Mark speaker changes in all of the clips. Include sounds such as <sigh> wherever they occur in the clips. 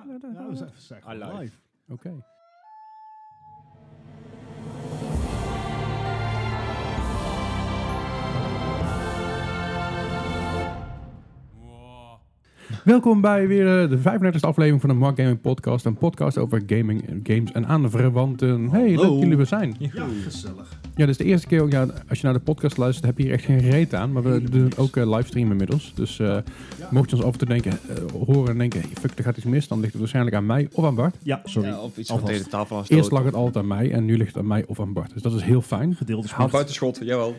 Speaker 1: we zijn, we zijn gewoon
Speaker 2: Alive.
Speaker 1: live.
Speaker 3: Oké. Welkom bij weer eh, de 35e aflevering van de Mark Gaming Podcast. Een podcast over gaming, eh, games en aanverwanten. Hey, leuk dat jullie er zijn.
Speaker 1: Ja, gezellig.
Speaker 3: Ja, dus de eerste keer, ook, ja, als je naar de podcast luistert, heb je hier echt geen reet aan. Maar we doen het ook eh, livestream inmiddels. Dus eh, mocht je ons af en toe denken, eh, horen en denken, fuck, er gaat iets mis, dan ligt het waarschijnlijk aan mij of aan Bart.
Speaker 1: Ja, sorry.
Speaker 4: Ja, of iets
Speaker 1: Alvast.
Speaker 4: van tegen de tafel aan
Speaker 3: Eerst lag het altijd aan mij en nu ligt het aan mij of aan Bart. Dus dat is heel fijn.
Speaker 1: Gedeelde
Speaker 4: Haal
Speaker 1: smart.
Speaker 4: buitenschot, jawel.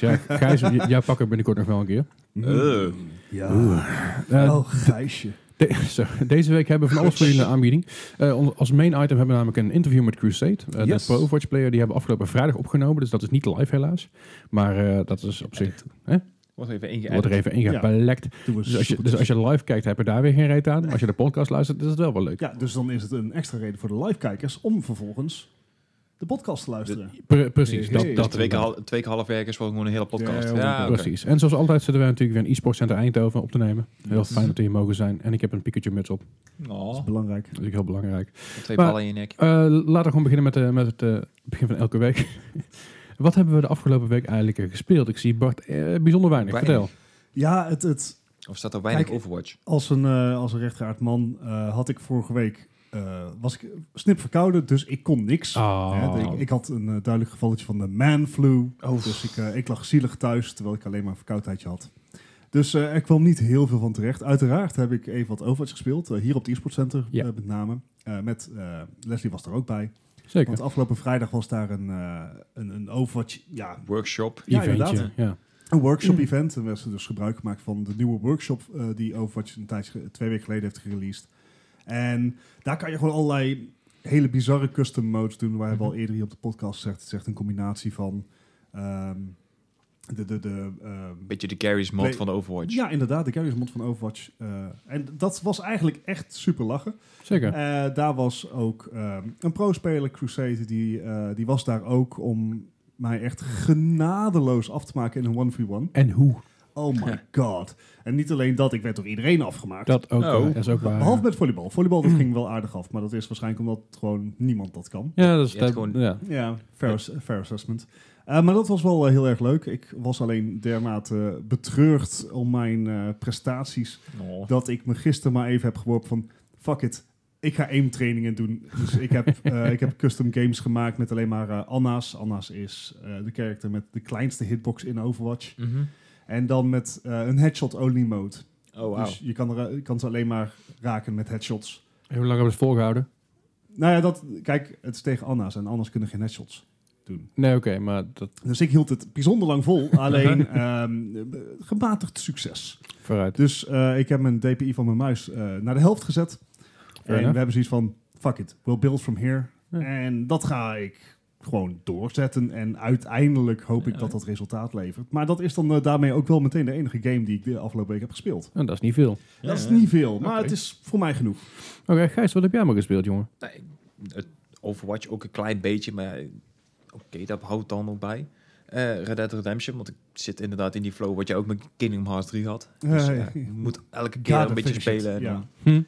Speaker 1: <laughs>
Speaker 3: ja. Gijs, j- jij pakt het binnenkort nog wel een keer.
Speaker 4: Eh,
Speaker 1: Ja.
Speaker 3: Eh,
Speaker 1: <laughs> oh, Gijsje.
Speaker 3: de- zo, deze week hebben we van alles voor jullie een aanbieding. Eh, on- als main item hebben we namelijk een interview met Crusade. Eh
Speaker 1: Yes.
Speaker 3: De Pro Overwatch player, die hebben we afgelopen vrijdag opgenomen. Dus dat is niet live helaas. Maar eh, dat is op zich... Hè?
Speaker 4: Wordt even
Speaker 3: Wordt er
Speaker 4: ingeëdit.
Speaker 3: even ingepelekt.
Speaker 1: Doe eens
Speaker 3: Dus als, je,
Speaker 1: goed.
Speaker 3: dus als je live kijkt, heb je daar weer geen reet aan. Als je de podcast luistert, is het wel wel leuk.
Speaker 1: Ja, dus dan is het een extra reden voor de live-kijkers om vervolgens de podcast te luisteren.
Speaker 3: Pre- precies,
Speaker 1: Hey,
Speaker 3: dat,
Speaker 1: hey.
Speaker 3: dat
Speaker 4: Twee keer, hal- twee keer half werk is gewoon een hele podcast.
Speaker 1: Ja,
Speaker 4: Ja, oké.
Speaker 3: Precies. En zoals altijd zitten wij natuurlijk weer in e-sport center Eindhoven op te nemen. Heel fijn dat we hier mogen zijn. En ik heb een Pikachu muts op.
Speaker 1: Dat is
Speaker 4: Oh,
Speaker 1: belangrijk.
Speaker 3: Dat is ook heel belangrijk.
Speaker 4: twee
Speaker 3: Maar-
Speaker 4: ballen in je nek.
Speaker 3: Eh, laten we gewoon beginnen met, eh, met het eh, begin van elke week. <laughs> Wat hebben we de afgelopen week eigenlijk eh, gespeeld? Ik zie Bart eh, bijzonder weinig.
Speaker 4: Weinig.
Speaker 3: Vertel.
Speaker 1: Ja, het, het,
Speaker 4: Of staat er weinig
Speaker 1: Kijk,
Speaker 4: Overwatch?
Speaker 1: als een, eh als een rechtgeaard man eh, had ik vorige week... eh, was ik snip verkouden, dus ik kon niks.
Speaker 3: Ah.
Speaker 1: Hè, de- ik, ik had een eh, duidelijk gevalletje van de man flu. Dus ik, eh, ik lag zielig thuis, terwijl ik alleen maar een verkoudheidje had. Dus eh, er kwam niet heel veel van terecht. Uiteraard heb ik even wat Overwatch gespeeld. eh, hier op het e-sport center
Speaker 3: Ja.
Speaker 1: eh, met name. Eh, met eh, Leslie was er ook bij.
Speaker 3: Zeker.
Speaker 1: Want afgelopen vrijdag was daar een, eh, een, een Overwatch... Ja,
Speaker 4: Workshop.
Speaker 1: ja,
Speaker 3: Eventje.
Speaker 1: inderdaad.
Speaker 3: Ja.
Speaker 1: een workshop-event. En werd ze dus gebruik gemaakt van de nieuwe workshop eh, die Overwatch een tijdje, ge- twee weken geleden heeft gereleased. En daar kan je gewoon allerlei hele bizarre custom modes doen. Waar hebben we al eerder hier op de podcast gezegd. Het is echt een combinatie van ehm, de... de, de ehm,
Speaker 4: Beetje de carries mod
Speaker 1: Nee.
Speaker 4: van de Overwatch.
Speaker 1: ja, inderdaad, de carries mod van Overwatch. eh, en dat was eigenlijk echt super lachen.
Speaker 3: Zeker.
Speaker 1: Eh, daar was ook ehm, een pro-speler, Crusade, die, eh, die was daar ook om mij echt genadeloos af te maken in een 1v1.
Speaker 3: En hoe?
Speaker 1: Oh my god. En niet alleen dat, ik werd door iedereen afgemaakt.
Speaker 3: Dat ook,
Speaker 4: Oh.
Speaker 3: eh, mm. dat is ook waar.
Speaker 1: Behalve met volleybal. Volleybal dat ging wel aardig af, maar dat is waarschijnlijk omdat gewoon niemand dat kan.
Speaker 3: ja, dat is
Speaker 4: Je hebt
Speaker 3: dat-
Speaker 4: gewoon-
Speaker 3: ja.
Speaker 1: Ja, fair, ass- fair assessment. Eh, maar dat was wel eh, heel erg leuk. Ik was alleen dermate betreurd om mijn eh, prestaties
Speaker 4: Oh.
Speaker 1: dat ik me gisteren maar even heb geworpen van fuck it. Ik ga aim trainingen doen. Dus ik
Speaker 3: <laughs>
Speaker 1: heb, eh, ik heb custom games gemaakt met alleen maar eh, Anna's. Anna's is eh, de character met de kleinste hitbox in Overwatch.
Speaker 4: Mhm.
Speaker 1: En dan met eh, een headshot only mode.
Speaker 4: Oh, wauw.
Speaker 1: Dus je kan, er, je kan ze alleen maar raken met headshots.
Speaker 3: Hoe lang hebben we het volgehouden?
Speaker 1: Nou ja, dat, kijk, het is tegen Anna's en Anna's kunnen geen headshots doen.
Speaker 3: Nee, oké, maar dat
Speaker 1: Dus ik hield het bijzonder lang
Speaker 4: <laughs>
Speaker 1: vol, alleen ehm, gematigd succes.
Speaker 3: vooruit.
Speaker 1: Dus eh, ik heb mijn DPI van mijn muis eh, naar de helft gezet. en
Speaker 3: enough.
Speaker 1: we hebben zoiets van, fuck it, we'll build from here.
Speaker 3: Ja.
Speaker 1: En dat ga ik gewoon doorzetten. En uiteindelijk hoop ik
Speaker 4: Ja.
Speaker 1: dat dat resultaat levert. Maar dat is dan eh, daarmee ook wel meteen de enige game die ik de afgelopen week heb gespeeld.
Speaker 3: En Nou, dat is niet veel.
Speaker 4: Ja,
Speaker 1: dat is
Speaker 4: ja.
Speaker 1: niet veel, maar
Speaker 3: Oké.
Speaker 1: het is voor mij genoeg.
Speaker 3: Oké, Gijs, wat heb jij maar gespeeld, jongen?
Speaker 4: Nee, het Overwatch ook een klein beetje, maar eh, oké, dat houdt dan ook bij. Eh, Red Dead Redemption, want ik zit inderdaad in die flow wat je ook met Kingdom Hearts 3 had. Dus,
Speaker 1: Ja, <laughs>
Speaker 4: eh,
Speaker 1: ja.
Speaker 4: je moet elke keer
Speaker 1: Gotta
Speaker 4: een beetje
Speaker 1: finish it,
Speaker 4: spelen. en
Speaker 1: ja.
Speaker 4: dan-
Speaker 3: Hm?
Speaker 1: Eh,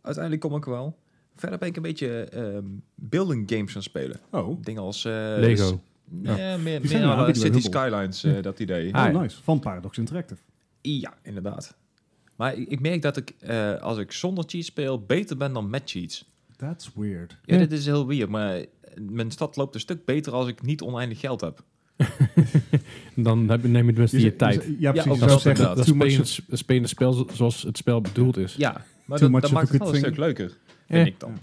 Speaker 4: Uiteindelijk kom ik er wel. Verder ben ik een beetje ehm, building games gaan spelen.
Speaker 1: Oh,
Speaker 4: Dingen als... eh, s-
Speaker 3: Lego.
Speaker 4: Nee, meer,
Speaker 1: zijn
Speaker 4: meer
Speaker 1: er
Speaker 4: à la
Speaker 1: aanbieden bij
Speaker 4: City
Speaker 1: Humble.
Speaker 4: Skylines, eh, dat idee.
Speaker 3: Ah,
Speaker 1: oh,
Speaker 3: ja.
Speaker 1: nice. Van Paradox Interactive.
Speaker 4: Ja, inderdaad. Maar ik, ik merk dat ik, eh, als ik zonder cheats speel, beter ben dan met cheats.
Speaker 1: That's weird.
Speaker 4: Ja,
Speaker 3: Ja.
Speaker 4: dit is heel weird, maar eh, mijn stad loopt een stuk beter als ik niet oneindig geld heb.
Speaker 3: Dan heb, je- neem je het beste je,
Speaker 1: zegt-
Speaker 3: tijd.
Speaker 1: zegt- Ja,
Speaker 4: ook
Speaker 1: precies.
Speaker 4: dat
Speaker 1: Zo
Speaker 4: is
Speaker 1: zeggen,
Speaker 4: inderdaad.
Speaker 3: dat
Speaker 1: too
Speaker 3: speel
Speaker 1: much
Speaker 3: je
Speaker 1: of-
Speaker 3: het sp- speel je het spel zo- zoals het spel bedoeld is.
Speaker 4: Ja, maar
Speaker 1: Too
Speaker 4: dat,
Speaker 1: much
Speaker 4: dat
Speaker 1: of a
Speaker 4: maakt het
Speaker 1: good
Speaker 4: wel een
Speaker 1: thing.
Speaker 4: stuk leuker,
Speaker 3: Eh.
Speaker 4: vind ik dan.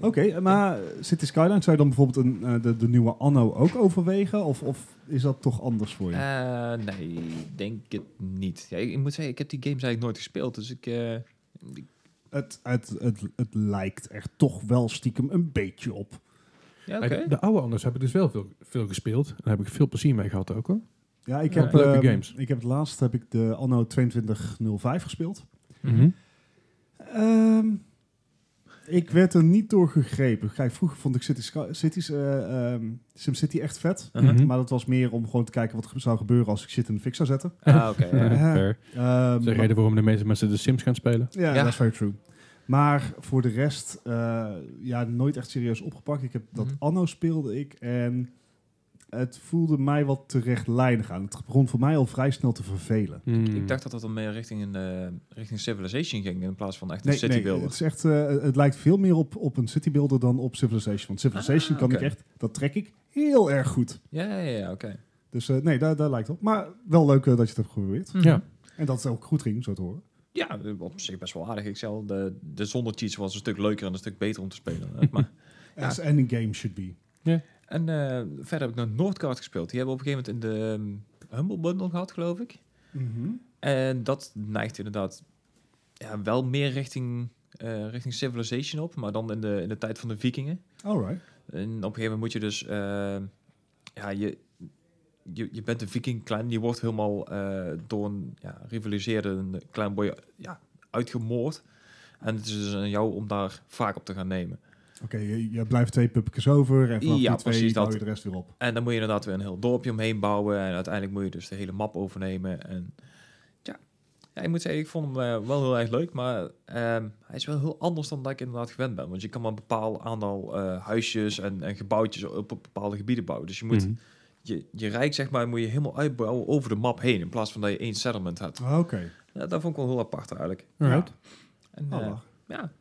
Speaker 1: Oké, maar City Skyline, zou je dan bijvoorbeeld een, eh, de, de nieuwe Anno ook overwegen? Of, of is dat toch anders voor je?
Speaker 4: Eh, nee, ik denk het niet. Ja, ik, ik moet zeggen, ik heb die games eigenlijk nooit gespeeld, dus ik... eh, ik-
Speaker 1: het, het, het, het lijkt er toch wel stiekem een beetje op.
Speaker 4: ja, oké.
Speaker 3: Kijk, De oude anders heb ik dus wel veel, veel gespeeld. En daar heb ik veel plezier mee gehad ook hoor.
Speaker 1: Ja, ik
Speaker 3: Ja,
Speaker 1: heb,
Speaker 3: leuke
Speaker 1: ehm,
Speaker 3: games.
Speaker 1: Ik heb het laatst heb ik de Anno 2205 gespeeld.
Speaker 3: Mhm.
Speaker 1: Ehm, ik werd er niet door gegrepen. Kijk, vroeger vond ik City Sky- Cities, eh, ehm, SimCity echt vet. <laughs>
Speaker 4: Uh-huh.
Speaker 3: Mhm.
Speaker 1: Maar dat was meer om gewoon te kijken wat er zou gebeuren als ik shit in de fik zou zetten.
Speaker 4: Ah, oké. ja.
Speaker 1: Ja.
Speaker 3: Fair.
Speaker 1: Ehm,
Speaker 3: Dat is de
Speaker 1: maar-
Speaker 3: reden waarom de meeste mensen de Sims gaan spelen.
Speaker 1: Ja,
Speaker 4: Ja.
Speaker 1: dat is very true. Maar voor de rest, eh, ja, nooit echt serieus opgepakt. Ik heb dat
Speaker 4: Mhm.
Speaker 1: anno speelde ik en het voelde mij wat terechtlijnig aan. Het begon voor mij al vrij snel te vervelen.
Speaker 3: Hmm.
Speaker 4: Ik dacht dat dat dan meer richting, een, eh, richting Civilization ging in plaats van echt een
Speaker 1: Nee,
Speaker 4: city
Speaker 1: nee,
Speaker 4: builder.
Speaker 1: het, is echt, eh, het lijkt veel meer op, op een city builder dan op Civilization. Want Civilization
Speaker 4: Ah,
Speaker 1: kan
Speaker 4: oké.
Speaker 1: ik echt, dat trek ik heel erg goed.
Speaker 4: Ja, ja, ja, ja, oké.
Speaker 1: Dus eh, nee, daar, daar lijkt het op. Maar wel leuk eh, dat je het hebt geprobeerd.
Speaker 4: Mhm.
Speaker 3: Ja.
Speaker 1: En dat het ook goed ging, zo te horen.
Speaker 4: Ja, op zich best wel aardig. Ik zei, de, de zonder cheats was een stuk leuker en een stuk beter om te spelen.
Speaker 1: <laughs>
Speaker 4: hè. maar, Ja.
Speaker 1: As any game should be.
Speaker 4: en eh, verder heb ik nog Noordkaart gespeeld. Die hebben we op een gegeven moment in de ehm, Humble Bundle gehad, geloof ik.
Speaker 1: Mhm.
Speaker 4: En dat neigt inderdaad ja, wel meer richting, eh, richting Civilization op, maar dan in de, in de tijd van de vikingen.
Speaker 1: Alright.
Speaker 4: En op een gegeven moment moet je dus... eh, ja, je, je, je bent een viking clan. Je wordt helemaal eh, door een ja, rivaliserende clan word je, ja, uitgemoord. En het is dus aan jou om daar vaak op te gaan nemen.
Speaker 1: Oké, je, je blijft twee puppetjes over en vanaf
Speaker 4: Ja,
Speaker 1: die twee
Speaker 4: precies
Speaker 1: bouw je
Speaker 4: dat.
Speaker 1: de rest weer op.
Speaker 4: En dan moet je inderdaad weer een heel dorpje omheen bouwen. En uiteindelijk moet je dus de hele map overnemen. En ja, ja ik moet zeggen, ik vond hem eh, wel heel erg leuk. Maar ehm, hij is wel heel anders dan dat ik inderdaad gewend ben. Want je kan maar een bepaald aantal eh, huisjes en, en gebouwtjes op, op bepaalde gebieden bouwen. Dus je moet
Speaker 3: Mhm.
Speaker 4: je, je rijk, zeg maar, moet je helemaal uitbouwen over de map heen. In plaats van dat je één settlement hebt.
Speaker 1: Ah, Oké. Oh,
Speaker 4: Ja, dat vond ik wel heel apart eigenlijk.
Speaker 3: Alright.
Speaker 4: En, eh,
Speaker 1: Ja. Allah.
Speaker 4: ja.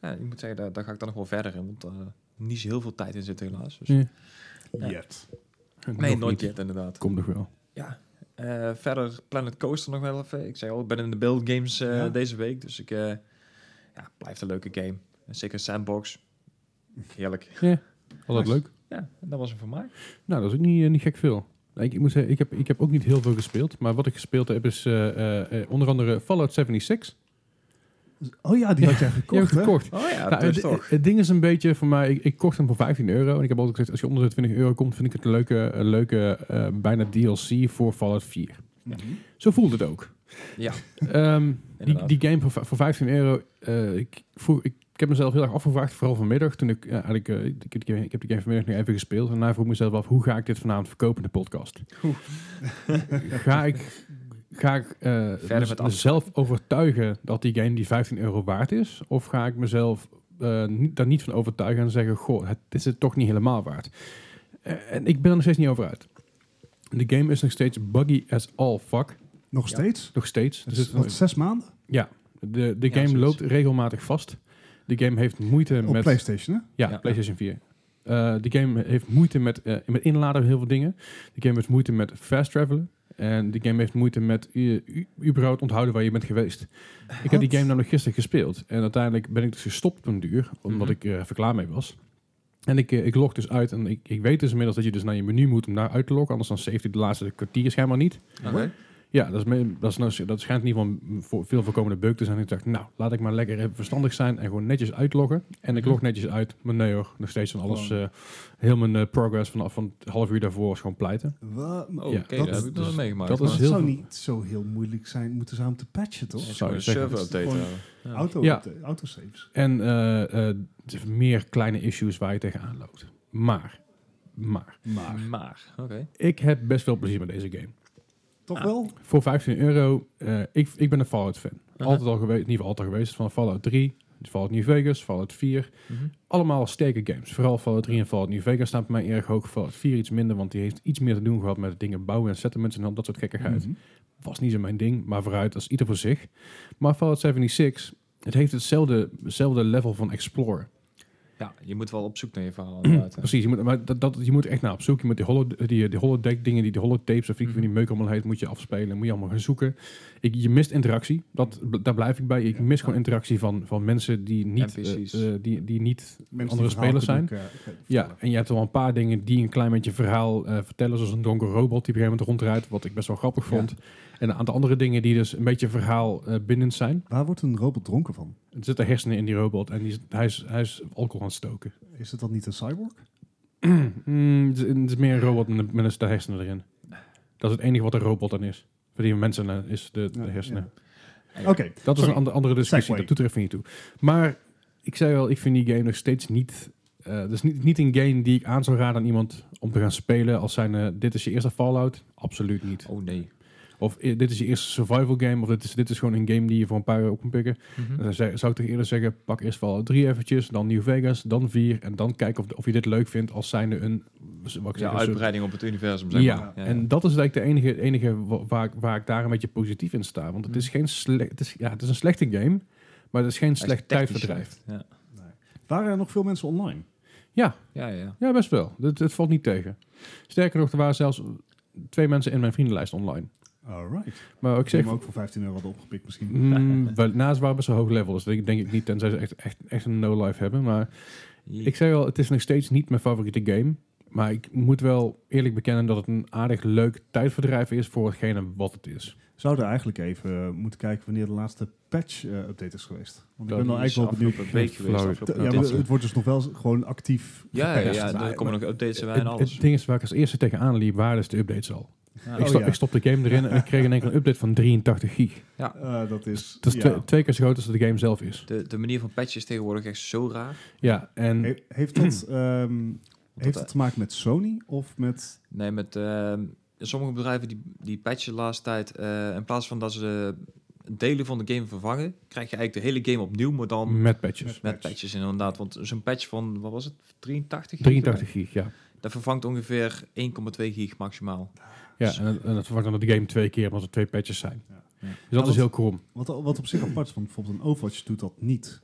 Speaker 4: ja, ik moet zeggen, daar, daar ga ik dan nog wel verder in. Want eh niet zo heel veel tijd in zit helaas. Dus,
Speaker 3: Ja.
Speaker 4: Ja.
Speaker 1: Yet.
Speaker 4: Nee,
Speaker 3: Nog
Speaker 4: nooit
Speaker 3: niet.
Speaker 4: yet inderdaad.
Speaker 3: Komt nog wel.
Speaker 4: Ja. eh, verder Planet Coaster nog wel even. Ik zei al, ik ben in de build games eh,
Speaker 1: Ja.
Speaker 4: deze week. Dus ik... eh ja, blijft een leuke game. En Zeker Sandbox. Heerlijk.
Speaker 3: Altijd
Speaker 1: Nice.
Speaker 3: leuk.
Speaker 4: Ja, en dat was hem voor mij.
Speaker 3: Nou, dat is ook niet, eh, niet gek veel. Ik, ik moet zeggen, ik heb, ik heb ook niet heel veel gespeeld. Maar wat ik gespeeld heb is eh, eh, eh, onder andere Fallout 76.
Speaker 1: Oh ja, die had jij
Speaker 3: Die heb ik
Speaker 1: gekocht, hè?
Speaker 3: gekocht.
Speaker 4: Oh ja,
Speaker 3: Nou,
Speaker 4: dus
Speaker 3: het,
Speaker 4: toch.
Speaker 3: het ding is een beetje voor mij, ik, ik kocht hem voor 15 euro. En ik heb altijd gezegd, als je onder de 20 euro komt, vind ik het een leuke, een leuke eh, bijna DLC voor Fallout 4.
Speaker 1: Mhm.
Speaker 3: Zo voelt het ook.
Speaker 4: Ja,
Speaker 3: Ehm, die,
Speaker 4: Inderdaad.
Speaker 3: die game voor, v- voor 15 euro, eh, ik, vroeg, ik, ik heb mezelf heel erg afgevraagd, vooral vanmiddag. Toen ik, eh, eigenlijk, eh, ik, heb die game- ik heb die game vanmiddag nu even gespeeld. En daarna vroeg ik mezelf af, hoe ga ik dit vanavond verkopen in de podcast? <laughs> ga ik, ga ik eh, mez-
Speaker 4: met
Speaker 3: mezelf overtuigen dat die game die 15 euro waard is? Of ga ik mezelf eh, niet, daar niet van overtuigen en zeggen, goh, het is het toch niet helemaal waard? Eh, en ik ben er nog steeds niet over uit. De game is nog steeds buggy as all fuck.
Speaker 1: Nog
Speaker 4: Ja.
Speaker 1: steeds?
Speaker 3: Nog steeds. Er
Speaker 1: Dat
Speaker 3: zit
Speaker 1: is
Speaker 3: nog-
Speaker 1: wat, zes maanden?
Speaker 3: ja, de, de
Speaker 4: Ja,
Speaker 3: game
Speaker 4: zoiets.
Speaker 3: loopt regelmatig vast. De game heeft moeite
Speaker 1: Op
Speaker 3: met...
Speaker 1: PlayStation, hè?
Speaker 3: Ja,
Speaker 4: Ja.
Speaker 3: PlayStation 4. Eh, de game heeft moeite met, eh, met inladen van heel veel dingen. De game heeft moeite met fast travelen. En de game heeft moeite met u- u- überhaupt onthouden waar je bent geweest. Ik heb die
Speaker 1: Wat?
Speaker 3: game namelijk gisteren gespeeld. En uiteindelijk ben ik dus gestopt op een duur. Omdat
Speaker 4: Mhm.
Speaker 3: ik eh even klaar mee was. En ik, eh, ik log dus uit. En ik, ik weet dus inmiddels dat je dus naar je menu moet om daar uit te loggen. Anders dan safety de laatste kwartier schijnbaar niet.
Speaker 4: oké.
Speaker 3: Ja, dat, is me- dat, is nou, dat schijnt in ieder geval een voor veel voorkomende bug te zijn. Ik dacht, nou, laat ik maar lekker even verstandig zijn en gewoon netjes uitloggen. En ik log netjes uit, maar nee hoor, nog steeds van alles. eh, heel mijn eh, progress vanaf van het half uur daarvoor is gewoon pleiten.
Speaker 1: Wa- maar
Speaker 4: Oh,
Speaker 3: Ja,
Speaker 4: Oké,
Speaker 1: dat-
Speaker 4: dat heb ik nog
Speaker 3: dus-
Speaker 4: wel meegemaakt.
Speaker 3: dat
Speaker 1: dat
Speaker 3: is
Speaker 4: maar-
Speaker 3: heel
Speaker 1: zou
Speaker 3: veel-
Speaker 1: niet zo heel moeilijk zijn, moeten ze aan te patchen,
Speaker 4: Ja,
Speaker 1: toch?
Speaker 4: het is gewoon een
Speaker 3: zou je
Speaker 4: server
Speaker 1: zeggen,
Speaker 4: update.
Speaker 1: dat is
Speaker 4: houden. Ja.
Speaker 1: Auto,
Speaker 3: Ja.
Speaker 1: Autosaves.
Speaker 3: En eh, eh, meer kleine issues waar je tegenaan loopt. Maar, maar,
Speaker 1: Maar
Speaker 4: Maar, oké.
Speaker 3: ik heb best veel plezier met deze game.
Speaker 1: toch
Speaker 4: Ah.
Speaker 1: wel?
Speaker 3: Voor 15 euro, eh, ik, ik ben een Fallout fan.
Speaker 4: Aha.
Speaker 3: Altijd al geweest, in ieder geval altijd al geweest. Van Fallout 3, Fallout New Vegas, Fallout 4. allemaal sterke games. Vooral Fallout 3 en Fallout New Vegas staan bij mij erg hoog. Fallout 4 iets minder, want die heeft iets meer te doen gehad met dingen bouwen en settlements en al dat soort gekkigheid.
Speaker 1: Mhm.
Speaker 3: Was niet zo mijn ding, maar vooruit, dat is ieder voor zich. Maar Fallout 76, het heeft hetzelfde, hetzelfde level van exploren.
Speaker 4: Ja, je moet wel op zoek naar je verhaal inderdaad. hè.
Speaker 3: Precies, je moet, maar dat, dat, je moet er echt naar op zoek. Je moet die, holo, die, die holodeck dingen, die, die holotapes of die,
Speaker 4: Mhm.
Speaker 3: die meuk allemaal heet, moet je afspelen. Moet je allemaal gaan zoeken. Ik, je mist interactie, dat, daar blijf ik bij. Ik mis gewoon interactie van, van mensen die niet, eh,
Speaker 4: NPC's.
Speaker 3: eh, die, die niet
Speaker 1: Mensen
Speaker 3: Andere
Speaker 1: die verhaal
Speaker 3: spelers
Speaker 1: kunnen eh, elkaar-
Speaker 3: Ja, en je hebt wel een paar dingen die een klein beetje verhaal eh, vertellen. Zoals een donkere robot die op een gegeven moment rondrijdt. Wat ik best wel grappig
Speaker 1: Ja.
Speaker 3: vond. En een aantal andere dingen die dus een beetje verhaal eh, bindend zijn.
Speaker 1: Waar wordt een robot dronken van?
Speaker 3: Er zitten hersenen in die robot en die, is- hij, is, hij is alcohol aan het stoken.
Speaker 1: Is het dan niet een cyborg?
Speaker 3: Mm, het, is, het is meer een robot met, een- met een stel hersenen erin. Dat is het enige wat een robot dan is. Voor die mensen eh, is de, de
Speaker 1: Ja,
Speaker 3: hersenen.
Speaker 1: Oké.
Speaker 3: Dat is een
Speaker 1: Sorry.
Speaker 3: ander- andere discussie,
Speaker 1: Segway.
Speaker 3: dat doet er even niet toe. Maar ik zei al, ik vind die game nog steeds niet... eh dus niet, niet een game die ik aan zou raden aan iemand om te gaan spelen als zijn... eh, dit is je eerste Fallout? Absoluut niet.
Speaker 4: Oh nee.
Speaker 3: Of eh, dit is je eerste survival game. Of dit is, dit is gewoon een game die je voor een paar euro op kan pikken.
Speaker 4: Mhm.
Speaker 3: Dan zei- zou ik toch eerder zeggen, pak eerst Fallout 3 eventjes, dan New Vegas, dan 4. En dan kijken of, of je dit leuk vindt als zijnde een... Wat ik zeg,
Speaker 4: Ja,
Speaker 3: een soort-
Speaker 4: uitbreiding op het universum, zeg
Speaker 3: dus ja,
Speaker 4: maar.
Speaker 3: en dat is eigenlijk de enige, enige wa- waar, ik- waar ik daar een beetje positief in sta. Want het is, geen sle- het is, ja, het is een slechte game, maar het is geen
Speaker 4: Hm. Hij is
Speaker 3: slecht
Speaker 4: technisch
Speaker 3: tijdverdrijf.
Speaker 4: slecht, Ja,
Speaker 1: Waren er nog veel mensen online?
Speaker 4: ja, ja.
Speaker 3: Ja, best wel. Het, het valt niet tegen. Sterker nog, er waren zelfs twee mensen in mijn vriendenlijst online.
Speaker 1: Alright.
Speaker 3: Maar ik
Speaker 1: Ik zeg
Speaker 3: zeg,
Speaker 1: hem ook voor 15 euro hadden opgepikt misschien.
Speaker 3: mm, <laughs> wel, naast waren best wel hoog level. Dus dat denk ik niet, tenzij ze echt, echt, echt een no-life hebben. Maar Ik zei wel, het is nog steeds niet mijn favoriete game. Maar ik moet wel eerlijk bekennen dat het een aardig leuk tijdverdrijf is voor hetgene wat het is.
Speaker 1: Zouden eigenlijk even eh, moeten kijken wanneer de laatste patch-update is geweest. Want ik ben
Speaker 3: Dat
Speaker 1: dan
Speaker 4: is
Speaker 1: nou eigenlijk wel benieuwd.
Speaker 4: afgelopen week geweest.
Speaker 3: Flauw.
Speaker 1: T-
Speaker 4: afgelopen
Speaker 1: Ja, maar
Speaker 4: dinsdag.
Speaker 1: het wordt dus nog wel eens gewoon actief
Speaker 4: Ja, ja,
Speaker 1: gepatcht. Nou,
Speaker 4: ja,
Speaker 3: maar-
Speaker 4: er komen nog updates bij en
Speaker 3: Het,
Speaker 4: alles.
Speaker 3: het ding is waar ik als eerste tegenaan liep, waren dus de updates al.
Speaker 4: Ja.
Speaker 3: ik,
Speaker 1: Oh,
Speaker 3: sto-
Speaker 1: ja.
Speaker 3: ik stop de game erin en ik kreeg in één keer een update van 83 gig.
Speaker 1: Eh, dat is...
Speaker 3: Dat is
Speaker 1: ja.
Speaker 4: Mm.
Speaker 3: twee, twee keer zo groot als de game zelf is.
Speaker 4: De, de manier van patches tegenwoordig echt zo raar.
Speaker 3: Ja, en
Speaker 1: He- heeft
Speaker 4: <clears throat>
Speaker 1: dat, ehm,
Speaker 4: Want
Speaker 1: heeft
Speaker 4: dat,
Speaker 1: dat te maken met Sony of met...
Speaker 4: Nee, met ehm, sommige bedrijven die, die patchen de laatste tijd. eh, in plaats van dat ze delen van de game vervangen, krijg je eigenlijk de hele game opnieuw, maar dan met,
Speaker 3: met patches.
Speaker 1: Met patch.
Speaker 4: patches inderdaad. Want zo'n patch van, wat was het, 83? gig?
Speaker 3: 83 gig, ja.
Speaker 4: Dat vervangt ongeveer 1,2 gig maximaal.
Speaker 3: ja en, dat- en dat vervangt dan de game twee keer, omdat er twee patches zijn.
Speaker 1: Ja.
Speaker 4: Ja.
Speaker 3: Dus dat
Speaker 1: Maar
Speaker 3: is
Speaker 1: dat-
Speaker 3: heel krom.
Speaker 1: Wat, wat op zich apart is, want bijvoorbeeld een Overwatch doet dat niet.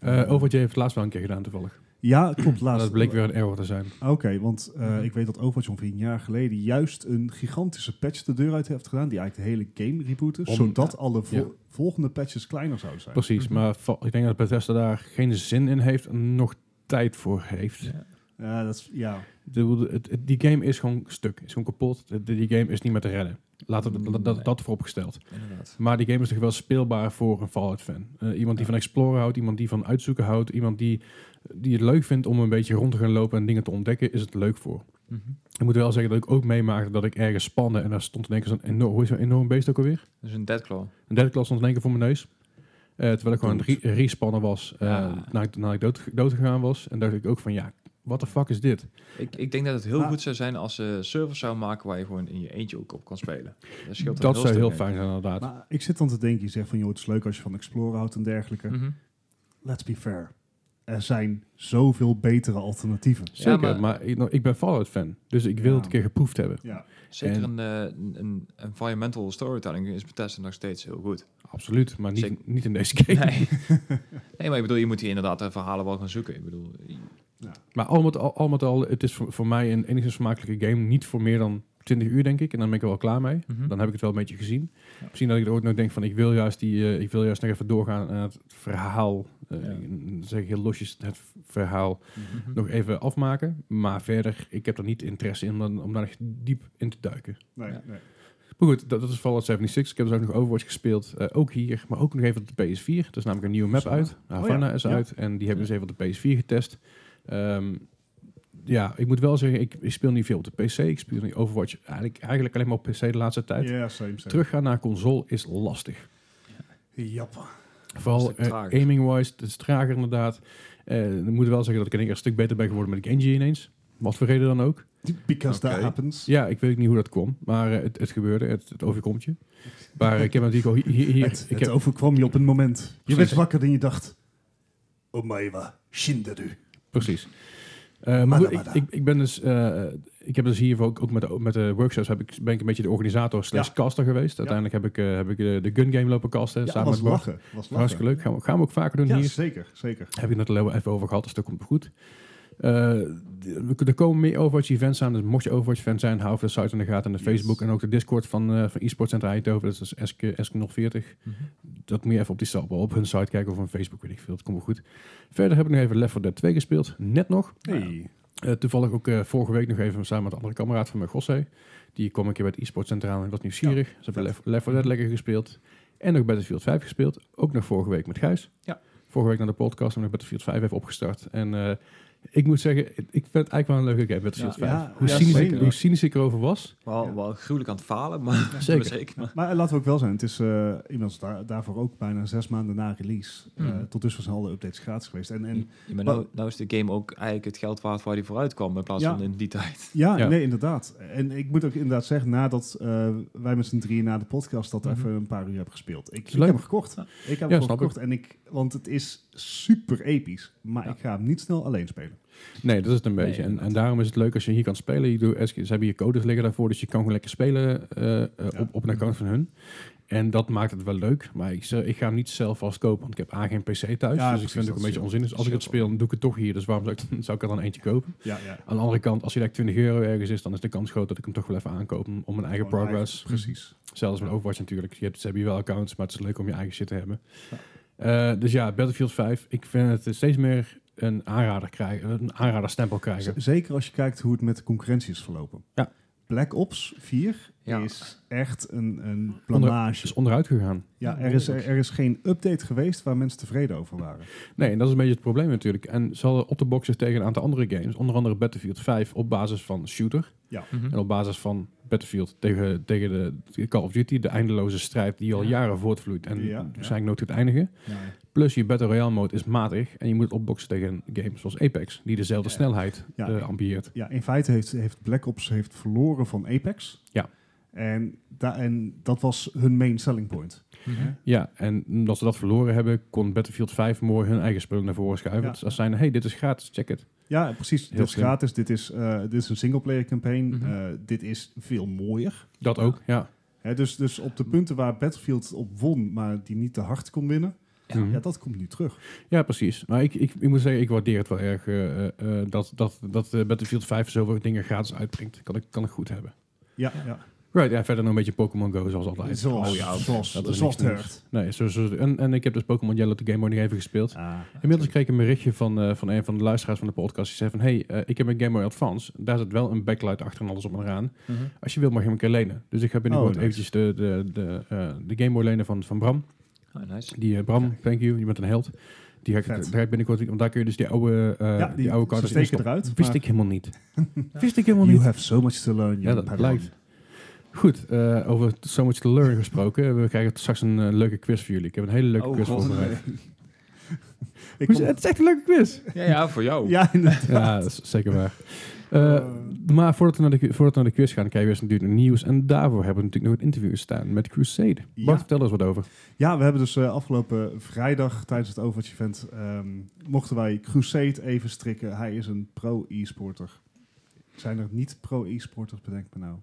Speaker 3: Eh Overwatch heeft het laatst wel een keer gedaan toevallig.
Speaker 1: Ja, klopt.
Speaker 3: Maar
Speaker 1: Laatst.
Speaker 3: dat bleek weer een error te zijn.
Speaker 1: Oké, want eh,
Speaker 3: Mhm.
Speaker 1: ik weet dat Overwatch ongeveer een jaar geleden juist een gigantische patch de deur uit heeft gedaan. Die eigenlijk de hele game rebootte,
Speaker 3: Om-
Speaker 1: zodat alle vo-
Speaker 3: Ja.
Speaker 1: volgende patches kleiner zouden zijn.
Speaker 3: Precies,
Speaker 4: Mhm.
Speaker 3: maar va- ik denk dat Bethesda daar geen zin in heeft en nog tijd voor heeft.
Speaker 4: Ja.
Speaker 1: Ja, dat is, ja.
Speaker 3: Ik bedoel, het- het- die game is gewoon stuk, is gewoon kapot. De- Die game is niet meer te redden. Laten we dat, dat,
Speaker 4: Nee.
Speaker 3: dat vooropgesteld.
Speaker 4: Inderdaad.
Speaker 3: Maar die game is toch wel speelbaar voor een Fallout-fan. Eh, iemand die
Speaker 1: Ja.
Speaker 3: van exploren houdt, iemand die van uitzoeken houdt, iemand die, die het leuk vindt om een beetje rond te gaan lopen en dingen te ontdekken, is het leuk voor.
Speaker 4: Mhm.
Speaker 3: Ik moet wel zeggen dat ik ook meemaakte dat ik ergens spande en daar stond in één keer zo'n enorm, hoe is zo'n enorm beest ook alweer?
Speaker 4: Dus een deadclaw.
Speaker 3: Een derde klas stond in één keer voor mijn neus. Eh, terwijl ik gewoon aan het
Speaker 1: Goed.
Speaker 3: re- respannen was eh,
Speaker 4: Ja.
Speaker 3: nadat nadat ik dood, dood gegaan was. En dacht ik ook van ja, what the fuck is dit?
Speaker 4: Ik, ik denk dat het heel
Speaker 1: Maar-
Speaker 4: goed zou zijn als ze servers zouden maken waar je gewoon in je eentje ook op kan spelen. Dat, scheelt
Speaker 3: Dat,
Speaker 4: een
Speaker 3: zou
Speaker 4: stuk
Speaker 3: heel
Speaker 4: mee.
Speaker 3: fijn zijn inderdaad.
Speaker 1: Maar ik zit dan te denken, je zegt van joh, het is leuk als je van Explorer houdt en dergelijke.
Speaker 4: Mhm.
Speaker 1: Let's be fair. Er zijn zoveel betere alternatieven.
Speaker 3: Zeker,
Speaker 4: Ja,
Speaker 3: maar,
Speaker 4: maar-
Speaker 3: ik, nou, ik ben Fallout-fan. Dus ik wil
Speaker 1: Ja.
Speaker 3: het een keer geproefd hebben.
Speaker 1: Ja,
Speaker 4: Zeker een,
Speaker 3: En-
Speaker 4: eh, een- een environmental storytelling is Bethesda nog steeds heel goed.
Speaker 3: Absoluut, maar niet,
Speaker 4: Zeker.
Speaker 3: niet in deze game.
Speaker 4: Nee. <laughs> nee, maar ik bedoel, je moet hier inderdaad de verhalen wel gaan zoeken. Ik bedoel,
Speaker 3: Maar al met al, al met al, het is voor, voor mij een enigszins vermakelijke game. Niet voor meer dan 20 uur, denk ik. En dan ben ik er wel klaar mee.
Speaker 4: Mhm.
Speaker 3: Dan heb ik het wel een beetje gezien.
Speaker 4: Ja.
Speaker 3: Misschien dat ik er ooit nog denk van, ik wil juist, die, eh, ik wil juist nog even doorgaan aan het verhaal. Eh,
Speaker 4: Ja.
Speaker 3: ik- Zeg ik heel losjes, het verhaal
Speaker 4: Mhm.
Speaker 3: nog even afmaken. Maar verder, ik heb er niet interesse in om, dan- om daar echt diep in te duiken.
Speaker 1: nee,
Speaker 4: Ja.
Speaker 1: nee.
Speaker 3: Maar goed, dat, dat is Fallout 76. Ik heb dus ook nog Overwatch gespeeld. eh, ook hier, maar ook nog even op de PS4. Er is namelijk een nieuwe map
Speaker 1: Zo. Oh
Speaker 3: uit. Havana
Speaker 1: ja.
Speaker 3: is
Speaker 1: Ja.
Speaker 3: uit. En die hebben we dus even op de PS4 getest. Ehm, ja, ik moet wel zeggen, ik, ik speel niet veel op de PC. Ik speel niet Overwatch eigenlijk, eigenlijk alleen maar op PC de laatste tijd.
Speaker 1: Ja, same, same.
Speaker 3: Teruggaan naar console is lastig.
Speaker 1: Jappa.
Speaker 3: Vooral
Speaker 4: Een stuk
Speaker 3: eh,
Speaker 4: trager.
Speaker 3: aiming-wise, het is trager inderdaad. Eh, ik moet wel zeggen dat ik in één keer een stuk beter ben geworden met de Genji ineens. Wat voor reden dan ook.
Speaker 1: Because that
Speaker 4: Oké.
Speaker 1: happens.
Speaker 3: Ja, ik weet ook niet hoe dat kwam, maar eh, het, het gebeurde, het, het overkomt je. Maar eh, ik heb natuurlijk al hi- hi- hier...
Speaker 1: het
Speaker 3: ik
Speaker 1: het
Speaker 3: heb,
Speaker 1: overkwam je op een moment. Je werd
Speaker 3: Precies.
Speaker 1: wakker en je dacht... Omae wa shinderu.
Speaker 3: Precies. Eh, maar
Speaker 1: Mada,
Speaker 3: goed, ik,
Speaker 1: mada.
Speaker 3: ik, ik ben dus, eh, ik heb dus hier ook, ook met, de, met de workshops heb ik, ben ik een beetje de organisator slash
Speaker 1: Ja.
Speaker 3: caster geweest. Uiteindelijk heb ik, eh, heb ik de, de gun game lopen casten
Speaker 1: Ja,
Speaker 3: samen
Speaker 1: was
Speaker 3: met Bart.
Speaker 1: lachen. Was lachen.
Speaker 3: Hartstikke leuk. Gaan we, gaan we ook vaker doen
Speaker 1: Ja,
Speaker 3: hier.
Speaker 1: zeker, zeker.
Speaker 3: Heb ik net al even over gehad, dus dat komt goed. Eh, de- er komen meer Overwatch-events aan, dus mocht je Overwatch-fan zijn, hou even de site in de gaten en de
Speaker 1: Yes.
Speaker 3: Facebook en ook de Discord van, eh van eSports Center Eindhoven, dat is SK, SK040.
Speaker 4: Mhm.
Speaker 3: Dat moet je even op, die, site- op hun site kijken of hun Facebook, weet ik veel, dat komt wel goed. Verder heb ik nog even Left 4 Dead 2 gespeeld, net nog.
Speaker 1: Hey.
Speaker 3: Eh, toevallig ook eh, vorige week nog even samen met een andere kameraad van me, Gosse. Die kwam een keer bij het eSports Centraal en was nieuwsgierig. Ze hebben
Speaker 1: vet.
Speaker 3: Left, Left 4 Dead lekker gespeeld. En nog Battlefield 5 gespeeld. Ook nog vorige week met Gijs.
Speaker 4: Ja.
Speaker 3: Vorige week naar de podcast en nog Battlefield 5 even opgestart. En eh, Ik moet zeggen, ik vind het eigenlijk wel een leuke game, Battlefield
Speaker 4: Ja,
Speaker 3: 5.
Speaker 1: ja,
Speaker 3: hoe,
Speaker 1: ja,
Speaker 3: cynisch ik,
Speaker 1: zeker.
Speaker 3: hoe cynisch ik erover was.
Speaker 4: Wel,
Speaker 1: Ja.
Speaker 4: wel gruwelijk aan het falen, maar <laughs>
Speaker 3: zeker.
Speaker 4: zeker. zeker maar.
Speaker 1: Maar eh, laten we ook wel zijn, het is eh, inmiddels daar- daarvoor ook bijna zes maanden na release. Eh,
Speaker 3: Hmm.
Speaker 4: Mhm.
Speaker 1: tot dusver zijn alle updates gratis geweest. En, en
Speaker 4: Ja, maar nou, nou is de game ook eigenlijk het geld waard waar hij vooruit kwam, in plaats
Speaker 1: Ja.
Speaker 4: van in die tijd.
Speaker 1: ja,
Speaker 3: Ja.
Speaker 1: nee, inderdaad. En ik moet ook inderdaad zeggen, nadat eh, wij met z'n drieën na de podcast dat
Speaker 3: Mhm.
Speaker 1: even een paar uur hebben gespeeld. Ik, ik
Speaker 3: leuk.
Speaker 1: heb hem gekocht.
Speaker 4: Ja.
Speaker 1: Ik heb
Speaker 3: Ja,
Speaker 1: hem
Speaker 3: snap
Speaker 1: gewoon gekocht. En ik, want het is super episch. Maar
Speaker 4: Ja.
Speaker 1: ik ga hem niet snel alleen spelen.
Speaker 3: Nee, dat is het een
Speaker 4: Nee,
Speaker 3: beetje. En, en
Speaker 4: inderdaad.
Speaker 3: daarom is het leuk als je hier kan spelen. Je doet, ze hebben hier codes liggen daarvoor, dus je kan gewoon lekker spelen eh, eh,
Speaker 1: Ja.
Speaker 3: op, op een account van hun. En dat maakt het wel leuk. Maar ik, zeg- ik ga hem niet zelf vast kopen, want ik heb A geen PC thuis. dus
Speaker 1: precies,
Speaker 3: ik vind het
Speaker 1: dat
Speaker 3: ook een beetje
Speaker 1: is-
Speaker 3: onzin. Dus als ik het speel, dan doe ik het toch hier. Dus waarom zou ik, zou ik er dan eentje kopen?
Speaker 1: Ja, ja.
Speaker 3: Aan de andere kant, als hij daar 20 euro ergens is, dan is de kans groot dat ik hem toch wel even aankoop om om mijn eigen
Speaker 1: Gewoon
Speaker 3: progress.
Speaker 1: eigen- precies.
Speaker 3: Zelfs met Overwatch natuurlijk. Je hebt, ze hebben hier wel accounts, maar het is leuk om je eigen shit te hebben.
Speaker 1: Ja.
Speaker 3: Eh, dus ja, Battlefield 5. Ik vind het steeds meer een aanrader krijgen, een aanrader stempel krijgen.
Speaker 1: Z- zeker als je kijkt hoe het met de concurrentie is verlopen.
Speaker 3: Ja.
Speaker 1: Black Ops 4
Speaker 4: Ja.
Speaker 1: is echt een, een
Speaker 3: Het is
Speaker 1: blamage.
Speaker 3: onderuit gegaan.
Speaker 1: Ja, er is, er, er is geen update geweest waar mensen tevreden over waren.
Speaker 3: Nee, en dat is een beetje het probleem natuurlijk. En ze hadden op de box zich tegen een aantal andere games, onder andere Battlefield 5, op basis van Shooter.
Speaker 4: Hm.
Speaker 3: En
Speaker 4: Mhm.
Speaker 3: op basis van Battlefield tegen, tegen de, de Call of Duty, de eindeloze strijd die al
Speaker 4: Ja.
Speaker 3: jaren voortvloeit en
Speaker 1: Ja, ja.
Speaker 3: waarschijnlijk nooit gaat eindigen. Plus je Battle Royale mode is matig en je moet het opboksen tegen games zoals Apex, die dezelfde
Speaker 4: Ja.
Speaker 3: snelheid
Speaker 1: Ja.
Speaker 3: eh, ambieert.
Speaker 1: Ja, in feite heeft, heeft Black Ops heeft verloren van Apex.
Speaker 3: Ja.
Speaker 1: En, da en dat was hun main selling point.
Speaker 4: Mhm.
Speaker 3: Ja, en omdat ze dat verloren hebben, kon Battlefield 5 mooi hun eigen spullen naar voren schuiven.
Speaker 1: Ja.
Speaker 3: Dus als zijn, hey, dit is gratis, check het.
Speaker 1: Ja, precies.
Speaker 3: Heel
Speaker 1: dit is
Speaker 3: slim.
Speaker 1: gratis. Dit is, eh, dit is een singleplayer campaign.
Speaker 4: Mhm.
Speaker 1: Eh, dit is veel mooier.
Speaker 3: Dat ook, ja.
Speaker 1: Hè, dus, dus op de punten waar Battlefield op won, maar die niet te hard kon winnen,
Speaker 3: Mhm. Ja,
Speaker 1: ja, dat komt nu terug.
Speaker 3: precies. Maar ik, ik, ik moet zeggen, ik waardeer het wel erg eh, eh, eh, dat, dat, dat eh, Battlefield 5 zoveel dingen gratis uitbrengt. Kan ik, kan ik goed hebben.
Speaker 1: Ja, ja.
Speaker 3: Right, ja, verder nog een beetje Pokémon Go zoals altijd.
Speaker 1: Zoals,
Speaker 4: oh ja,
Speaker 1: zoals,
Speaker 3: dat is
Speaker 1: zoals
Speaker 3: niks
Speaker 1: het
Speaker 3: nieuws.
Speaker 1: heurt.
Speaker 3: Nee, zo, zo- en, en ik heb dus Pokémon Yellow de Game Boy nog even
Speaker 4: Ah,
Speaker 3: gespeeld. Inmiddels kreeg ik een berichtje van, eh, van een van de luisteraars van de podcast. Die zei van, hey, eh, ik heb een Game Boy Advance. Daar zit wel een backlight achter en alles op en eraan.
Speaker 4: Mhm.
Speaker 3: Als je wil, mag je hem een keer lenen. Dus ik ga binnenkort
Speaker 1: Oh, nice.
Speaker 3: eventjes de, de, de, eh, de Game Boy lenen van, van Bram.
Speaker 4: Ah, nice.
Speaker 3: Die eh, Bram, thank you, je bent een held. Die ga ik,
Speaker 1: Vet.
Speaker 3: daar ga ik binnenkort, want daar kun je dus die oude, eh
Speaker 1: ja,
Speaker 3: die,
Speaker 1: die,
Speaker 3: oude
Speaker 1: ze
Speaker 3: kaarten in
Speaker 1: steken
Speaker 3: stoppen.
Speaker 1: eruit.
Speaker 3: Wist
Speaker 1: maar
Speaker 3: ik helemaal
Speaker 1: <laughs>
Speaker 3: niet. Wist ik helemaal
Speaker 1: You
Speaker 3: niet.
Speaker 1: have so much to learn.
Speaker 3: Ja,
Speaker 1: young
Speaker 3: dat
Speaker 1: Padawan.
Speaker 3: blijkt. Goed, eh, over So Much To Learn gesproken. We krijgen straks een eh, leuke quiz voor jullie. Ik heb een hele leuke
Speaker 4: Oh,
Speaker 3: quiz
Speaker 4: god.
Speaker 3: voorbereid.
Speaker 1: Ik
Speaker 3: Hoe is-
Speaker 1: kom-
Speaker 3: Het is echt een leuke quiz.
Speaker 4: <laughs> Ja, ja, voor jou.
Speaker 1: ja, inderdaad.
Speaker 3: Ja, dat is zeker waar. Eh, maar voordat we, naar de, voordat we naar de quiz gaan, krijgen we eerst natuurlijk nog nieuws. En daarvoor hebben we natuurlijk nog het interview staan met Crusade.
Speaker 1: Ja.
Speaker 3: Bart, vertel er eens wat over.
Speaker 1: Ja, we hebben dus eh, afgelopen vrijdag tijdens het Overwatch-event... ehm, mochten wij Crusade even strikken. Hij is een pro-e-sporter. Zijn er niet pro-e-sporters, bedenk me nou.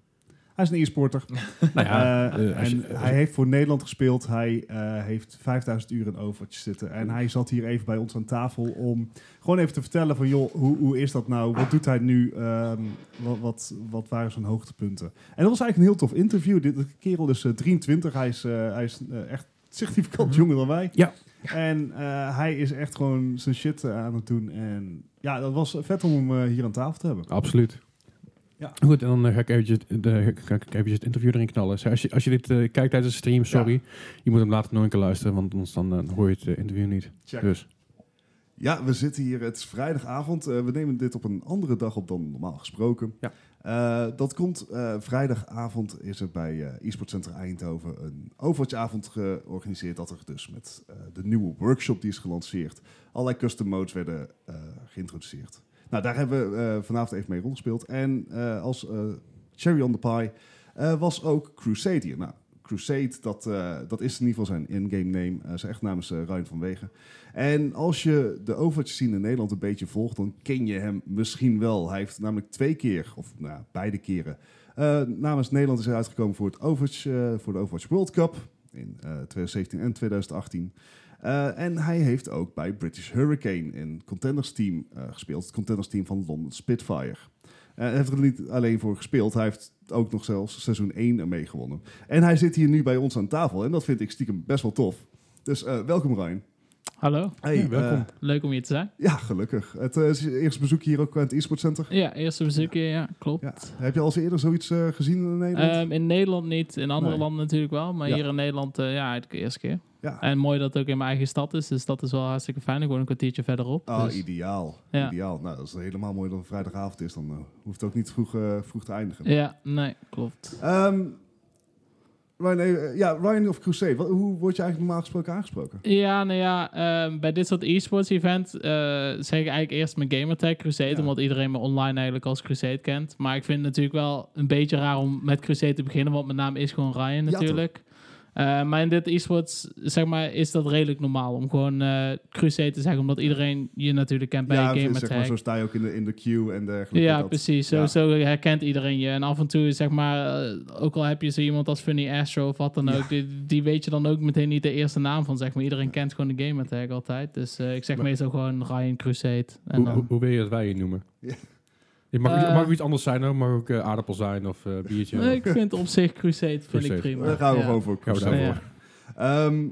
Speaker 1: Hij is een e-sporter.
Speaker 3: Nou ja,
Speaker 1: Eh,
Speaker 3: eh, als
Speaker 1: en
Speaker 3: je- als
Speaker 1: hij
Speaker 3: je-
Speaker 1: heeft voor Nederland gespeeld. Hij eh, heeft 5000 uur in Overwatch zitten. En hij zat hier even bij ons aan tafel om gewoon even te vertellen van... joh, hoe, hoe is dat nou? Wat doet hij nu? Ehm, wat, wat, wat waren zijn hoogtepunten? En dat was eigenlijk een heel tof interview. De, de kerel is eh, 23. Hij is, eh, hij is eh, echt significant
Speaker 4: Mhm.
Speaker 1: jonger dan wij.
Speaker 3: Ja.
Speaker 1: En eh, hij is echt gewoon zijn shit eh, aan het doen. En ja, dat was vet om hem eh, hier aan tafel te hebben.
Speaker 3: Absoluut.
Speaker 1: Ja.
Speaker 3: Goed, en dan eh, ga ik eventjes, de, ga ik eventjes het interview erin knallen. Zeg, Als je, als je dit eh, kijkt tijdens de stream, sorry. Je moet hem later nog een keer luisteren, want anders dan eh, hoor je het eh, interview niet.
Speaker 1: Check.
Speaker 3: Dus,
Speaker 1: Ja, we zitten hier. Het is vrijdagavond. Eh, we nemen dit op een andere dag op dan normaal gesproken.
Speaker 3: Ja.
Speaker 1: Eh, dat komt eh, vrijdagavond is er bij eh e-sport Center Eindhoven een Overwatch-avond georganiseerd. Dat er dus met eh, de nieuwe workshop die is gelanceerd. Allerlei custom modes werden eh, geïntroduceerd. Nou, daar hebben we eh, vanavond even mee rondgespeeld. En eh, als eh, cherry on the pie eh, was ook Crusade hier. Nou, Crusade, dat, eh, dat is in ieder geval zijn in-game name. Eh, zijn echt namens eh Ryan van Wegen. En als je de Overwatch scene in Nederland een beetje volgt, dan ken je hem misschien wel. Hij heeft namelijk twee keer, of nou, ja, beide keren, eh, namens Nederland is hij uitgekomen voor, het Overwatch, eh, voor de Overwatch World Cup in eh, 2017 en 2018. Eh, en hij heeft ook bij British Hurricane in Contenders Team eh, gespeeld. Het Contenders Team van London Spitfire. Eh, Hij heeft er niet alleen voor gespeeld, hij heeft ook nog zelfs seizoen 1 ermee gewonnen. En hij zit hier nu bij ons aan tafel en dat vind ik stiekem best wel tof. Dus eh, welkom Ryan.
Speaker 2: Hallo,
Speaker 1: Hey,
Speaker 3: Ja, welkom.
Speaker 1: eh,
Speaker 2: leuk om hier te zijn.
Speaker 1: ja, gelukkig. Het eh, is je eerste bezoek hier ook aan het e-sport center.
Speaker 2: Ja, eerste bezoekje, ja, klopt.
Speaker 1: Ja. Heb je al eens eerder zoiets eh, gezien in Nederland?
Speaker 2: Ehm, in Nederland niet, in andere
Speaker 1: Nee.
Speaker 2: landen natuurlijk wel, maar
Speaker 1: Ja. Ah.
Speaker 2: hier in Nederland, eh, ja, het eerste keer.
Speaker 1: ja.
Speaker 2: En mooi dat het ook in mijn eigen stad is, dus dat is wel hartstikke fijn. Gewoon een kwartiertje verderop.
Speaker 1: Ah,
Speaker 2: dus-
Speaker 1: ideaal.
Speaker 2: Ja.
Speaker 1: Ideaal. Nou, dat is helemaal mooi dat het vrijdagavond is. Dan eh, hoeft het ook niet vroeg, eh, vroeg te eindigen.
Speaker 2: ja, nee, klopt.
Speaker 1: Ehm, Ryan, eh, ja, Ryan of Crusade. Wat- hoe word je eigenlijk normaal gesproken aangesproken?
Speaker 2: Ja, nou ja, ehm, bij dit soort e-sports event eh, zeg ik eigenlijk eerst mijn gamertag Crusade,
Speaker 1: Ja.
Speaker 2: omdat iedereen me online eigenlijk als Crusade kent. Maar ik vind het natuurlijk wel een beetje raar om met Crusade te beginnen, want mijn naam is gewoon Ryan
Speaker 1: toch?
Speaker 2: natuurlijk. Eh, maar in dit e-sports, zeg maar, is dat redelijk normaal om gewoon eh, Crusade te zeggen, omdat iedereen je natuurlijk kent bij
Speaker 1: ja,
Speaker 2: een
Speaker 1: zeg maar,
Speaker 2: gamertag.
Speaker 1: zo sta je ook in de, in de queue en dergelijke.
Speaker 2: Ja,
Speaker 1: Dat-
Speaker 2: precies. Zo,
Speaker 1: ja.
Speaker 2: zo herkent iedereen je. En af en toe, zeg maar, eh, ook al heb je zo iemand als Funny Astro of wat dan
Speaker 1: Ja.
Speaker 2: ook, die, die weet je dan ook meteen niet de eerste naam van, zeg maar. Iedereen kent gewoon de gamer tag altijd. Dus eh, ik zeg
Speaker 3: Maar-
Speaker 2: meestal gewoon Ryan Crusade.
Speaker 3: Hoe,
Speaker 2: En
Speaker 3: hoe,
Speaker 2: dan,
Speaker 3: hoe wil je dat wij je noemen?
Speaker 1: Ja.
Speaker 3: Het mag, ook-
Speaker 2: Eh.
Speaker 3: mag ook iets anders zijn, hoor. mag ook eh, aardappel zijn of eh, biertje.
Speaker 2: nee, ik vind op zich Crusade, vind
Speaker 3: Crusade.
Speaker 2: ik prima.
Speaker 1: Daar gaan we
Speaker 2: Ja.
Speaker 1: gewoon voor.
Speaker 3: Gaan we
Speaker 1: Crusade.
Speaker 3: daarvoor.
Speaker 2: Ja.
Speaker 1: Ehm,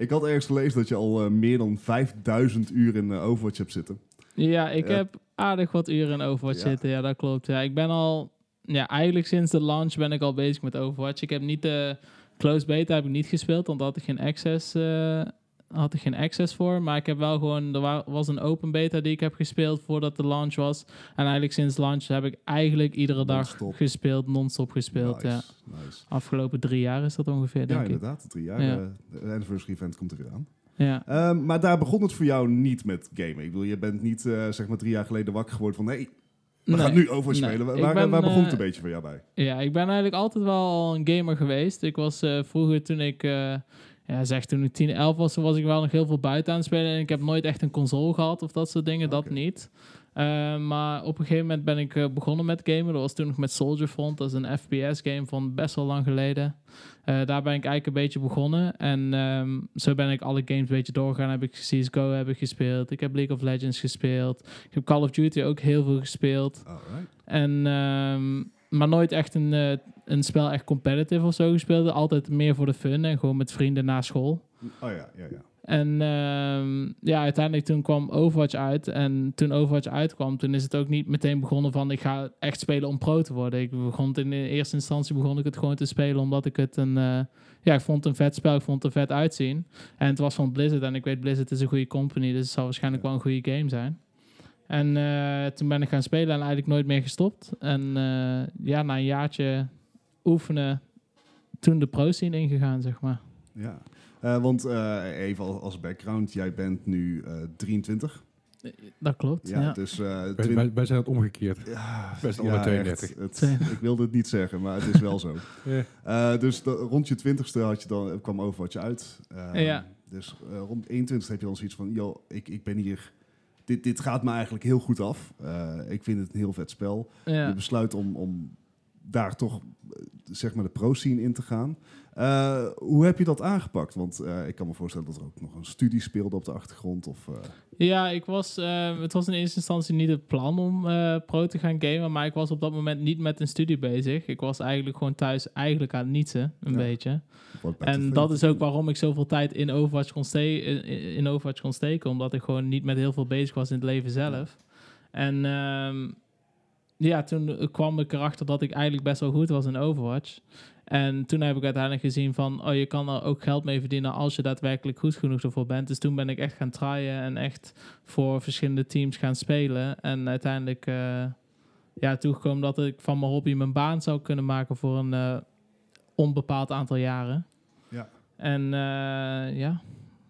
Speaker 1: <coughs> ik had ergens gelezen dat je al eh, meer dan 5000 uur in eh, Overwatch hebt zitten.
Speaker 2: Ja, ik
Speaker 1: Ja.
Speaker 2: heb aardig wat uren in Overwatch
Speaker 1: Ja.
Speaker 2: zitten. Ja, dat klopt. Ja, ik ben al... Ja, eigenlijk sinds de launch ben ik al bezig met Overwatch. Ik heb niet de closed beta heb ik niet gespeeld, want daar had ik geen access, eh, had ik geen access voor. Maar ik heb wel gewoon... Er wa- was een open beta die ik heb gespeeld voordat de launch was. En eigenlijk sinds launch heb ik eigenlijk iedere dag
Speaker 1: Non-stop.
Speaker 2: gespeeld, non-stop gespeeld.
Speaker 1: nice,
Speaker 2: Ja.
Speaker 1: Nice.
Speaker 2: Afgelopen drie jaar is dat ongeveer,
Speaker 1: Ja,
Speaker 2: denk ik.
Speaker 1: inderdaad. Drie jaar.
Speaker 2: Ja.
Speaker 1: eh, de anniversary event komt er weer aan.
Speaker 2: Ja.
Speaker 1: Ehm, maar daar begon het voor jou niet met gamen. Ik bedoel, je bent niet eh, zeg maar drie jaar geleden wakker geworden van... hey, we
Speaker 2: Nee.
Speaker 1: gaan nu Overwatch
Speaker 2: Nee,
Speaker 1: spelen. Waar,
Speaker 2: ik
Speaker 1: waar-
Speaker 2: ben,
Speaker 1: waar begon het
Speaker 2: eh,
Speaker 1: een beetje voor jou bij?
Speaker 2: Ja, ik ben eigenlijk altijd wel al een gamer geweest. Ik was eh, vroeger toen ik, eh, ja, zeg toen ik 10, 11 was, toen was ik wel nog heel veel buiten aan het spelen. En ik heb nooit echt een console gehad of dat soort dingen, dat
Speaker 1: Oké.
Speaker 2: niet. Eh, maar op een gegeven moment ben ik eh, begonnen met gamen. Dat was toen nog met Soldier Front. Dat is een FPS-game van best wel lang geleden. Eh, daar ben ik eigenlijk een beetje begonnen. En ehm, zo ben ik alle games een beetje doorgegaan. Heb ik CSGO heb ik gespeeld. Ik heb League of Legends gespeeld. Ik heb Call of Duty ook heel veel gespeeld.
Speaker 1: Alright.
Speaker 2: En, ehm, maar nooit echt een, eh, een spel echt competitive of zo gespeeld. Altijd meer voor de fun en gewoon met vrienden na school.
Speaker 1: Oh ja, ja, ja.
Speaker 2: En ehm, ja, uiteindelijk toen kwam Overwatch uit. En toen Overwatch uitkwam, toen is het ook niet meteen begonnen van... ik ga echt spelen om pro te worden. Ik begon het in de eerste instantie begon ik het gewoon te spelen... omdat ik het een... eh, ja, ik vond het een vet spel, ik vond het er vet uitzien. En het was van Blizzard. En ik weet, Blizzard is een goede company... dus het zal waarschijnlijk wel een goede game zijn. En eh, toen ben ik gaan spelen en eigenlijk nooit meer gestopt. En eh, ja, na een jaartje oefenen... toen de pro-scene ingegaan, zeg maar.
Speaker 1: ja. Eh, want eh, even al- als background, jij bent nu eh, 23.
Speaker 2: Dat klopt,
Speaker 1: Ja,
Speaker 2: ja.
Speaker 1: dus... eh,
Speaker 3: Wij,
Speaker 1: twin-
Speaker 3: wij- wij zijn het omgekeerd.
Speaker 1: ja,
Speaker 3: best allemaal
Speaker 1: ja,
Speaker 3: 32.
Speaker 1: echt. Het-
Speaker 2: Twee-
Speaker 1: ik wilde het niet zeggen, maar het is wel
Speaker 2: <laughs>
Speaker 1: zo. Eh, dus da- rond je 20ste had je dan, eh, kwam Overwatch uit. Eh,
Speaker 2: Ja.
Speaker 1: Dus eh, rond 21ste heb je dan zoiets van... joh, ik, ik ben hier... Dit, dit gaat me eigenlijk heel goed af. Eh, ik vind het een heel vet spel.
Speaker 2: ja.
Speaker 1: je besluit om, om daar toch eh, zeg maar de pro-scene in te gaan. Eh, hoe heb je dat aangepakt? Want eh, ik kan me voorstellen dat er ook nog een studie speelde op de achtergrond. Of, eh,
Speaker 2: Ja, ik was, eh, het was in eerste instantie niet het plan om eh, pro te gaan gamen, maar ik was op dat moment niet met een studie bezig. Ik was eigenlijk gewoon thuis eigenlijk aan het nietsen, een
Speaker 1: Ja.
Speaker 2: beetje.
Speaker 1: wat bij
Speaker 2: En
Speaker 1: te
Speaker 2: dat
Speaker 1: veel.
Speaker 2: is ook waarom ik zoveel tijd in Overwatch, kon ste- eh, in Overwatch kon steken, omdat ik gewoon niet met heel veel bezig was in het leven zelf. En ehm, ja, toen kwam ik erachter dat ik eigenlijk best wel goed was in Overwatch. En toen heb ik uiteindelijk gezien van, oh, je kan er ook geld mee verdienen als je daadwerkelijk goed genoeg ervoor bent. Dus toen ben ik echt gaan tryen en echt voor verschillende teams gaan spelen. En uiteindelijk eh ja, toegekomen dat ik van mijn hobby mijn baan zou kunnen maken voor een eh, onbepaald aantal jaren.
Speaker 1: Ja.
Speaker 2: En eh, ja,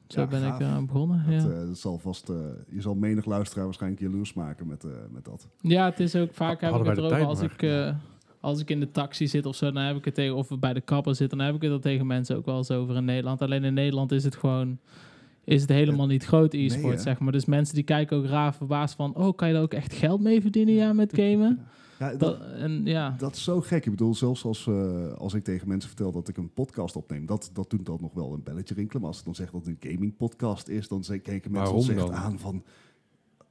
Speaker 2: zo
Speaker 1: Ja,
Speaker 2: ben
Speaker 1: gaaf.
Speaker 2: ik eraan begonnen.
Speaker 1: Dat,
Speaker 2: ja.
Speaker 1: eh, dat zal vast, eh, je zal menig luisteraar waarschijnlijk jaloers maken met, eh, met dat.
Speaker 2: Ja, het is ook vaak heb ik
Speaker 3: Hadden
Speaker 2: het
Speaker 3: wij de
Speaker 2: erover
Speaker 3: tijd
Speaker 2: als
Speaker 3: maar.
Speaker 2: ik, eh, als ik in de taxi zit of zo, dan heb ik het tegen, of bij de kapper zit, dan heb ik het er tegen mensen ook wel eens over in Nederland. Alleen in Nederland is het gewoon, is het helemaal niet groot e-sport,
Speaker 1: nee, hè?
Speaker 2: zeg maar. Dus mensen die kijken ook raar verbaasd van, oh, kan je daar ook echt geld mee verdienen, ja, met gamen?
Speaker 1: Ja, <laughs> dat,
Speaker 2: Dat, en ja,
Speaker 1: dat is zo gek. Ik bedoel, zelfs als, eh, als ik tegen mensen vertel dat ik een podcast opneem, dat, dat doet dan nog wel een belletje rinkelen. Maar als ik dan zeg dat het een gaming podcast is, dan ze- kijken mensen
Speaker 3: Waarom
Speaker 1: ons echt
Speaker 3: dan?
Speaker 1: aan van,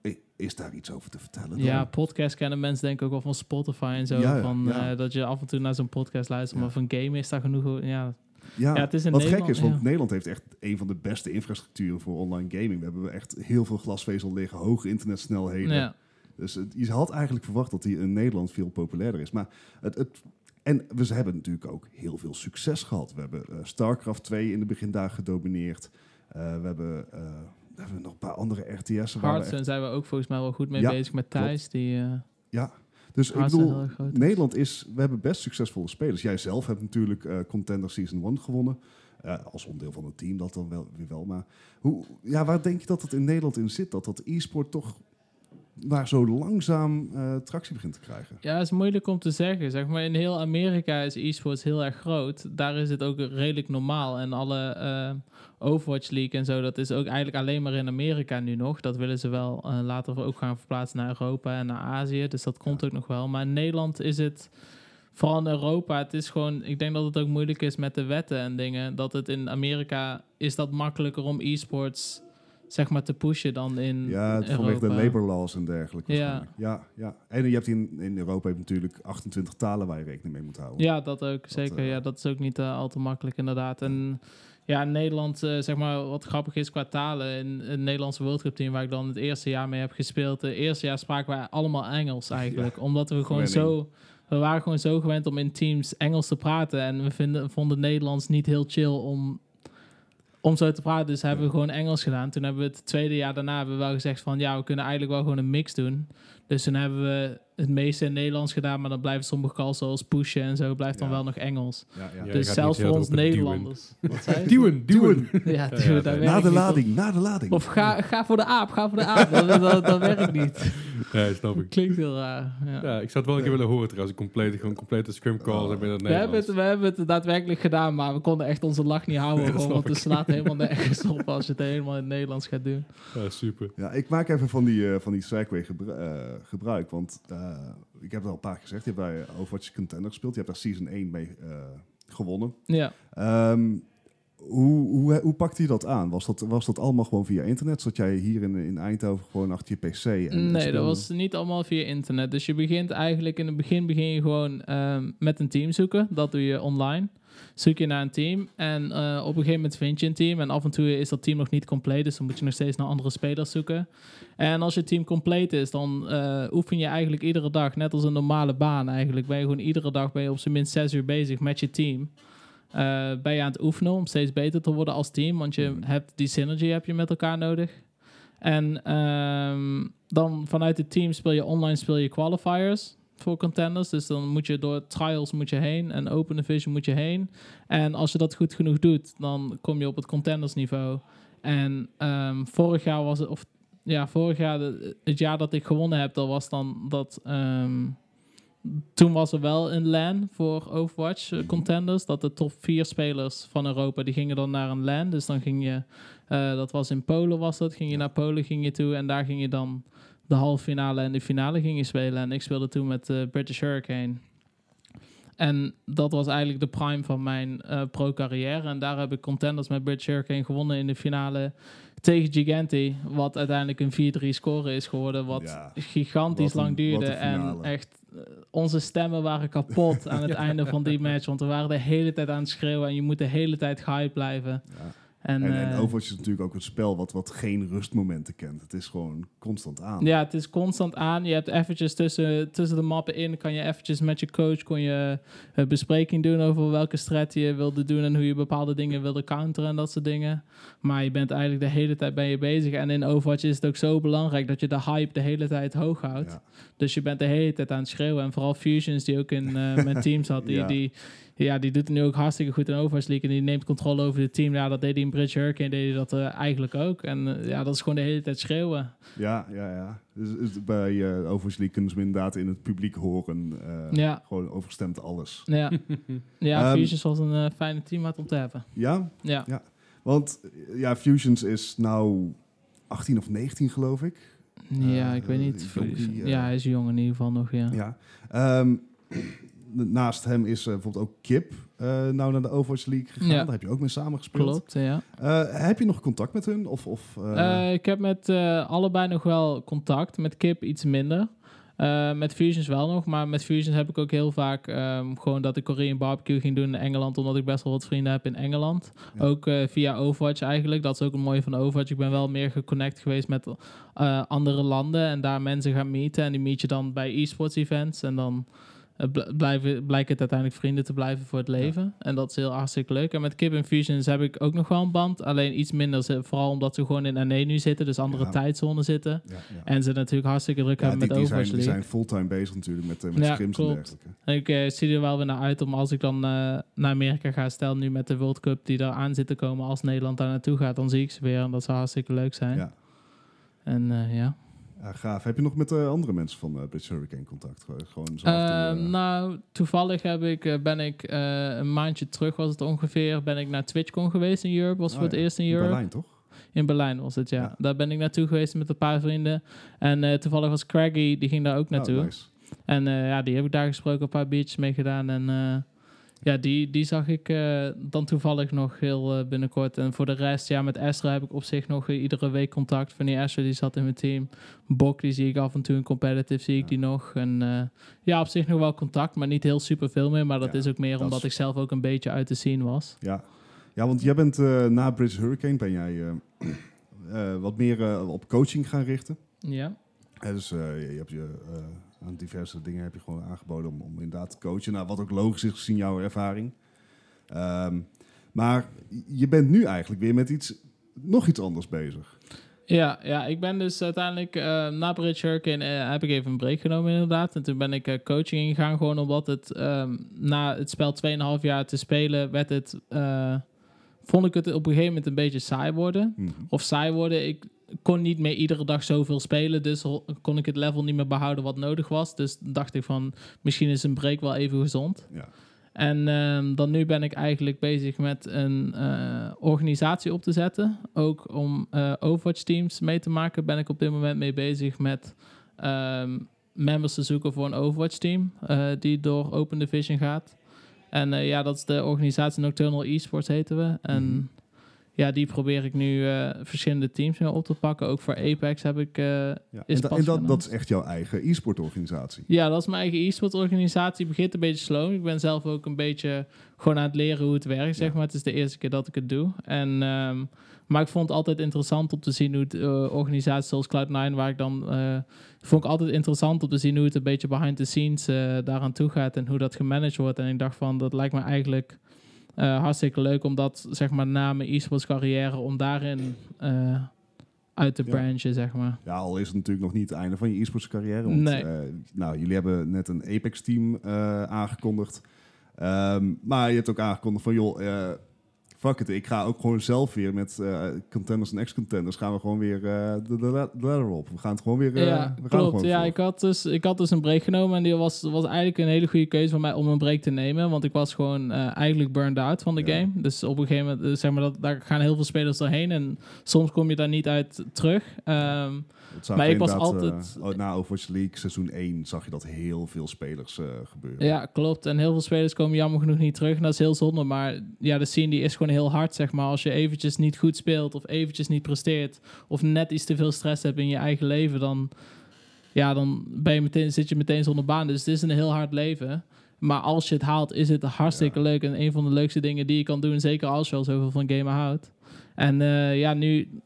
Speaker 1: "I- is daar iets over te vertellen?
Speaker 2: ja,
Speaker 1: dan?"
Speaker 2: podcast kennen mensen denk ik ook wel van Spotify en zo,
Speaker 1: Ja, ja,
Speaker 2: van,
Speaker 1: ja.
Speaker 2: eh, dat je af en toe naar zo'n podcast luistert,
Speaker 1: Ja.
Speaker 2: maar van gamen is daar genoeg, ja,
Speaker 1: Ja,
Speaker 2: Ja, het is in
Speaker 1: wat
Speaker 2: Nederland,
Speaker 1: gek is, want
Speaker 2: ja.
Speaker 1: Nederland heeft echt een van de beste infrastructuren voor online gaming. We hebben echt heel veel glasvezel liggen, hoge internetsnelheden.
Speaker 2: Ja.
Speaker 1: Dus het- je had eigenlijk verwacht dat die in Nederland veel populairder is. Maar het, het, en we hebben natuurlijk ook heel veel succes gehad. We hebben eh, StarCraft 2 in de begindagen gedomineerd. Eh, we hebben, eh, we hebben nog een paar andere RTS'en. waar we echt-
Speaker 2: Hearthstone zijn we ook volgens mij wel goed mee
Speaker 1: Ja,
Speaker 2: bezig met
Speaker 1: klopt.
Speaker 2: Thijs. Die, eh
Speaker 1: Dus ik
Speaker 2: Hearthstone
Speaker 1: bedoel,
Speaker 2: heel erg groot.
Speaker 1: Nederland is, we hebben best succesvolle spelers. Jij zelf hebt natuurlijk eh, Contender Season 1 gewonnen. Eh, als onderdeel van het team, dat dan wel weer wel. Maar hoe, ja, waar denk je dat het in Nederland in zit? Dat dat e-sport toch maar zo langzaam eh, tractie begint te krijgen?
Speaker 2: Ja, is moeilijk om te zeggen. Zeg maar, in heel Amerika is e-sports heel erg groot. Daar is het ook redelijk normaal. En alle eh, Overwatch League en zo, dat is ook eigenlijk alleen maar in Amerika nu nog. Dat willen ze wel eh, later ook gaan verplaatsen naar Europa en naar Azië. Dus dat komt ook nog wel. Maar in Nederland is het, vooral in Europa, het is gewoon... Ik denk dat het ook moeilijk is met de wetten en dingen. Dat het in Amerika, is dat makkelijker om e-sports, zeg maar, te pushen dan in
Speaker 1: Ja, het-
Speaker 2: Mm, Europa.
Speaker 1: vanwege de labor laws en dergelijke.
Speaker 2: Ja.
Speaker 1: Ja. ja, ja. En je hebt in, in Europa heb je natuurlijk 28 talen waar je rekening mee moet houden.
Speaker 2: Ja, dat ook. Zeker.
Speaker 1: eh,
Speaker 2: ja, dat is ook niet eh, al te makkelijk, inderdaad. En ja, in Nederland, eh, zeg maar, wat grappig is qua talen. In het Nederlandse World Cup team, waar ik dan het eerste jaar mee heb gespeeld. Het eerste jaar spraken wij allemaal Engels eigenlijk. omdat we gewoon
Speaker 1: gewenning.
Speaker 2: zo. We waren gewoon zo gewend om in teams Engels te praten. En we vinden, vonden Nederlands niet heel chill om, om zo te praten. Dus hebben we gewoon Engels gedaan. Toen hebben we het tweede jaar daarna hebben we wel gezegd van... ja, we kunnen eigenlijk wel gewoon een mix doen. Dus toen hebben we het meeste in Nederlands gedaan, maar dan blijven sommige calls zoals pushen en zo blijft dan
Speaker 1: Ja.
Speaker 2: wel nog Engels.
Speaker 1: Ja, ja.
Speaker 3: Ja, je
Speaker 2: dus
Speaker 3: gaat
Speaker 2: zelfs
Speaker 3: niet heel
Speaker 2: voor ons
Speaker 3: erg op het duwen.
Speaker 2: Nederlanders. Wat zei je?
Speaker 3: Duwen, duwen.
Speaker 2: Ja,
Speaker 3: Ja,
Speaker 2: duwen,
Speaker 3: nee.
Speaker 2: dat werkt
Speaker 1: Na de
Speaker 2: niet.
Speaker 1: lading, na de lading.
Speaker 2: Of ga, ga voor de aap, ga voor de aap. dat, dat, dat werkt niet.
Speaker 3: Ja, snap ik.
Speaker 2: Klinkt heel raar. Ja.
Speaker 3: Ja, Oh. ik zou het wel een keer willen horen trouwens. Een complete, gewoon complete scrim calls en binnen het
Speaker 2: we, hebben het,
Speaker 3: Nederlands.
Speaker 2: we hebben het daadwerkelijk gedaan, maar we konden echt onze lach niet houden.
Speaker 3: Nee, dat
Speaker 2: gewoon,
Speaker 3: snap
Speaker 2: want het slaat helemaal nergens op als je het helemaal in het Nederlands gaat doen.
Speaker 3: Ja, super.
Speaker 1: Ja, ik maak even van die, eh, van die segue gebru- eh, gebruik. Want eh, ik heb het al een paar keer gezegd. Je hebt bij eh, Overwatch Contender gespeeld. Je hebt daar Season 1 mee eh, gewonnen.
Speaker 2: Ja.
Speaker 1: Ehm, hoe, hoe, hoe pakte je dat aan? Was dat, was dat allemaal gewoon via internet? Zat jij hier in, in Eindhoven gewoon achter je pc? En, en
Speaker 2: nee,
Speaker 1: speelde?
Speaker 2: dat was niet allemaal via internet. Dus je begint eigenlijk in het begin begin je gewoon ehm, met een team zoeken. Dat doe je online. Zoek je naar een team en eh, op een gegeven moment vind je een team. En af en toe is dat team nog niet compleet, dus dan moet je nog steeds naar andere spelers zoeken. En als je team compleet is, dan eh, oefen je eigenlijk iedere dag, net als een normale baan eigenlijk. Ben je gewoon iedere dag ben je op zijn minst zes uur bezig met je team. Eh, ben je aan het oefenen om steeds beter te worden als team, want je
Speaker 1: Mhm.
Speaker 2: hebt die synergy heb je met elkaar nodig. En ehm, dan vanuit het team speel je online speel je qualifiers voor contenders. Dus dan moet je door trials moet je heen en open division moet je heen. En als je dat goed genoeg doet, dan kom je op het contenders niveau. En ehm, vorig jaar was het, of ja, vorig jaar, de- het jaar dat ik gewonnen heb, dat was dan dat. ehm, toen was er wel een LAN voor Overwatch
Speaker 1: Mhm.
Speaker 2: eh, contenders. Dat de top vier spelers van Europa die gingen dan naar een LAN. Dus dan ging je, eh, dat was in Polen was dat. Ging je naar Polen ging je toe en daar ging je dan de halve finale en de finale ging je spelen. En ik speelde toen met de British Hurricane. En dat was eigenlijk de prime van mijn eh, pro-carrière. En daar heb ik contenders met British Hurricane gewonnen in de finale tegen Giganti. Wat uiteindelijk een 4-3 score is geworden. Wat
Speaker 1: Ja.
Speaker 2: gigantisch
Speaker 1: Wat een-
Speaker 2: lang duurde.
Speaker 1: wat een
Speaker 2: En
Speaker 1: finale.
Speaker 2: echt, eh, onze stemmen waren
Speaker 1: <laughs>
Speaker 2: kapot aan het einde van die match. Want we waren de hele tijd aan het schreeuwen. En je moet de hele tijd gehyped blijven.
Speaker 1: Ja.
Speaker 2: En,
Speaker 1: En, en
Speaker 2: eh,
Speaker 1: Overwatch is natuurlijk ook een spel wat, wat geen rustmomenten kent. Het is gewoon constant aan.
Speaker 2: Ja, het is constant aan. Je hebt eventjes tussen, tussen de mappen in, kan je eventjes met je coach kon je eh, bespreking doen over welke strat je wilde doen en hoe je bepaalde dingen wilde counteren en dat soort dingen. Maar je bent eigenlijk de hele tijd ben je bezig. En in Overwatch is het ook zo belangrijk dat je de hype de hele tijd hoog houdt.
Speaker 1: Ja.
Speaker 2: Dus je bent de hele tijd aan het schreeuwen. En vooral Fusions, die ook in eh,
Speaker 1: <laughs>
Speaker 2: mijn team zat, die,
Speaker 1: Ja.
Speaker 2: die, ja, die doet het nu ook hartstikke goed in Overwatch League. En die neemt controle over het team. Ja, dat deed hij in Bridge Hurricane, deed hij dat eh, eigenlijk ook. En eh, ja, dat is gewoon de hele tijd schreeuwen.
Speaker 1: Ja, ja, ja. Dus, is- bij eh, Overwatch League kunnen ze inderdaad in het publiek horen. eh,
Speaker 2: Ja.
Speaker 1: Gewoon overstemd alles.
Speaker 2: <laughs> Ja, ja
Speaker 1: Ehm,
Speaker 2: Fusions was een eh, fijne teammaat om te hebben.
Speaker 1: Ja,
Speaker 2: Ja,
Speaker 1: Want eh, ja, Fusions is nou 18 of 19 geloof ik.
Speaker 2: ja
Speaker 1: eh,
Speaker 2: ik weet niet.
Speaker 1: jonkie,
Speaker 2: Fusion-
Speaker 1: eh.
Speaker 2: ja, hij is jong in ieder geval nog, ja.
Speaker 1: Ja. Ehm, naast hem is eh, bijvoorbeeld ook Kip eh, nou naar de Overwatch League gegaan.
Speaker 2: Ja.
Speaker 1: Daar heb je ook mee samengespeeld.
Speaker 2: Klopt, ja.
Speaker 1: Eh, heb je nog contact met hun? Of, of, eh,
Speaker 2: Eh, ik heb met eh, allebei nog wel contact. Met Kip iets minder. Eh, met Fusions wel nog, maar met Fusions heb ik ook heel vaak ehm, gewoon dat ik Korean barbecue ging doen in Engeland, omdat ik best wel wat vrienden heb in Engeland.
Speaker 1: Ja.
Speaker 2: Ook eh, via Overwatch eigenlijk. Dat is ook een mooie van Overwatch. Ik ben wel meer geconnect geweest met eh, andere landen en daar mensen gaan meeten. En die meet je dan bij e-sports events en dan eh, bl- blijven, blijkt het uiteindelijk vrienden te blijven voor het leven. En dat is heel hartstikke leuk. En met Kip en Fusions heb ik ook nog wel een band, alleen iets minder. ze- Vooral omdat ze gewoon in NE nu zitten, dus andere
Speaker 1: Ja.
Speaker 2: tijdzones zitten.
Speaker 1: Ja, ja.
Speaker 2: En ze natuurlijk hartstikke druk
Speaker 1: Ja,
Speaker 2: hebben
Speaker 1: die,
Speaker 2: met
Speaker 1: die, zijn,
Speaker 2: Overwatch
Speaker 1: die
Speaker 2: League.
Speaker 1: zijn fulltime bezig natuurlijk met, eh, met
Speaker 2: Ja,
Speaker 1: scrims en
Speaker 2: klopt.
Speaker 1: dergelijke.
Speaker 2: En Ik eh, zie er wel weer naar uit om als ik dan eh, naar Amerika ga, stel nu met de World Cup die daar aan zit te komen, als Nederland daar naartoe gaat, dan zie ik ze weer en dat zou hartstikke leuk zijn.
Speaker 1: Ja.
Speaker 2: En eh, ja.
Speaker 1: Ja, gaaf. Heb je nog met eh, andere mensen van eh British Hurricane contact? Gewoon- Gewoon zo af en toe,
Speaker 2: Eh,
Speaker 1: eh,
Speaker 2: nou, toevallig heb ik, eh, ben ik eh, een maandje terug, was het ongeveer, ben ik naar TwitchCon geweest in Europe. Was
Speaker 1: Oh
Speaker 2: voor het
Speaker 1: ja,
Speaker 2: eerst in
Speaker 1: in
Speaker 2: Europe.
Speaker 1: Berlijn, toch?
Speaker 2: In Berlijn was het, ja.
Speaker 1: Ja.
Speaker 2: Daar ben ik naartoe geweest met een paar vrienden. En eh, toevallig was Craggy, die ging daar ook naartoe.
Speaker 1: Oh, nice.
Speaker 2: En eh, ja, die heb ik daar gesproken, een paar biertjes mee gedaan. En eh, ja, die, die zag ik eh, dan toevallig nog heel eh, binnenkort. En voor de rest, ja, met Esra heb ik op zich nog eh, iedere week contact. Van die Esra, die zat in mijn team. Bok, die zie ik af en toe in competitive, zie ik
Speaker 1: Ja.
Speaker 2: die nog. En eh, ja, op zich nog wel contact, maar niet heel super veel meer. Maar dat
Speaker 1: Ja,
Speaker 2: is ook meer
Speaker 1: dat
Speaker 2: omdat
Speaker 1: is-
Speaker 2: ik zelf ook een beetje uit de scene was.
Speaker 1: Ja. ja, want jij bent eh, na British Hurricane ben jij <clears throat> eh, eh, wat meer eh, op coaching gaan richten.
Speaker 2: Ja,
Speaker 1: Eh, dus eh, je, je hebt je eh, aan diverse dingen heb je gewoon aangeboden om, om inderdaad te coachen. Nou, wat ook logisch is gezien jouw ervaring. Ehm, maar je bent nu eigenlijk weer met iets, nog iets anders bezig.
Speaker 2: Ja, ja, ik ben dus uiteindelijk eh, na Bridge Hurricane eh, heb ik even een break genomen inderdaad. En toen ben ik eh, coaching ingegaan gewoon omdat het ehm, na het spel 2,5 jaar te spelen werd het... eh, vond ik het op een gegeven moment een beetje saai worden.
Speaker 1: Mhm.
Speaker 2: Of saai worden, ik kon niet meer iedere dag zoveel spelen. Dus ho- kon ik het level niet meer behouden wat nodig was. Dus dacht ik van, misschien is een break wel even gezond.
Speaker 1: Ja.
Speaker 2: En ehm, dan nu ben ik eigenlijk bezig met een eh, organisatie op te zetten. Ook om eh, Overwatch teams mee te maken ben ik op dit moment mee bezig met ehm, members te zoeken voor een Overwatch team eh, die door Open Division gaat. En eh, ja, dat is de organisatie Nocturnal Esports heten we. En
Speaker 1: Mhm.
Speaker 2: ja, die probeer ik nu eh, verschillende teams mee op te pakken. Ook voor Apex heb ik eh,
Speaker 1: Ja.
Speaker 2: Is
Speaker 1: en da-
Speaker 2: pas
Speaker 1: en dat,
Speaker 2: gedaan.
Speaker 1: dat is echt jouw eigen e-sport organisatie.
Speaker 2: ja, dat is mijn eigen e-sport organisatie. Het begint een beetje slow. Ik ben zelf ook een beetje gewoon aan het leren hoe het werkt, zeg
Speaker 1: Ja.
Speaker 2: maar. Het is de eerste keer dat ik het doe. En, ehm, maar ik vond het altijd interessant om te zien hoe het, eh, organisaties zoals Cloud9, waar ik dan... eh, vond ik altijd interessant om te zien hoe het een beetje behind the scenes eh, daaraan toe gaat en hoe dat gemanaged wordt. En ik dacht van, dat lijkt me eigenlijk eh, hartstikke leuk om dat, zeg maar, na mijn e-sports carrière, om daarin eh, uit te
Speaker 1: Ja.
Speaker 2: branchen, zeg maar.
Speaker 1: Ja, al is het natuurlijk nog niet het einde van je e-sports carrière. Want,
Speaker 2: Nee.
Speaker 1: eh, nou, jullie hebben net een Apex-team eh, aangekondigd. Ehm, maar je hebt ook aangekondigd van, joh, eh, fuck it. Ik ga ook gewoon zelf weer met eh, contenders en ex-contenders gaan we gewoon weer eh, de, de, la- de ladder op. We gaan het gewoon weer... eh, we
Speaker 2: ja,
Speaker 1: gaan er
Speaker 2: klopt.
Speaker 1: gewoon
Speaker 2: Ja,
Speaker 1: voor.
Speaker 2: ik had, dus, ik had dus een break genomen en die was, was eigenlijk een hele goede keuze voor mij om een break te nemen. Want ik was gewoon eh, eigenlijk burned out van de
Speaker 1: Ja.
Speaker 2: game. Dus op een gegeven moment, eh, zeg maar, dat, daar gaan heel veel spelers doorheen en soms kom je daar niet uit terug. Ehm,
Speaker 1: Dat zag
Speaker 2: maar
Speaker 1: je
Speaker 2: ik was
Speaker 1: inderdaad, eh,
Speaker 2: altijd-
Speaker 1: na Overwatch League seizoen 1 zag je dat heel veel spelers eh, gebeuren.
Speaker 2: ja, klopt. En heel veel spelers komen jammer genoeg niet terug en dat is heel zonde. Maar ja, de scene die is gewoon heel hard, zeg maar. Als je eventjes niet goed speelt of eventjes niet presteert of net iets te veel stress hebt in je eigen leven, dan... ja, dan ben je meteen, zit je meteen zonder baan. Dus het is een heel hard leven. Maar als je het haalt, is het hartstikke leuk. En een van de leukste dingen die je kan doen. Zeker als je al zoveel van gamen houdt. En eh, ja, nu...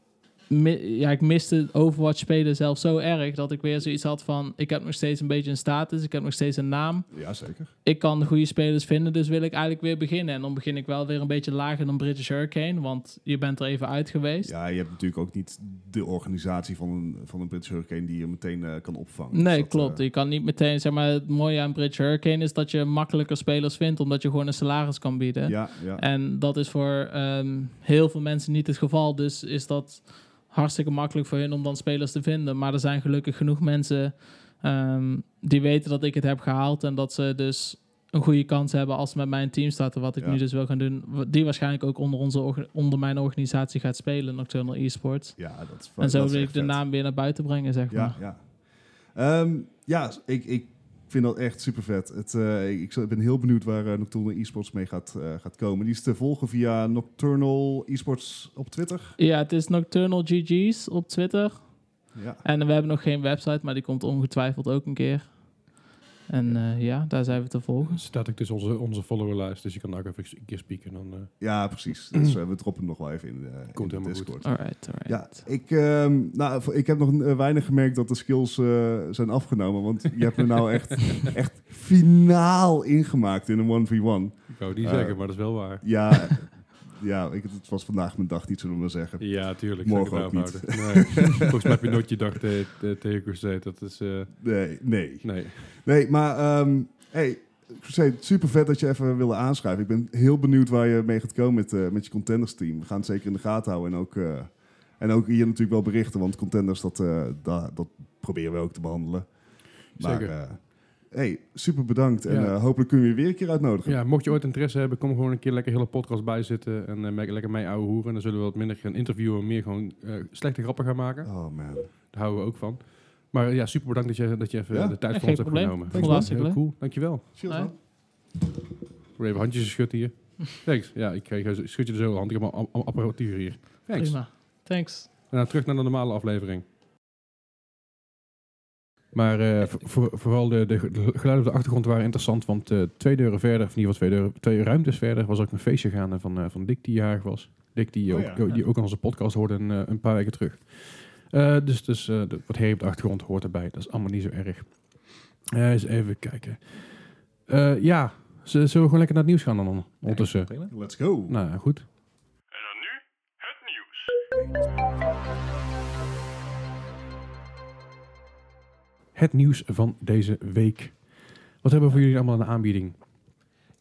Speaker 2: mi- ja, ik miste Overwatch spelen zelf zo erg... dat ik weer zoiets had van... ik heb nog steeds een beetje een status. Ik heb nog steeds een naam.
Speaker 1: Ja, zeker.
Speaker 2: Ik kan goede spelers vinden, dus wil ik eigenlijk weer beginnen. En dan begin ik wel weer een beetje lager dan British Hurricane... want je bent er even uit geweest.
Speaker 1: Ja, je hebt natuurlijk ook niet de organisatie van een, van een British Hurricane die je meteen eh, kan opvangen. Dus
Speaker 2: Nee,
Speaker 1: dat, eh,
Speaker 2: klopt. Je kan niet meteen, zeg maar, het mooie aan Bridge Hurricane is dat je makkelijker spelers vindt, omdat je gewoon een salaris kan bieden.
Speaker 1: ja, ja.
Speaker 2: eh, En dat is voor ehm, heel veel mensen niet het geval. Dus is dat hartstikke makkelijk voor hun om dan spelers te vinden. Maar er zijn gelukkig genoeg mensen ehm, die weten dat ik het heb gehaald. En dat ze dus een goede kans hebben als ze met mijn team starten. Wat ik
Speaker 1: Ja.
Speaker 2: nu dus wil gaan doen. wa- Die waarschijnlijk ook onder, onze orga- onder mijn organisatie gaat spelen, Nocturnal Esports.
Speaker 1: Ja, dat is
Speaker 2: En zo
Speaker 1: dat is
Speaker 2: wil ik
Speaker 1: echt
Speaker 2: de
Speaker 1: vet.
Speaker 2: naam weer naar buiten brengen, zeg maar.
Speaker 1: Ja, ja. Ehm, ja, ik, ik vind dat echt super vet. Het, eh, ik, ik ben heel benieuwd waar eh, Nocturnal Esports mee gaat, eh, gaat komen. Die is te volgen via Nocturnal Esports op Twitter.
Speaker 2: Ja, het is Nocturnal GG's op Twitter.
Speaker 1: Ja.
Speaker 2: En we hebben nog geen website, maar die komt ongetwijfeld ook een keer. En eh, ja, daar zijn we te volgen.
Speaker 3: Staat ik dus onze, onze followerlijst, dus je kan daar ook even een keer spieken. Dan, eh,
Speaker 1: ja, precies. Dus eh, we droppen hem nog wel even in, eh, in
Speaker 3: Komt
Speaker 1: de
Speaker 3: helemaal goed.
Speaker 1: Discord.
Speaker 2: Alright, alright.
Speaker 1: Ja, ik, ehm, nou, voor- ik heb nog eh, weinig gemerkt dat de skills eh, zijn afgenomen. Want je hebt me nou echt, echt finaal ingemaakt in een 1v1.
Speaker 3: ik wou die
Speaker 1: Eh.
Speaker 3: zeggen, maar dat is wel waar.
Speaker 1: Ja, ja ik, het was vandaag mijn dag niet, zullen we maar zeggen.
Speaker 3: Ja, tuurlijk.
Speaker 1: Morgen
Speaker 3: zou ik
Speaker 1: ook
Speaker 3: het daarop
Speaker 1: <laughs>
Speaker 3: houden. Nee. Volgens mij heb je nooit je dag te- te- tegen Crusade. Dat is... eh,
Speaker 1: Nee, nee.
Speaker 3: nee.
Speaker 1: Nee, maar ehm hey, Crusade, super vet dat je even wilde aanschuiven. Ik ben heel benieuwd waar je mee gaat komen met, eh, met je contenders team. We gaan het zeker in de gaten houden en ook, eh, en ook hier natuurlijk wel berichten, want contenders, dat, eh, da- dat proberen we ook te behandelen. Maar
Speaker 3: Zeker.
Speaker 1: eh, hey, super bedankt en
Speaker 3: Ja.
Speaker 1: eh, hopelijk kunnen we je weer een keer uitnodigen.
Speaker 3: Ja, mocht je ooit interesse hebben, kom gewoon een keer lekker hele podcast bijzitten. En eh, me- lekker mee ouwe hoeren. En dan zullen we wat minder gaan interviewen. Meer gewoon eh, slechte grappen gaan maken.
Speaker 1: Oh man.
Speaker 3: Daar houden we ook van. Maar eh, ja, super bedankt dat je, dat je even
Speaker 1: Ja.
Speaker 3: de tijd
Speaker 2: Ja,
Speaker 3: voor ons
Speaker 2: geen
Speaker 3: hebt
Speaker 2: probleem.
Speaker 3: genomen.
Speaker 2: Thanks, Vond het man. hartstikke
Speaker 3: Heel
Speaker 2: leuk.
Speaker 3: cool. Dankjewel.
Speaker 1: Chill,
Speaker 2: Hoi.
Speaker 1: man.
Speaker 3: Weer even handjes schudden hier. Thanks. Ja, ik, eh, ik schud je er zo hand. Ik heb al- al- al apparatuur hier. Thanks.
Speaker 2: Prima. Thanks.
Speaker 3: En dan terug naar de normale aflevering. Maar eh, voor- voor- vooral de, de ge- de geluiden op de achtergrond waren interessant. Want eh, twee deuren verder, of in ieder geval twee, deuren, twee ruimtes verder, was ook een feestje gaande van, eh, van Dick die jarig was. Dick die,
Speaker 1: Oh
Speaker 3: ook,
Speaker 1: ja.
Speaker 3: die ook aan onze podcast hoorde een, eh, een paar weken terug. Eh, dus dus eh, de- wat herrie op de achtergrond hoort erbij. Dat is allemaal niet zo erg. Eh, eens even kijken. Eh, ja, Z- zullen we gewoon lekker naar het nieuws gaan dan ondertussen?
Speaker 4: Prima.
Speaker 1: Let's go.
Speaker 3: Nou, ja, goed.
Speaker 5: En dan nu het nieuws.
Speaker 3: Het nieuws van deze week. Wat hebben we voor jullie allemaal in de aanbieding?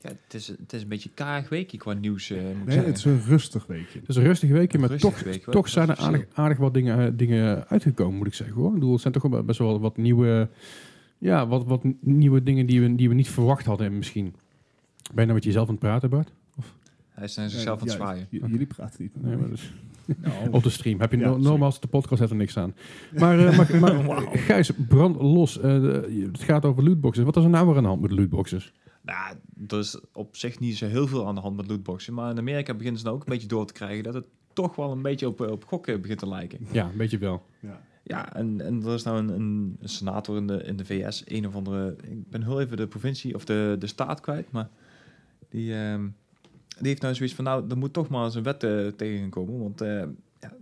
Speaker 4: Ja, het, is, het is een beetje kaag weekje qua nieuws. eh, moet ik
Speaker 1: Nee,
Speaker 4: zeggen.
Speaker 1: het is een rustig weekje.
Speaker 3: Het is een rustige weekje, maar
Speaker 4: Rustige
Speaker 3: toch,
Speaker 4: week, wel.
Speaker 3: toch zijn er
Speaker 4: Dat is
Speaker 3: aardig, aardig wat dingen, eh, dingen uitgekomen, moet ik zeggen. Hoor. Ik bedoel, het zijn toch wel best wel wat nieuwe, ja, wat, wat nieuwe dingen die we, die we niet verwacht hadden misschien. Ben je nou met jezelf aan het praten, Bart?
Speaker 4: Hij is naar zichzelf aan
Speaker 1: Ja,
Speaker 4: het zwaaien.
Speaker 1: j- Jullie praten niet. Nou, met
Speaker 3: Nee,
Speaker 1: mij. <laughs>
Speaker 3: maar dat is- Op de stream. Heb je
Speaker 1: Ja,
Speaker 3: no-
Speaker 1: sorry.
Speaker 3: normaal als de podcast heeft er niks aan. Maar, eh, maar, maar Gijs, brand los. Eh, de- het gaat over lootboxes. Wat is er nou weer aan de hand met lootboxes?
Speaker 4: Nou, er is op zich niet zo heel veel aan de hand met lootboxen. Maar in Amerika beginnen ze nou ook een beetje door te krijgen dat het toch wel een beetje op, op gokken begint te lijken.
Speaker 3: Ja, een beetje wel.
Speaker 1: Ja.
Speaker 4: Ja, en, en er is nou een, een, een senator in de, in de VS, een of andere... Ik ben heel even de provincie of de, de staat kwijt, maar die, ehm, die heeft nou zoiets van... Nou, er moet toch maar eens een wet eh, tegenkomen, want eh, ja,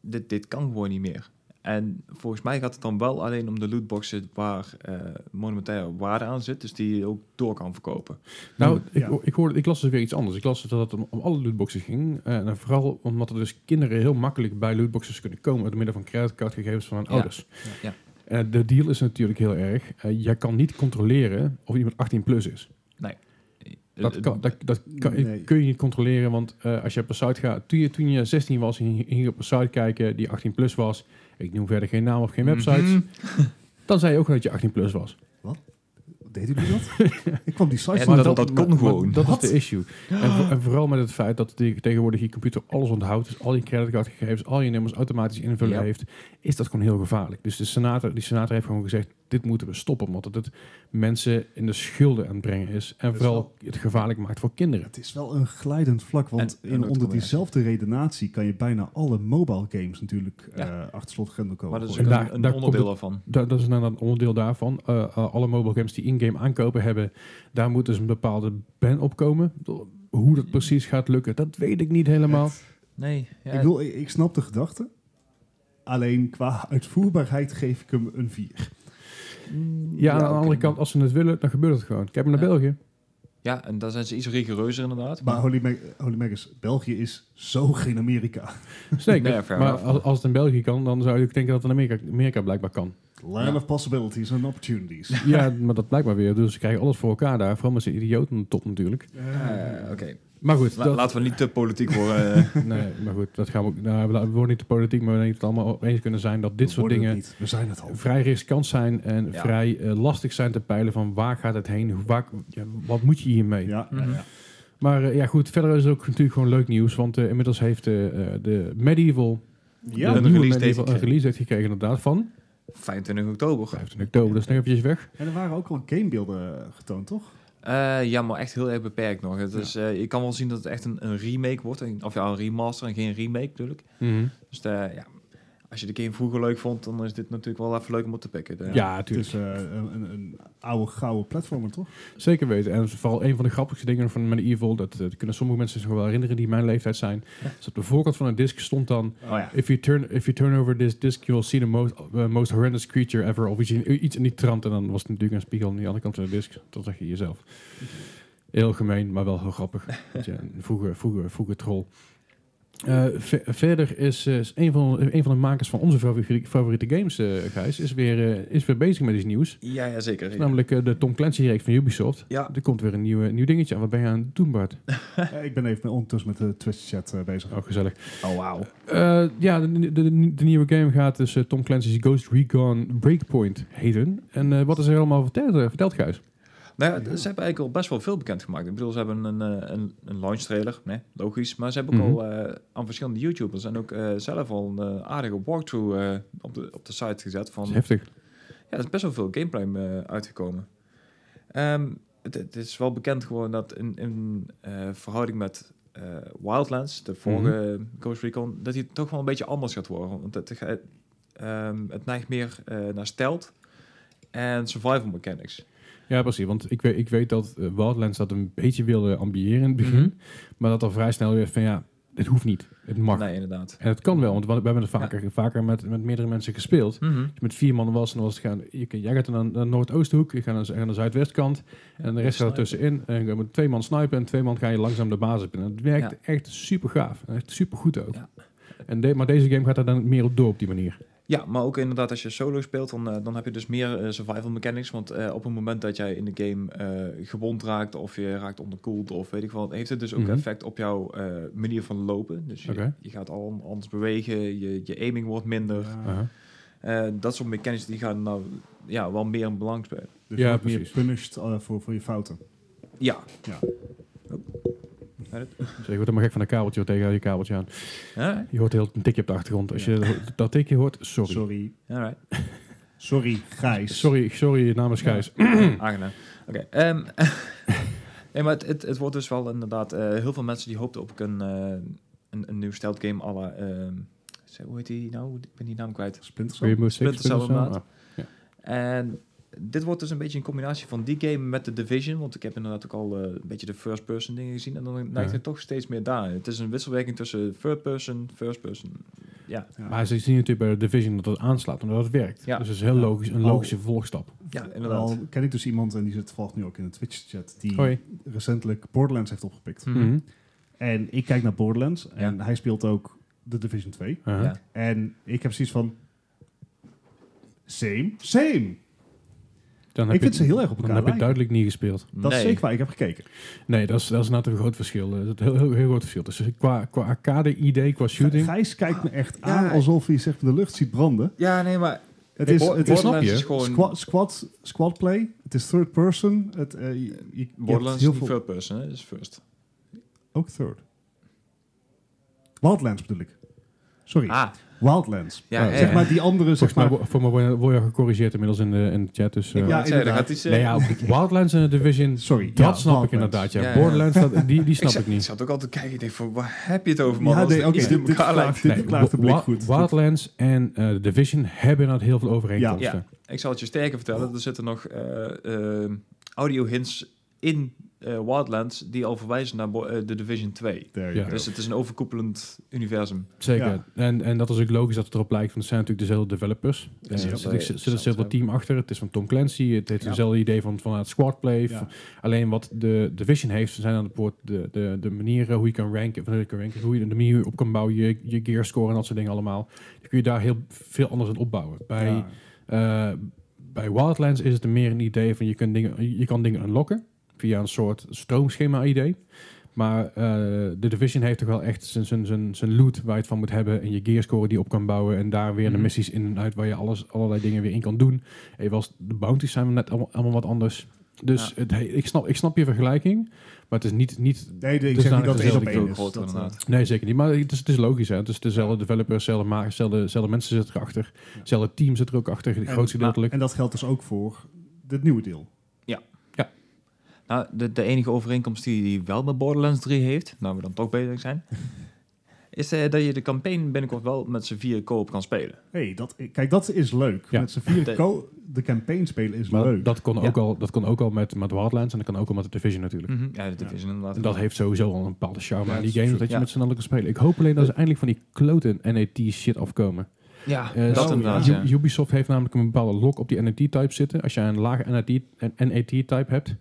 Speaker 4: dit, dit kan gewoon niet meer. En volgens mij gaat het dan wel alleen om de lootboxen waar eh monumentaire waarde aan zit, dus die je ook door kan verkopen.
Speaker 3: Nou,
Speaker 1: Ja.
Speaker 3: ik, ik, hoorde, ik las dus weer iets anders. Ik las dat het om, om alle lootboxen ging. Eh, en vooral omdat er dus kinderen heel makkelijk bij lootboxes kunnen komen... door middel van creditcardgegevens van hun
Speaker 4: Ja.
Speaker 3: ouders.
Speaker 4: Ja.
Speaker 3: Eh, de deal is natuurlijk heel erg... eh, jij kan niet controleren of iemand 18 plus is. Dat,
Speaker 4: Eh,
Speaker 3: kan, dat, dat kan,
Speaker 1: Nee.
Speaker 3: kun je niet controleren, want eh, als je op een site gaat... Toen je, toen je 16 was en je ging op een site kijken die 18 plus was... ik noem verder geen naam of geen websites...
Speaker 4: Mhm.
Speaker 3: dan zei je ook dat je 18 plus was.
Speaker 1: Deed jullie dat?
Speaker 3: <laughs>
Speaker 1: ik kwam die site
Speaker 4: En
Speaker 1: van-
Speaker 4: dat- dat kon
Speaker 3: maar-
Speaker 4: gewoon.
Speaker 3: Dat
Speaker 1: Wat?
Speaker 3: is de issue. En, vo- en vooral met het feit dat die- tegenwoordig je computer alles onthoudt. Dus al je creditcardgegevens, al je nummers automatisch invullen
Speaker 4: Ja.
Speaker 3: heeft. Is dat gewoon heel gevaarlijk. Dus de senator, die senator heeft gewoon gezegd, dit moeten we stoppen. Omdat het mensen in de schulden aan het brengen is. En
Speaker 1: is
Speaker 3: vooral het gevaarlijk maakt voor kinderen.
Speaker 1: Het is wel een glijdend vlak, want
Speaker 4: En- en
Speaker 1: in,
Speaker 4: het
Speaker 1: onder
Speaker 4: kan
Speaker 1: diezelfde redenatie kan je bijna alle mobile games natuurlijk
Speaker 4: Ja.
Speaker 1: eh, achter slot grendel komen.
Speaker 4: Maar dat is ook
Speaker 3: En
Speaker 1: gooien.
Speaker 3: daar-
Speaker 4: een, een
Speaker 3: daar komt
Speaker 4: onderdeel daarvan.
Speaker 3: Dat, dat is dan een onderdeel daarvan. Eh, eh, alle mobile games die in-game aankopen hebben, daar moet dus een bepaalde ban op komen. Hoe dat precies gaat lukken, dat weet ik niet helemaal.
Speaker 4: Nee, ja,
Speaker 1: ik, wil, ik, ik snap de gedachte, alleen qua uitvoerbaarheid geef ik hem een 4.
Speaker 3: Ja, aan
Speaker 4: oké.
Speaker 3: de andere kant, als ze het willen, dan gebeurt het gewoon. Kijk maar naar
Speaker 4: Ja.
Speaker 3: België.
Speaker 4: Ja, en daar zijn ze iets rigoureuzer inderdaad.
Speaker 1: Maar Holy, Mag Holy Magus, België is zo geen Amerika.
Speaker 4: <laughs>
Speaker 3: Zeker.
Speaker 4: Nee, fair
Speaker 3: maar
Speaker 4: enough.
Speaker 3: als, als het in België kan, dan zou je ook denken dat het in Amerika, Amerika blijkbaar kan.
Speaker 1: Land
Speaker 4: Ja.
Speaker 1: of possibilities and opportunities.
Speaker 4: <laughs>
Speaker 3: ja, maar dat blijkbaar weer. Dus ze krijgen alles voor elkaar daar. Vooral met zijn idioten aan de top natuurlijk.
Speaker 4: Eh, Oké,
Speaker 3: Maar goed,
Speaker 4: La-
Speaker 3: dat,
Speaker 4: laten we niet te politiek
Speaker 3: <laughs>
Speaker 4: worden. eh.
Speaker 3: nee, maar goed, dat gaan we ook. Nou, we, we worden niet de politiek, maar we denken dat we het allemaal over eens kunnen zijn dat dit
Speaker 1: We
Speaker 3: soort
Speaker 1: worden het
Speaker 3: dingen
Speaker 1: niet, We zijn het al.
Speaker 3: vrij riskant zijn en
Speaker 4: Ja.
Speaker 3: vrij eh, lastig zijn te peilen van waar gaat het heen, hoe- waar, ja, wat moet je hiermee?
Speaker 1: Ja, ja, ja.
Speaker 3: Maar eh, ja goed, verder is het ook natuurlijk gewoon leuk nieuws, want eh, inmiddels heeft eh, eh, de Medieval
Speaker 1: Ja,
Speaker 3: de
Speaker 4: een
Speaker 3: nieuwe
Speaker 4: release date
Speaker 3: Medieval een
Speaker 4: gekregen.
Speaker 3: release heeft gekregen inderdaad van
Speaker 4: 25 oktober.
Speaker 3: 15 oktober, dus nog eventjes weg.
Speaker 1: en er waren ook al gamebeelden getoond, toch?
Speaker 4: Eh, ja, maar echt heel erg beperkt nog. Het is, eh, je kan wel zien dat Mhm. het echt een, een remake wordt. Een- Of ja, een remaster en geen remake natuurlijk. Dus eh, ja, als je de game vroeger leuk vond, dan is dit natuurlijk wel even leuk om op te pikken. Dus, De-
Speaker 3: Ja,
Speaker 1: Het
Speaker 3: natuurlijk.
Speaker 1: is eh, een, een, een oude gouden platformer, toch?
Speaker 3: Zeker weten. En dat is vooral een van de grappigste dingen van met Evil. Dat, eh, dat kunnen sommige mensen zich nog wel herinneren die mijn leeftijd zijn. Dus op de voorkant van een disc stond dan...
Speaker 4: Oh ja.
Speaker 3: If you, turn, if you turn over this disc, you will see the most, eh, most horrendous creature ever. Of iets in, iets in die trant. En dan was het natuurlijk een spiegel aan de andere kant van de disc. Dan zag je jezelf. Heel gemeen, maar wel heel
Speaker 4: <laughs>
Speaker 3: grappig. Weet je, een Vroeger, vroeger, vroeger troll. Eh, ve- verder is, eh, is een, van, een van de makers van onze favori- favoriete games, eh, Gijs, is weer, eh, is weer bezig met iets nieuws.
Speaker 4: Ja, ja, zeker.
Speaker 3: Dat is namelijk eh, de Tom Clancy-reeks van Ubisoft.
Speaker 4: Ja.
Speaker 3: Er komt weer een nieuw, nieuw dingetje aan. Wat ben je aan het doen,
Speaker 4: <laughs>
Speaker 3: Bart?
Speaker 1: Eh, ik ben even met- ondertussen met de Twitch-chat eh, bezig.
Speaker 3: Oh, gezellig.
Speaker 1: Oh, wauw.
Speaker 3: Eh, ja, de, de, de- de nieuwe game gaat dus eh, Tom Clancy's Ghost Recon Breakpoint heten. En eh, wat is er allemaal verteld, eh, verteld Gijs?
Speaker 4: Nou ja, ze hebben eigenlijk al best wel veel bekendgemaakt. Ik bedoel, ze hebben een, eh, een, een launch trailer, nee, logisch. Maar ze hebben ook
Speaker 3: Mhm.
Speaker 4: al eh, aan verschillende YouTubers en ook eh, zelf al een eh, aardige walkthrough eh, op, de, op de site gezet.
Speaker 3: Dat
Speaker 4: Van,
Speaker 3: is heftig.
Speaker 4: ja, er is best wel veel gameplay eh, uitgekomen. Ehm, het, het is wel bekend gewoon dat in, in eh, verhouding met eh, Wildlands, de vorige Ghost Recon, dat hij toch wel een beetje anders gaat worden. Want het, het, ehm, het neigt meer eh, naar stealth en survival mechanics.
Speaker 3: Ja, precies. Want ik weet, ik weet dat eh, Wildlands dat een beetje wilde ambiëren in het begin.
Speaker 4: Mhm.
Speaker 3: Maar dat al vrij snel weer van ja, dit hoeft niet. Het mag.
Speaker 4: Nee, inderdaad.
Speaker 3: En het kan wel, want we we hebben het vaker, vaker met, met meerdere mensen gespeeld.
Speaker 4: Mhm.
Speaker 3: Als je met vier man was, dan was het gaan. Je, kan- jij gaat naar de Noordoosthoek, je gaat naar, de- aan de Zuidwestkant. En de rest gaat er tussenin. En je gaat met twee man snipen en twee man ga je langzaam de basis binnen. Het werkt
Speaker 4: Ja.
Speaker 3: echt super gaaf. Echt super goed ook.
Speaker 4: Ja.
Speaker 3: En de- maar deze game gaat er dan meer op door op die manier.
Speaker 4: Ja, maar ook inderdaad als je solo speelt, dan, eh, dan heb je dus meer eh, survival mechanics. Want eh, op het moment dat jij in de game eh, gewond raakt of je raakt onderkoeld of weet ik wat, heeft het dus ook
Speaker 3: Mhm.
Speaker 4: effect op jouw eh, manier van lopen. Dus je,
Speaker 3: Oké.
Speaker 4: je gaat al anders bewegen, je, je aiming wordt minder.
Speaker 3: Aha.
Speaker 4: Eh, dat soort mechanics die gaan nou ja, wel meer een belang spelen.
Speaker 1: Dus
Speaker 3: Ja,
Speaker 1: je wordt meer
Speaker 3: precies.
Speaker 1: punished eh, voor, voor je fouten.
Speaker 4: Ja.
Speaker 1: Ja.
Speaker 3: Dus je wordt helemaal gek van een kabeltje hoor, tegen je kabeltje aan.
Speaker 4: Alright.
Speaker 3: Je hoort heel een tikje op de achtergrond. Als je dat- dat tikje hoort, sorry. Sorry,
Speaker 1: Sorry.
Speaker 4: Alright.
Speaker 1: Sorry, Gijs.
Speaker 3: sorry, namens Gijs.
Speaker 4: Aangenaam. Oké. ehm, <laughs> nee, maar het, het, het wordt dus wel inderdaad... eh, heel veel mensen die hoopten op een, eh een, een nieuw stealth game à la... ehm, zo- hoe heet die nou? Ik ben die naam kwijt.
Speaker 1: Splinter Cell?
Speaker 3: Sorry, moest ik-
Speaker 4: Splinter Cell
Speaker 3: Splinter Cell?
Speaker 4: inderdaad. En dit wordt dus een beetje een combinatie van die game met de Division. Want ik heb inderdaad ook al eh, een beetje de first-person dingen gezien. En dan lijkt
Speaker 3: Ja.
Speaker 4: het toch steeds meer daar. Het is een wisselwerking tussen third-person, first-person. Ja,
Speaker 1: Ja.
Speaker 3: Ah. Maar ze zien natuurlijk bij de Division dat het aanslaat, omdat het werkt.
Speaker 4: Ja. Oh.
Speaker 3: Dus het is heel
Speaker 1: Ja.
Speaker 3: logisch, een
Speaker 1: Al-
Speaker 3: logische volgstap.
Speaker 4: ja inderdaad.
Speaker 1: Wel ken ik dus iemand, en die zit volgt nu ook in de Twitch-chat, die
Speaker 3: Hoi.
Speaker 1: recentelijk Borderlands heeft opgepikt.
Speaker 4: Mhm.
Speaker 3: Mhm.
Speaker 1: En ik kijk naar Borderlands, en hij speelt ook de Division 2.
Speaker 3: Aha.
Speaker 4: Ja.
Speaker 1: En ik heb zoiets van... Same, same.
Speaker 3: Dan heb
Speaker 1: Ik
Speaker 3: je-
Speaker 1: vind ze heel erg op
Speaker 3: Dan
Speaker 1: elkaar
Speaker 3: heb
Speaker 1: lijken.
Speaker 3: je duidelijk niet gespeeld.
Speaker 1: Dat
Speaker 4: Nee.
Speaker 1: is zeker waar, ik heb gekeken.
Speaker 3: Nee, dat is, dat is inderdaad een groot verschil. Eh, Dat is een heel, heel, heel groot verschil. Dus qua, qua arcade-idee, qua shooting...
Speaker 1: Gijs kijkt me echt
Speaker 4: Ja.
Speaker 1: aan alsof hij zegt de lucht ziet branden.
Speaker 4: Ja, nee, maar...
Speaker 1: Het is,
Speaker 4: Bo-
Speaker 1: het is
Speaker 4: Borderlands
Speaker 3: snap je.
Speaker 4: is gewoon...
Speaker 1: squad, squad, squad play, het is third person. Het, eh, je- je- je hebt
Speaker 4: Borderlands is
Speaker 1: heel
Speaker 4: niet
Speaker 1: veel-
Speaker 4: third-person, hè, het is first.
Speaker 1: Ook third. Wildlands bedoel ik. Sorry,
Speaker 4: Ah,
Speaker 1: Wildlands.
Speaker 4: ja,
Speaker 3: Oh,
Speaker 4: ja,
Speaker 1: Zeg
Speaker 4: ja.
Speaker 1: maar die andere, zeg
Speaker 3: Volgens
Speaker 1: maar...
Speaker 3: mij, wo- voor mij word je- word je gecorrigeerd inmiddels in de, in de chat. Dus,
Speaker 4: Ik
Speaker 3: eh,
Speaker 4: wou
Speaker 1: Ja,
Speaker 4: net zeggen, er
Speaker 1: inderdaad.
Speaker 4: gaat iets... eh,
Speaker 3: nee, ja, Wildlands en de Division,
Speaker 1: Sorry,
Speaker 3: dat
Speaker 1: ja,
Speaker 3: snap ik
Speaker 1: Wildlands.
Speaker 3: inderdaad. Ja.
Speaker 4: Ja, ja.
Speaker 3: Borderlands, dat,
Speaker 1: <laughs>
Speaker 3: die, die snap ik,
Speaker 4: zat-
Speaker 3: niet.
Speaker 4: zat ook altijd te kijken, ik denk van, waar heb je het over, man?
Speaker 1: Ja,
Speaker 4: Als
Speaker 1: nee,
Speaker 4: er
Speaker 1: oké,
Speaker 4: iets in
Speaker 1: dit, dit,
Speaker 4: elkaar
Speaker 1: verklaart,
Speaker 4: lijkt.
Speaker 1: dit
Speaker 3: Nee,
Speaker 1: verklaart de
Speaker 3: Wa-
Speaker 1: blik
Speaker 3: Wa-
Speaker 1: goed.
Speaker 3: Wildlands en eh, de Division hebben inderdaad heel veel overeenkomsten.
Speaker 4: Ja. Ik zal het je sterker vertellen, er zitten nog eh, eh, audio hints in eh, Wildlands die al verwijzen naar Bo- eh, de Division 2.
Speaker 1: There
Speaker 3: Ja.
Speaker 1: you go.
Speaker 4: Dus het is een overkoepelend universum.
Speaker 3: Zeker.
Speaker 1: Ja.
Speaker 3: En, en dat is ook logisch dat het erop lijkt, want het zijn natuurlijk dezelfde developers. Eh, Er
Speaker 4: Ja,
Speaker 3: zit-
Speaker 4: ze-
Speaker 3: er zit
Speaker 4: ze-
Speaker 3: zit hetzelfde
Speaker 4: ze-
Speaker 3: team achter. Het is van Tom Clancy. Het heeft
Speaker 1: Ja.
Speaker 3: hetzelfde idee van, van het squadplay.
Speaker 1: Ja.
Speaker 3: Van- Alleen wat de Division heeft, zijn aan de poort de, de, de manieren hoe je kan ranken, of hoe je kan ranken, hoe je de manier op kan bouwen, je, je gear score en dat soort dingen allemaal. Dan kun je daar heel veel anders aan opbouwen. Bij,
Speaker 1: Ja.
Speaker 3: eh, bij Wildlands is het meer een idee van je, kunt dingen, je kan dingen unlocken via een soort stroomschema idee. Maar eh, de Division heeft toch wel echt zijn- zijn- zijn zijn loot waar je het van moet hebben en je gearscore die je op kan bouwen en daar weer de
Speaker 4: Mhm.
Speaker 3: missies in en uit waar je alles, allerlei dingen weer in kan doen. En was, de bounties zijn net allemaal, allemaal wat anders. Dus het, he- ik, snap, ik snap je vergelijking, maar het is niet, niet
Speaker 1: Nee, ik
Speaker 3: Dus
Speaker 1: zeg
Speaker 3: dan
Speaker 1: niet dat
Speaker 3: is
Speaker 1: het één op
Speaker 3: het
Speaker 1: één
Speaker 4: heel
Speaker 1: is.
Speaker 4: groot,
Speaker 1: Dat, eh,
Speaker 4: inderdaad.
Speaker 3: Nee, zeker niet. Maar het is, het is logisch. Hè? Het is dezelfde developers, dezelfde makers, dezelfde, dezelfde mensen zitten erachter. Hetzelfde team zit er ook achter, grootste gedeeltelijk.
Speaker 1: En dat geldt dus ook voor dit nieuwe deel. <laughs>
Speaker 4: Nou, de, de enige overeenkomst die hij wel met Borderlands 3 heeft, nou we dan toch bezig zijn, Is eh, dat je de campaign binnenkort wel met z'n vier koop kan spelen.
Speaker 1: Hey, dat, eh, kijk, dat is leuk.
Speaker 3: Ja.
Speaker 1: Met z'n vieren
Speaker 4: Dat-
Speaker 1: co- de campaign spelen is
Speaker 3: Maar
Speaker 1: leuk.
Speaker 3: dat kon, ook
Speaker 4: Ja.
Speaker 3: al, dat kon ook al met, met Wildlands en dat kan ook al met de Division natuurlijk.
Speaker 1: Mhm.
Speaker 4: Ja, dat is inderdaad.
Speaker 3: En dat heeft sowieso al een bepaalde charme
Speaker 1: Mm. Ja,
Speaker 3: aan die
Speaker 1: dat is
Speaker 3: game, dat je
Speaker 4: Ja.
Speaker 3: met z'n allen kan spelen. Ik hoop alleen dat ze eindelijk van die klote NET-shit afkomen.
Speaker 4: ja,
Speaker 3: Eh,
Speaker 4: dat
Speaker 3: zo-
Speaker 4: inderdaad.
Speaker 3: U-
Speaker 4: Ja.
Speaker 3: Ubisoft heeft namelijk een bepaalde lock op die NAT-type zitten. Als jij een lage E NAT-type hebt,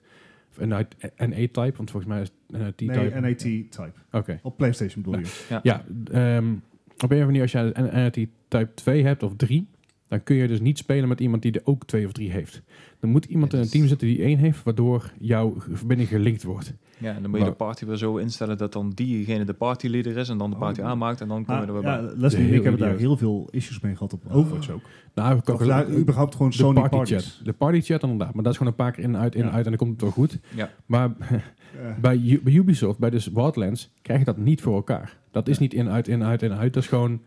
Speaker 3: of NA-type, want volgens mij is NAT-type...
Speaker 1: nee, E NAT type.
Speaker 3: Oké.
Speaker 1: Op PlayStation bedoel je.
Speaker 3: Ja, ehm, op een of andere manier, als jij een NAT-type 2 hebt of 3, dan kun je dus niet spelen met iemand die er ook 2 of 3 heeft. Dan moet iemand
Speaker 4: Ja,
Speaker 3: in
Speaker 4: dat
Speaker 3: een
Speaker 4: is-
Speaker 3: team zitten die 1 heeft, waardoor jouw verbinding gelinkt wordt.
Speaker 4: ja, en dan moet je de
Speaker 3: Maar-
Speaker 4: party weer zo instellen dat dan diegene de partyleader is en dan de
Speaker 1: Oh,
Speaker 4: party
Speaker 1: ja.
Speaker 4: aanmaakt en dan komen
Speaker 1: Maar,
Speaker 4: we er weer
Speaker 1: ja,
Speaker 4: bij.
Speaker 1: Leslie en ik
Speaker 3: Heel
Speaker 1: hebben daar
Speaker 3: idioot.
Speaker 1: heel veel issues mee gehad
Speaker 3: Ah.
Speaker 1: op Overwatch ook.
Speaker 3: Nou, we
Speaker 1: Of daar überhaupt gewoon
Speaker 3: de
Speaker 1: Sony
Speaker 3: party
Speaker 1: parties.
Speaker 3: chat. De party chat inderdaad, maar dat is gewoon een paar keer in uit, in
Speaker 1: Ja.
Speaker 3: uit en dan komt het wel goed.
Speaker 4: Ja.
Speaker 3: Maar <laughs>
Speaker 1: Eh,
Speaker 3: Bij, U- bij Ubisoft, bij dus Wildlands, krijg je dat niet voor elkaar. Dat is niet in, uit, in, uit, in, uit. Dat is gewoon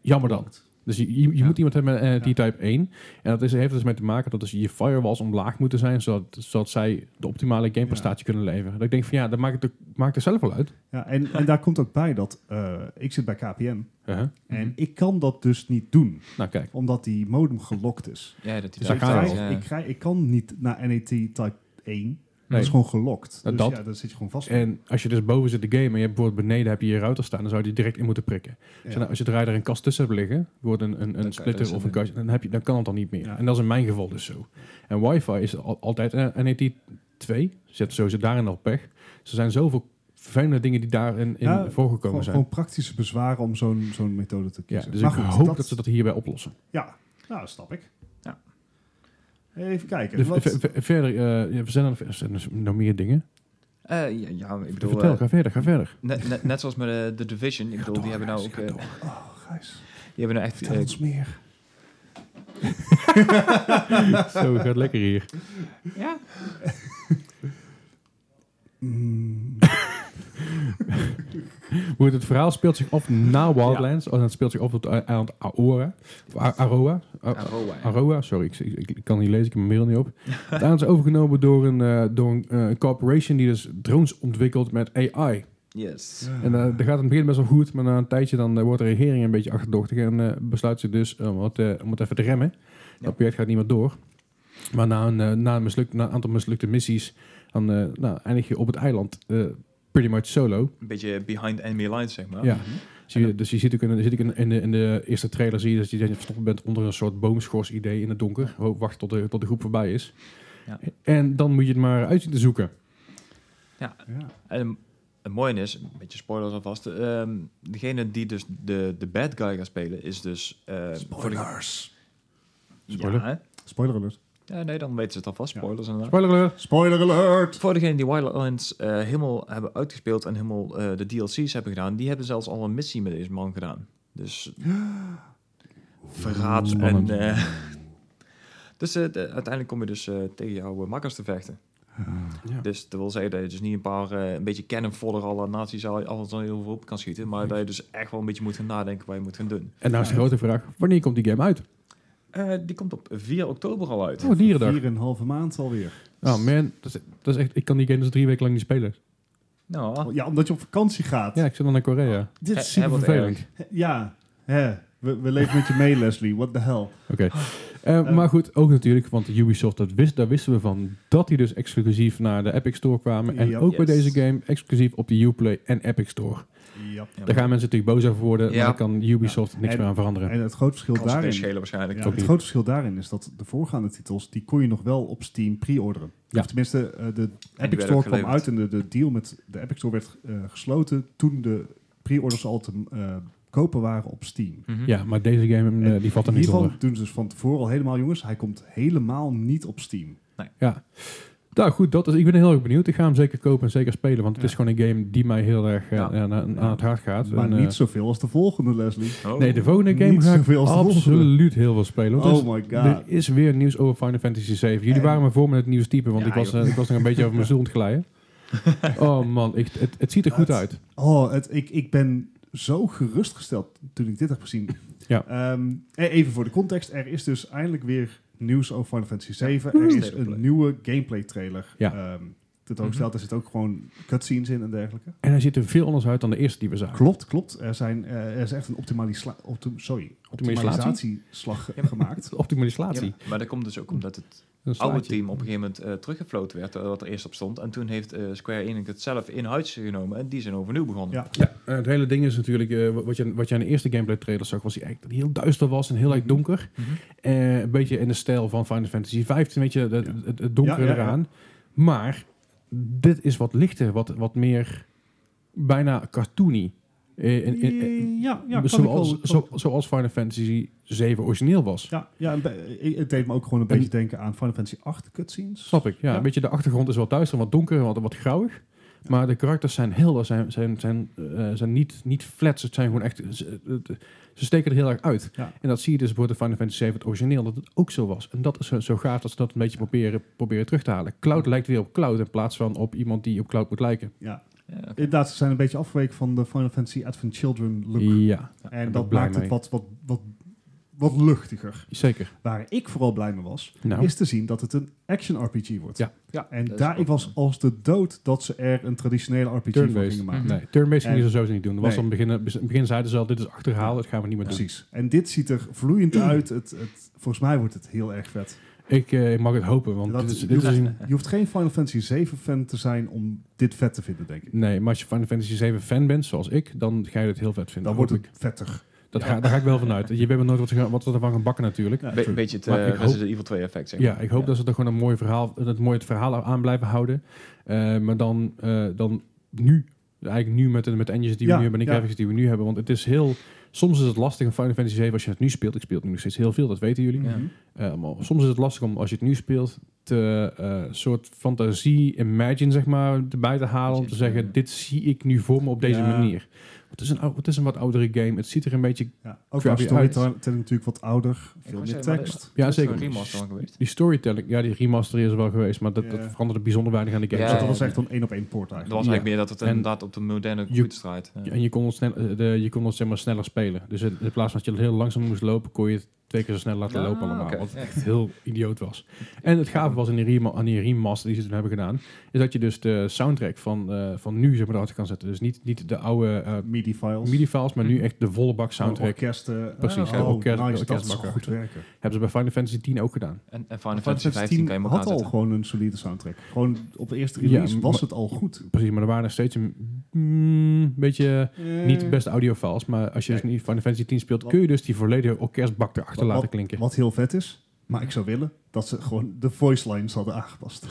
Speaker 3: jammer dan. Dus je, je, je
Speaker 4: Ja.
Speaker 3: moet iemand hebben met die type 1. En dat is, heeft dus mee te maken dat dus je firewalls omlaag moeten zijn, zodat, zodat zij de optimale gameprestatie kunnen leveren. Dat ik denk van ja, dat maakt het, ook- maakt het zelf wel uit.
Speaker 1: ja, en, en daar komt ook bij dat eh, ik zit bij KPN.
Speaker 3: Uh-huh.
Speaker 1: En ik kan dat dus niet doen,
Speaker 3: Nou kijk,
Speaker 1: omdat die modem gelokt is.
Speaker 4: Ja, dat die
Speaker 3: Dus
Speaker 1: ik,
Speaker 3: daar ga je
Speaker 1: krijg,
Speaker 4: ja.
Speaker 1: ik, krijg- ik kan niet naar NAT type 1. Dat
Speaker 3: Nee.
Speaker 1: is gewoon gelokt.
Speaker 3: Nou,
Speaker 1: dus
Speaker 3: dat-
Speaker 1: ja, daar zit je gewoon vast.
Speaker 3: en als je dus boven zit te gamen en je hebt bijvoorbeeld beneden heb je je router staan, dan zou je die direct in moeten prikken.
Speaker 1: Ja.
Speaker 3: Als je nou- Als je er een kast tussen hebt liggen, wordt een, een,
Speaker 4: kan-
Speaker 3: een
Speaker 4: dat
Speaker 3: splitter
Speaker 4: is
Speaker 3: of
Speaker 4: een-
Speaker 3: een kastje, dan, heb je, dan kan het dan niet meer.
Speaker 1: Ja.
Speaker 3: En dat is in mijn geval dus zo. En wifi is al- altijd eh, NAT 2, zit sowieso daarin al pech. Dus er zijn zoveel vervelende dingen die daarin in
Speaker 1: Ja,
Speaker 3: voorgekomen
Speaker 1: gewoon,
Speaker 3: zijn.
Speaker 1: gewoon praktische bezwaren om zo'n zo'n methode te
Speaker 3: ja,
Speaker 1: kiezen.
Speaker 3: dus
Speaker 1: Maar
Speaker 3: ik
Speaker 1: goed,
Speaker 3: hoop dat... ze dat hierbij oplossen.
Speaker 1: Ja, nou, dat snap ik.
Speaker 4: Ja.
Speaker 1: Even kijken.
Speaker 3: Dus
Speaker 1: wat-
Speaker 3: ver- ver- verder, eh, ja, we zijn aan er zijn er nog meer dingen.
Speaker 4: Eh, ja, ja, ik bedoel,
Speaker 3: Vertel,
Speaker 4: eh,
Speaker 3: ga verder,
Speaker 1: <laughs>
Speaker 3: ga verder.
Speaker 4: net, net, net zoals met de, de Division, ik bedoel, die hebben nou ook, eh, die
Speaker 1: oh, Gijs,
Speaker 4: hebben nou echt,
Speaker 1: vertel
Speaker 4: eh,
Speaker 1: ons meer.
Speaker 3: Zo, gaat lekker hier.
Speaker 4: ja,
Speaker 1: Mm,
Speaker 3: Goed, het verhaal speelt zich af na Wildlands. En het speelt zich af op het eiland Aora. Of A- Aroa.
Speaker 1: Oh.
Speaker 3: A-
Speaker 4: Aroa, ja.
Speaker 3: Aroa, sorry, ik, ik, ik kan niet lezen, ik heb mijn mail niet op. Het eiland is overgenomen door een, eh, door een eh, corporation die dus drones ontwikkelt met AI.
Speaker 4: yes.
Speaker 3: En eh, dat gaat in het begin best wel goed, maar na een tijdje dan eh, wordt de regering een beetje achterdochtig en eh, besluit ze dus om het, eh, om het even te remmen.
Speaker 4: Ja.
Speaker 3: Dat project gaat niet meer door. Maar na een, eh, na een, misluk, na een aantal mislukte missies, dan eh, nou, eindig je op het eiland eh, pretty much solo.
Speaker 4: Een beetje behind enemy lines, zeg maar.
Speaker 3: Ja. Zie je, dus je ziet ook, in, zit ook in, in, de, in de eerste trailer zie je dat je dat je verstopt bent onder een soort boomschors idee in het donker. Ho- Wacht tot de, tot de groep voorbij is.
Speaker 4: Ja.
Speaker 3: En dan moet je het maar uit zien te zoeken.
Speaker 1: ja.
Speaker 4: En het mooie is, een beetje spoilers alvast, ehm, degene die dus de, de bad guy gaat spelen, is dus... eh, Voor de,
Speaker 1: Spoilers.
Speaker 3: Spoiler.
Speaker 4: Ja, hè?
Speaker 1: Spoiler alert.
Speaker 4: ja, nee, dan weten ze het alvast,
Speaker 1: Ja.
Speaker 4: spoilers inderdaad.
Speaker 3: Spoiler alert.
Speaker 1: Spoiler alert.
Speaker 4: Voor degenen die Wildlands eh, helemaal hebben uitgespeeld en helemaal eh, de DLC's hebben gedaan, die hebben zelfs al een missie met deze man gedaan.
Speaker 3: <gasps>
Speaker 4: Dus verraad en...
Speaker 3: Spannend.
Speaker 4: eh, <laughs> dus eh, de- uiteindelijk kom je dus eh, tegen jouw eh, makkers te vechten.
Speaker 3: Ja.
Speaker 4: Dus dat wil zeggen dat je dus niet een paar, eh, een beetje cannonvoller alle nazi's al- alles al heel veel op kan schieten, maar dat je dus echt wel een beetje moet gaan nadenken wat je moet gaan doen.
Speaker 3: En nou is de grote vraag, wanneer komt die game uit?
Speaker 4: Eh, die komt op 4 oktober al uit.
Speaker 3: Oh, dierendag.
Speaker 1: Vier en een halve maand alweer.
Speaker 3: Oh man, dat is, dat is echt, ik kan die game dus drie weken lang niet spelen.
Speaker 4: Nou,
Speaker 1: Oh, Ja, omdat je op vakantie gaat.
Speaker 3: Ah. Ja, ik zit dan naar Korea.
Speaker 1: Dit
Speaker 4: Eh,
Speaker 1: is
Speaker 4: eh,
Speaker 1: super
Speaker 4: wat
Speaker 3: Vervelend.
Speaker 4: erg.
Speaker 1: Hè, Ja, hè. We, we leven met je mee, Leslie. What the hell.
Speaker 3: Oké. Eh, maar goed, ook natuurlijk, want Ubisoft, dat wist, daar wisten we van dat die dus exclusief naar de Epic Store kwamen. En
Speaker 1: Ja.
Speaker 3: ook bij
Speaker 4: Yes.
Speaker 3: deze game exclusief op de Uplay en Epic Store.
Speaker 1: Ja.
Speaker 3: Daar gaan mensen natuurlijk boos over worden,
Speaker 4: Ja.
Speaker 3: maar daar kan Ubisoft niks
Speaker 1: En-
Speaker 3: meer aan veranderen.
Speaker 1: En het groot verschil
Speaker 4: kan ze geen
Speaker 1: daarin...
Speaker 4: schelen waarschijnlijk.
Speaker 1: Ja,
Speaker 3: Toch
Speaker 1: het
Speaker 3: niet.
Speaker 1: grote verschil daarin is dat de voorgaande titels, die kon je nog wel op Steam pre-orderen.
Speaker 3: Ja.
Speaker 1: Of tenminste, eh, de Epic
Speaker 4: werden
Speaker 1: Store
Speaker 4: ook
Speaker 1: kwam
Speaker 4: geleverd.
Speaker 1: uit en de, de deal met de Epic Store werd eh, gesloten toen de pre-orders al te eh, kopen waren op Steam.
Speaker 4: Mhm.
Speaker 3: ja, maar deze game eh,
Speaker 1: En
Speaker 3: die valt er niet onder.
Speaker 1: Hiervan doen ze dus van tevoren al helemaal, jongens, hij komt helemaal niet op Steam.
Speaker 3: Ja. Nou goed, dat is, ik ben heel erg benieuwd. Ik ga hem zeker kopen en zeker spelen, want het
Speaker 1: Ja.
Speaker 3: is gewoon een game die mij heel erg eh,
Speaker 4: Ja.
Speaker 3: aan, aan- aan het hart gaat.
Speaker 1: Maar
Speaker 3: En, eh,
Speaker 1: niet zoveel als de volgende, Leslie.
Speaker 4: Oh.
Speaker 3: nee, de volgende
Speaker 1: Niet
Speaker 3: game ga ik
Speaker 1: zoveel als de
Speaker 3: absoluut heel veel spelen. want er is-
Speaker 1: Oh my god.
Speaker 3: Er is weer nieuws over Final Fantasy VII. Jullie
Speaker 1: En-
Speaker 3: waren me voor met het nieuws typen, want
Speaker 4: Ja,
Speaker 3: ik, was,
Speaker 4: joh.
Speaker 3: eh, ik was nog een beetje
Speaker 4: <laughs>
Speaker 3: over mijn stoel aan het glijden. oh man, ik, het, het ziet er goed
Speaker 1: Het-
Speaker 3: uit.
Speaker 1: Oh, het, ik, ik ben zo gerustgesteld toen ik dit heb gezien.
Speaker 3: <laughs> Ja.
Speaker 1: Ehm, e- even voor de context. Er is dus eindelijk weer nieuws over Final Fantasy VII. er is
Speaker 4: State of
Speaker 1: een
Speaker 4: Play.
Speaker 1: nieuwe gameplay trailer.
Speaker 3: Ja. Mhm.
Speaker 1: Ehm, tentoongesteld. Er zitten ook gewoon cutscenes in en dergelijke.
Speaker 3: En hij ziet er veel anders uit dan de eerste die we zagen.
Speaker 1: Klopt, klopt. Er, zijn, eh, er is echt een optimalisla- optim- sorry,
Speaker 3: Optimalisatie?
Speaker 1: optimalisatieslag ge- gemaakt.
Speaker 3: <laughs> Optimalisatie.
Speaker 4: Ja, maar dat komt dus ook omdat het
Speaker 3: Hm. Een
Speaker 4: oude
Speaker 3: slaatje. Hm.
Speaker 4: team op een gegeven moment eh teruggefloten werd, eh, wat er eerst op stond. En toen heeft eh, Square Enix het zelf in huis genomen en die zijn overnieuw begonnen.
Speaker 1: Ja.
Speaker 3: Ja, eh, het hele ding is natuurlijk, eh, wat, je, wat je aan de eerste gameplay trailer zag, was die echt dat die heel duister was en heel erg donker.
Speaker 4: Mhm.
Speaker 3: Eh, een beetje in de stijl van Final Fantasy XV, weet je, dat-
Speaker 1: Ja.
Speaker 3: het, het donkere
Speaker 1: Ja, ja, ja.
Speaker 3: eraan. Maar dit is wat lichter, wat, wat meer bijna cartoony. Eh, en- en- en-
Speaker 1: ja, ja, kan ik wel-
Speaker 3: zoals,
Speaker 1: kan ik
Speaker 3: zo- zoals Final Fantasy VII origineel was.
Speaker 1: Ja, ja en be- eh, het deed me ook gewoon een
Speaker 3: En-
Speaker 1: beetje denken aan Final Fantasy 8 cutscenes.
Speaker 3: Snap ik, ja.
Speaker 1: Ja.
Speaker 3: Een beetje de achtergrond is wat duister, wat donker, en wat, wat grauwig. Maar de karakters zijn helder, zijn, zijn, zijn, eh, zijn niet, niet flats. Het zijn gewoon echt... Ze, het- ze steken er heel erg uit.
Speaker 1: Ja.
Speaker 3: En dat zie je dus bijvoorbeeld in Final Fantasy VII, het origineel, dat het ook zo was. En dat is zo, zo gaaf dat ze dat een beetje proberen, proberen terug te halen. Cloud lijkt weer op Cloud in plaats van op iemand die op Cloud moet lijken.
Speaker 4: Ja, oké.
Speaker 1: Inderdaad, ze zijn een beetje afgeweken van de Final Fantasy Advent Children look.
Speaker 3: Ja,
Speaker 1: en
Speaker 3: ik ben
Speaker 1: dat
Speaker 3: blij
Speaker 1: maakt het
Speaker 3: mee.
Speaker 1: wat, wat, wat, wat luchtiger.
Speaker 3: zeker.
Speaker 1: Waar ik vooral blij mee was,
Speaker 3: Nou,
Speaker 1: is te zien dat het een action RPG wordt.
Speaker 3: Ja.
Speaker 4: Ja,
Speaker 1: En
Speaker 4: dat is
Speaker 1: daar, ik
Speaker 4: ook-
Speaker 1: was als de dood dat ze er een traditionele RPG van
Speaker 3: Turn-based.
Speaker 1: gingen maken.
Speaker 2: Mhm.
Speaker 3: nee, turn-based
Speaker 1: En-
Speaker 3: gingen ze sowieso niet doen. Dat was
Speaker 1: Nee.
Speaker 3: dan begin, in het begin zeiden ze al, dit is achterhaald, dat gaan we niet meer doen.
Speaker 1: Precies. En dit ziet er vloeiend uit. Het, het, volgens mij wordt het heel erg vet.
Speaker 3: Ik eh, mag het hopen, want
Speaker 1: Dat
Speaker 3: dit
Speaker 1: is-
Speaker 3: is, dit is een...
Speaker 1: Je hoeft geen Final Fantasy 7 fan te zijn om dit vet te vinden, denk ik.
Speaker 3: Nee, maar als je Final Fantasy 7 fan bent, zoals ik, dan ga je het heel vet vinden.
Speaker 1: Dan wordt
Speaker 3: Hoop
Speaker 1: het vetter.
Speaker 3: ik. Dat ga, daar ga ik wel van uit. Je weet maar nooit wat, ze gaan- wat ze ervan gaan bakken natuurlijk.
Speaker 1: Ja,
Speaker 4: Be- een beetje het
Speaker 3: Maar
Speaker 4: eh,
Speaker 3: ik hoop-
Speaker 4: Resident Evil 2 effect, zeg
Speaker 3: Ja,
Speaker 4: maar.
Speaker 3: ik hoop dat ze er gewoon een mooi verhaal, dat mooi het verhaal aan blijven houden. Eh, maar dan, eh, dan nu, eigenlijk nu met de met de engines die we
Speaker 1: Ja,
Speaker 3: nu hebben en de
Speaker 1: ja.
Speaker 3: graphics die we nu hebben. Want het is heel, soms is het lastig in Final Fantasy 7 als je het nu speelt. Ik speel het nu nog steeds heel veel, dat weten jullie.
Speaker 4: Ja.
Speaker 3: Eh, maar soms is het lastig om als je het nu speelt te eh, soort fantasie, imagine zeg maar, erbij te halen om te zeggen dit zie ik nu voor me op deze
Speaker 1: Ja.
Speaker 3: manier. Het is, een, ou- het is een wat oudere game. Het ziet er een beetje...
Speaker 1: Ja, ook qua
Speaker 3: Crappy
Speaker 1: storytelling natuurlijk wat ouder.
Speaker 4: Ik
Speaker 1: Veel
Speaker 4: wou
Speaker 1: meer
Speaker 4: zeggen, maar dat-
Speaker 1: tekst.
Speaker 3: Ja,
Speaker 4: dat is
Speaker 3: zeker.
Speaker 4: een remaster dan geweest.
Speaker 3: Die storytelling, ja, die remaster is er wel geweest, maar dat,
Speaker 1: Ja.
Speaker 3: dat veranderde bijzonder weinig aan de game.
Speaker 4: Ja,
Speaker 1: Dus dat
Speaker 4: ja,
Speaker 1: was
Speaker 4: ja.
Speaker 1: echt een één op één poort
Speaker 4: Dat
Speaker 1: eigenlijk.
Speaker 4: was eigenlijk meer dat het
Speaker 3: En-
Speaker 4: inderdaad op de moderne computers draait. Ja.
Speaker 3: En je kon het, snel, eh, de, je kon het zeg maar, sneller spelen. Dus in, in plaats van dat je het heel langzaam moest lopen, kon je het twee keer zo snel laten
Speaker 4: Ah,
Speaker 3: lopen allemaal.
Speaker 4: oké.
Speaker 3: Wat
Speaker 4: Ja.
Speaker 3: echt heel idioot was. En het gave was in die rema- aan die remaster die ze toen hebben gedaan, is dat je dus de soundtrack van, eh, van nu zeg maar, erachter kan zetten. Dus niet, niet de oude eh
Speaker 1: MIDI-files.
Speaker 3: MIDI-files, maar nu echt de volle bak soundtrack.
Speaker 1: Orkesten.
Speaker 3: Precies,
Speaker 1: Mm-hmm. Oh,
Speaker 3: de orkest-
Speaker 1: nice,
Speaker 3: de
Speaker 1: dat is
Speaker 3: orkestbakker.
Speaker 1: goed werken.
Speaker 3: Hebben ze bij Final Fantasy X ook gedaan.
Speaker 4: En, en Final Fantasy 15
Speaker 1: 10
Speaker 4: kan je hem ook
Speaker 1: had al
Speaker 4: aanzetten.
Speaker 1: gewoon een solide soundtrack. Gewoon op de eerste
Speaker 3: Ja,
Speaker 1: release
Speaker 3: maar-
Speaker 1: was het al goed.
Speaker 3: Precies, maar er waren nog steeds een mm, beetje niet de
Speaker 1: Eh.
Speaker 3: beste audiofiles. Maar als je dus
Speaker 1: Kijk.
Speaker 3: niet Final Fantasy X speelt, kun je dus die volledige orkestbak erachter
Speaker 1: Wat-
Speaker 3: laten klinken.
Speaker 1: Wat heel vet is. Maar ik zou willen dat ze gewoon de voice lines hadden aangepast.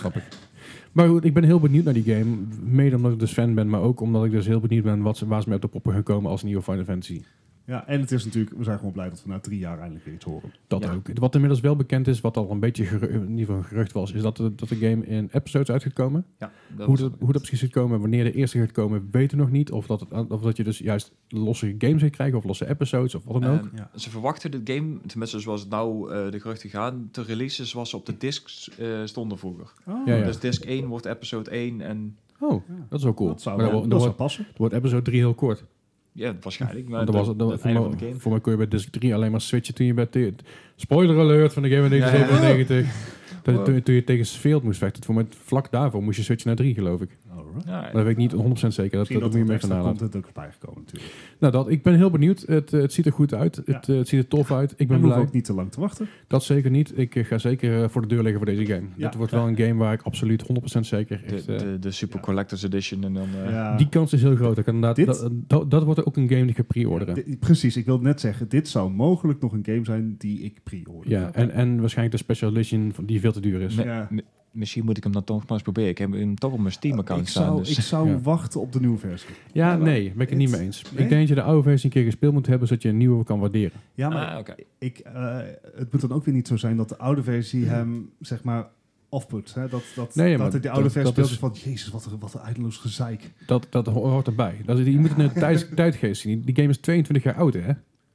Speaker 3: Maar goed, ik ben heel benieuwd naar die game. Mede omdat ik dus fan ben, maar ook omdat ik dus heel benieuwd ben wat ze, waar ze mee op de proppen gaan komen als nieuwe Final Fantasy.
Speaker 1: Ja, en het is natuurlijk, we zijn gewoon blij dat we na drie jaar eindelijk weer iets horen.
Speaker 3: Dat
Speaker 4: Ja.
Speaker 3: ook. Wat inmiddels wel bekend is, wat al een beetje geru- in ieder geval een gerucht was, is dat de, dat de game in episodes uitgekomen.
Speaker 4: Ja, dat
Speaker 3: hoe,
Speaker 4: was
Speaker 3: dat,
Speaker 4: ook-
Speaker 3: hoe dat precies gaat komen, wanneer de eerste gaat komen, weten we nog niet. Of dat, het- of dat je dus juist losse games gaat krijgen, of losse episodes, of wat dan ook.
Speaker 4: En
Speaker 1: Ja.
Speaker 4: Ehm, Ze verwachten de game, tenminste zoals het nou eh, de geruchten gaan, te releasen zoals ze op de discs eh, stonden vroeger.
Speaker 3: Ja, ja.
Speaker 4: Dus disc 1 wordt episode 1 en
Speaker 3: Oh,
Speaker 1: Ja.
Speaker 3: dat is wel cool.
Speaker 1: Dat zou,
Speaker 3: maar
Speaker 1: wel-
Speaker 3: dan,
Speaker 1: dat
Speaker 3: wordt- dan
Speaker 1: zou
Speaker 3: wordt,
Speaker 1: passen.
Speaker 3: dan wordt episode 3 heel kort.
Speaker 4: ja, waarschijnlijk. Maar
Speaker 3: Want dat
Speaker 4: Nou, de-
Speaker 3: was, het-
Speaker 4: het
Speaker 3: dat, voor,
Speaker 4: einde van de
Speaker 3: mij,
Speaker 4: game.
Speaker 3: voor mij kon je bij Disc 3 alleen maar switchen toen je bij... te- Spoiler alert van de game in
Speaker 4: <laughs>
Speaker 3: 1997. Dat je, toen, je- toen je tegen Sfield moest vechten. Voor mij, vlak daarvoor moest je switchen naar 3, geloof ik.
Speaker 1: Alright.
Speaker 4: Ja,
Speaker 3: Maar dat weet ik niet 100% zeker. Dat,
Speaker 1: Misschien dat,
Speaker 3: dat, moet je
Speaker 1: er
Speaker 3: mee
Speaker 1: extra
Speaker 3: gaan halen.
Speaker 1: content ook is bijgekomen natuurlijk.
Speaker 3: Nou, dat, ik ben heel benieuwd. Het, eh, het ziet er goed uit.
Speaker 1: Ja.
Speaker 3: Het, eh, het ziet er tof uit. Ik
Speaker 1: Ik ben
Speaker 3: ben
Speaker 1: we hoeven
Speaker 3: blij.
Speaker 1: ook niet te lang te wachten.
Speaker 3: Dat zeker niet. Ik eh, ga zeker eh, voor de deur liggen voor deze game.
Speaker 1: Ja.
Speaker 3: Dit wordt wel een game waar ik absoluut 100% zeker...
Speaker 4: de,
Speaker 3: Echt, eh,
Speaker 4: de, de Super
Speaker 1: ja.
Speaker 4: Collector's Edition en dan... eh,
Speaker 1: Ja.
Speaker 3: die kans is heel groot. Ik kan inderdaad,
Speaker 1: Dit-
Speaker 3: dat, eh, dat, dat wordt ook een game die ik ga pre-orderen.
Speaker 1: Di- precies, ik wil net zeggen, dit zou mogelijk nog een game zijn die ik pre-order.
Speaker 3: Ja, en, en waarschijnlijk de Special Edition van- die veel te duur is.
Speaker 4: Nee.
Speaker 1: Ja.
Speaker 4: mi- misschien moet ik hem dan toch maar eens proberen. Ik heb hem toch op mijn
Speaker 3: Oh,
Speaker 4: Steam-account
Speaker 1: Ik
Speaker 4: staan.
Speaker 1: zou,
Speaker 4: Dus.
Speaker 1: ik zou
Speaker 3: Ja.
Speaker 1: wachten op de nieuwe versie.
Speaker 3: Ja,
Speaker 1: Ja, maar
Speaker 3: nee, ben ik het niet
Speaker 1: het-
Speaker 3: mee eens.
Speaker 1: nee?
Speaker 3: Ik denk dat je de oude versie een keer gespeeld moet hebben, zodat je een nieuwe kan waarderen.
Speaker 1: Ja, maar
Speaker 4: Ah, oké.
Speaker 1: ik, eh, het moet dan ook weer niet zo zijn dat de oude versie hem, zeg maar, afput. Hè? Dat, dat,
Speaker 3: Nee, maar
Speaker 1: dat het de
Speaker 3: dat-
Speaker 1: oude versie
Speaker 3: dat
Speaker 1: speelt is van, jezus, wat een, wat een eindeloos gezeik.
Speaker 3: Dat, dat ho- hoort erbij. Dat, is- je moet het in
Speaker 1: <laughs>
Speaker 3: de tijd, tijdgeest zien. Die game is 22 jaar oud, hè?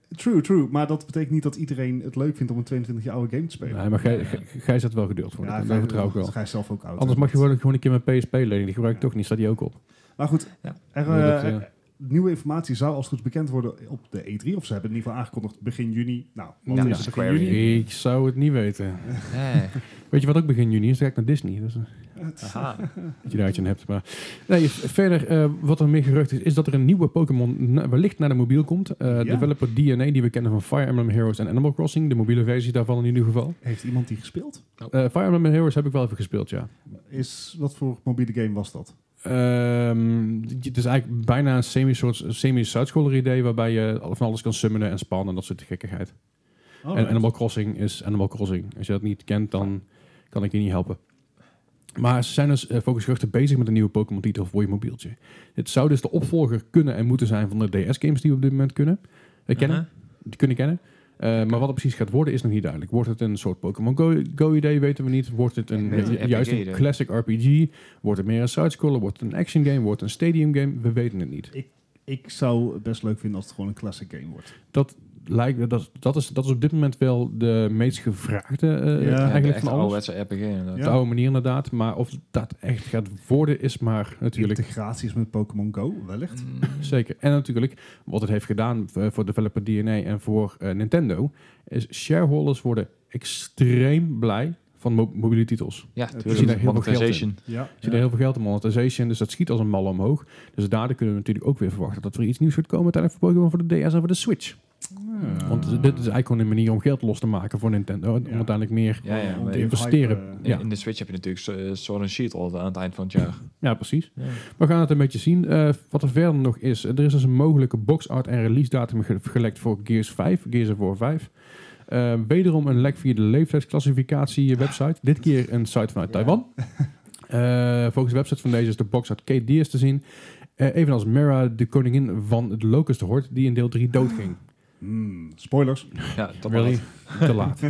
Speaker 1: True, true. Maar dat betekent niet dat iedereen het leuk vindt om een 22 jaar oude game te spelen.
Speaker 3: Nee, maar Gij- Gij Gij zat wel geduld voor.
Speaker 1: Ja,
Speaker 3: dat
Speaker 1: ga-
Speaker 3: vertrouw ik wel.
Speaker 1: ga je zelf ook oud.
Speaker 3: Anders
Speaker 1: hè?
Speaker 3: mag je gewoon, gewoon een keer mijn PSP lenen. Die gebruik ik
Speaker 1: Ja.
Speaker 3: toch niet, staat die ook op.
Speaker 1: Maar goed,
Speaker 4: Ja.
Speaker 1: er,
Speaker 3: Ja, dat,
Speaker 1: eh,
Speaker 3: ja.
Speaker 1: nieuwe informatie zou als het goed is bekend worden op de E3. Of ze hebben in ieder geval aangekondigd begin juni. Nou, wat
Speaker 4: Ja,
Speaker 1: is
Speaker 4: dat
Speaker 1: het
Speaker 4: is
Speaker 1: begin
Speaker 4: aquarium.
Speaker 1: juni?
Speaker 3: Ik zou het niet weten.
Speaker 4: Nee.
Speaker 3: Weet je wat ook begin juni is? Dan ga ik naar Disney. Dus, eh,
Speaker 4: Aha.
Speaker 3: <laughs> dat je daar iets aan hebt. Maar nee, verder, eh, wat er meer gerucht is, is dat er een nieuwe Pokémon na- wellicht naar de mobiel komt. Eh,
Speaker 1: Ja.
Speaker 3: Developer DNA, die we kennen van Fire Emblem Heroes en Animal Crossing. De mobiele versie daarvan in ieder geval.
Speaker 1: Heeft iemand die gespeeld?
Speaker 3: Eh, Fire Emblem Heroes heb ik wel even gespeeld, ja.
Speaker 1: Is, wat voor mobiele game was dat?
Speaker 3: Ehm, het is eigenlijk bijna een semi-soort semi-sidescroller idee waarbij je van alles kan summonen en spannen en dat soort gekkigheid.
Speaker 4: Oh,
Speaker 3: en Animal Crossing is Animal Crossing. Als je dat niet kent, dan kan ik je niet helpen. Maar ze zijn dus eh, volgens geruchten bezig met een nieuwe Pokémon titel voor je mobieltje. Dit zou dus de opvolger kunnen en moeten zijn van de DS-games die we op dit moment kunnen, eh, kennen,
Speaker 4: Aha.
Speaker 3: die kunnen kennen. Eh, Maar wat het precies gaat worden is nog niet duidelijk. Wordt het een soort Pokémon Go- Go-idee, weten we niet. Wordt het een,
Speaker 4: Een beetje
Speaker 3: ju- juist
Speaker 4: RPG
Speaker 3: een
Speaker 4: dan.
Speaker 3: classic RPG? Wordt het meer een sidescroller? Wordt het een action game? Wordt het een stadium game? We weten het niet.
Speaker 1: Ik zou het best leuk vinden als het gewoon een classic game wordt.
Speaker 3: Lijkt, me- dat, dat, is, dat is op dit moment wel de meest gevraagde eh,
Speaker 1: Ja,
Speaker 4: Ja, de
Speaker 3: eigenlijk
Speaker 4: echte
Speaker 3: van alles.
Speaker 4: ouderwetse RPG inderdaad.
Speaker 1: Ja.
Speaker 3: Op de oude manier inderdaad. Maar of dat echt gaat worden is maar natuurlijk
Speaker 1: Integraties met Pokémon Go, wellicht.
Speaker 4: Mm,
Speaker 3: Zeker. En natuurlijk, wat het heeft gedaan eh, voor developer DNA en voor eh, Nintendo, is shareholders worden extreem blij van mo- mobiele titels. Ze
Speaker 4: Ja,
Speaker 1: we zien
Speaker 3: daar
Speaker 4: tuurlijk.
Speaker 3: heel veel geld in.
Speaker 4: Monetization.
Speaker 1: Ja.
Speaker 3: zien er heel veel geld in monetization, dus dat schiet als een mal omhoog. Dus daardoor kunnen we natuurlijk ook weer verwachten dat er iets nieuws gaat komen tijdens voor Pokémon voor de DS en voor de Switch.
Speaker 1: Ja.
Speaker 3: Want dit is eigenlijk gewoon een manier om geld los te maken voor Nintendo, en om
Speaker 1: Ja.
Speaker 3: uiteindelijk meer...
Speaker 4: Ja, ja.
Speaker 1: Om
Speaker 4: maar
Speaker 1: de
Speaker 4: in,
Speaker 3: investeren.
Speaker 1: hype, eh,
Speaker 3: Ja.
Speaker 4: in de Switch heb je natuurlijk eh, Sword and Shield al aan het eind van het jaar.
Speaker 3: Ja, precies.
Speaker 4: Ja.
Speaker 3: We gaan het een beetje zien. Eh, wat er verder nog is, er is dus een mogelijke box art en release datum ge- gelekt voor Gears 5, Gears of War 5. Eh, wederom een lek via de leeftijdsclassificatie website. Dit keer een site vanuit
Speaker 4: Ja.
Speaker 3: Taiwan. Eh, volgens de website van deze is de box art Kate Diaz te zien. Eh, evenals Mera, de koningin van het Locust Horde, die in deel 3
Speaker 4: Ah,
Speaker 3: doodging.
Speaker 1: mm, spoilers.
Speaker 4: Ja, dat
Speaker 3: Really? Te laat.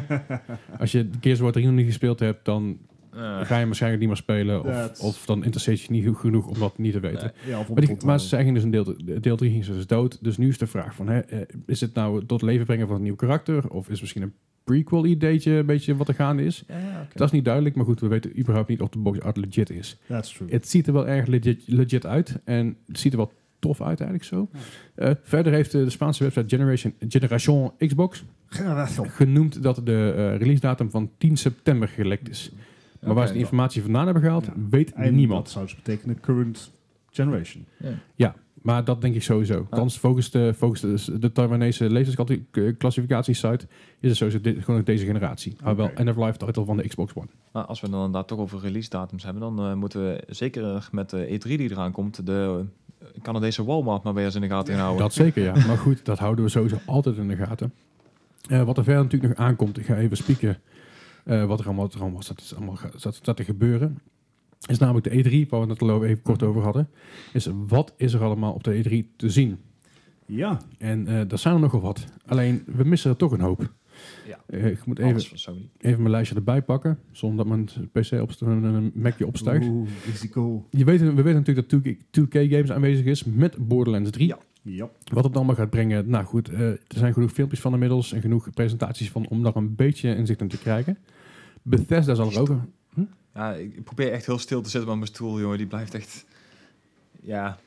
Speaker 3: Als je Gears of War 3 nog niet gespeeld hebt, dan
Speaker 4: Eh,
Speaker 3: ga je hem waarschijnlijk niet meer spelen.
Speaker 1: Ja,
Speaker 3: Of,
Speaker 1: het-
Speaker 3: of dan interesseert je niet goed genoeg om dat niet te weten.
Speaker 4: Nee.
Speaker 1: Ja, of om eh,
Speaker 3: Maar,
Speaker 1: te
Speaker 3: die, maar ze
Speaker 1: onthouden.
Speaker 3: zijn dus in deel, deel 3 ging ze dus dood. Dus nu is de vraag van, hè, eh, is het nou tot leven brengen van een nieuw karakter? Of is het misschien een prequel ideetje een beetje wat er gaande is?
Speaker 4: ja, oké.
Speaker 3: Dat is niet duidelijk, maar goed, we weten überhaupt niet of de box art legit is.
Speaker 1: That's true.
Speaker 3: Het ziet er wel erg legit, legit uit en het ziet er wel tof uit eigenlijk zo. Eh, verder heeft eh, de Spaanse website Generation, Generation Xbox
Speaker 1: Generatie.
Speaker 3: genoemd dat de eh release datum van 10 september gelekt is. Maar waar
Speaker 4: Oké.
Speaker 3: ze de informatie vandaan hebben gehaald,
Speaker 1: Ja.
Speaker 3: weet
Speaker 1: En
Speaker 3: niemand.
Speaker 1: dat zou dus betekenen current generation.
Speaker 3: Maar dat denk ik sowieso. Althans, focust, de, focust dus de, de Taiwanese lezersclassificatiesite is het sowieso dit- gewoon deze generatie. Maar wel
Speaker 1: Oké.
Speaker 3: end-of-life title van de Xbox One.
Speaker 4: Maar als we dan inderdaad toch over release datums hebben, dan eh, moeten we zeker met de E3 die eraan komt, de eh, Canadese Walmart maar weer eens in de gaten gaan houden.
Speaker 3: Dat zeker, ja. Maar goed, dat houden we sowieso altijd in de gaten. Eh, wat er verder natuurlijk nog aankomt, ik ga even spieken eh, wat er allemaal, wat er allemaal, staat, allemaal gaat- staat, staat te gebeuren. Is namelijk de E3, waar we het al even kort over hadden. Is wat is er allemaal op de E3 te zien?
Speaker 1: Ja,
Speaker 3: En eh daar zijn er nogal wat. Alleen, we missen er toch een hoop.
Speaker 4: Ja.
Speaker 3: Eh, ik moet even,
Speaker 4: Alles van Sony.
Speaker 3: even mijn lijstje erbij pakken, zonder dat mijn PC op een Macje opstuigt.
Speaker 1: Oeh, risico.
Speaker 3: Je weet, we weten natuurlijk dat 2K, 2K Games aanwezig is met Borderlands 3.
Speaker 1: Ja. Ja.
Speaker 3: Wat het allemaal gaat brengen, nou goed, eh, er zijn genoeg filmpjes van inmiddels en genoeg presentaties van om daar een beetje inzicht in te krijgen. Bethesda zal er ook. een-
Speaker 4: Ja, ik ik probeer echt heel stil te zitten, maar mijn stoel, jongen, die blijft echt... Ja,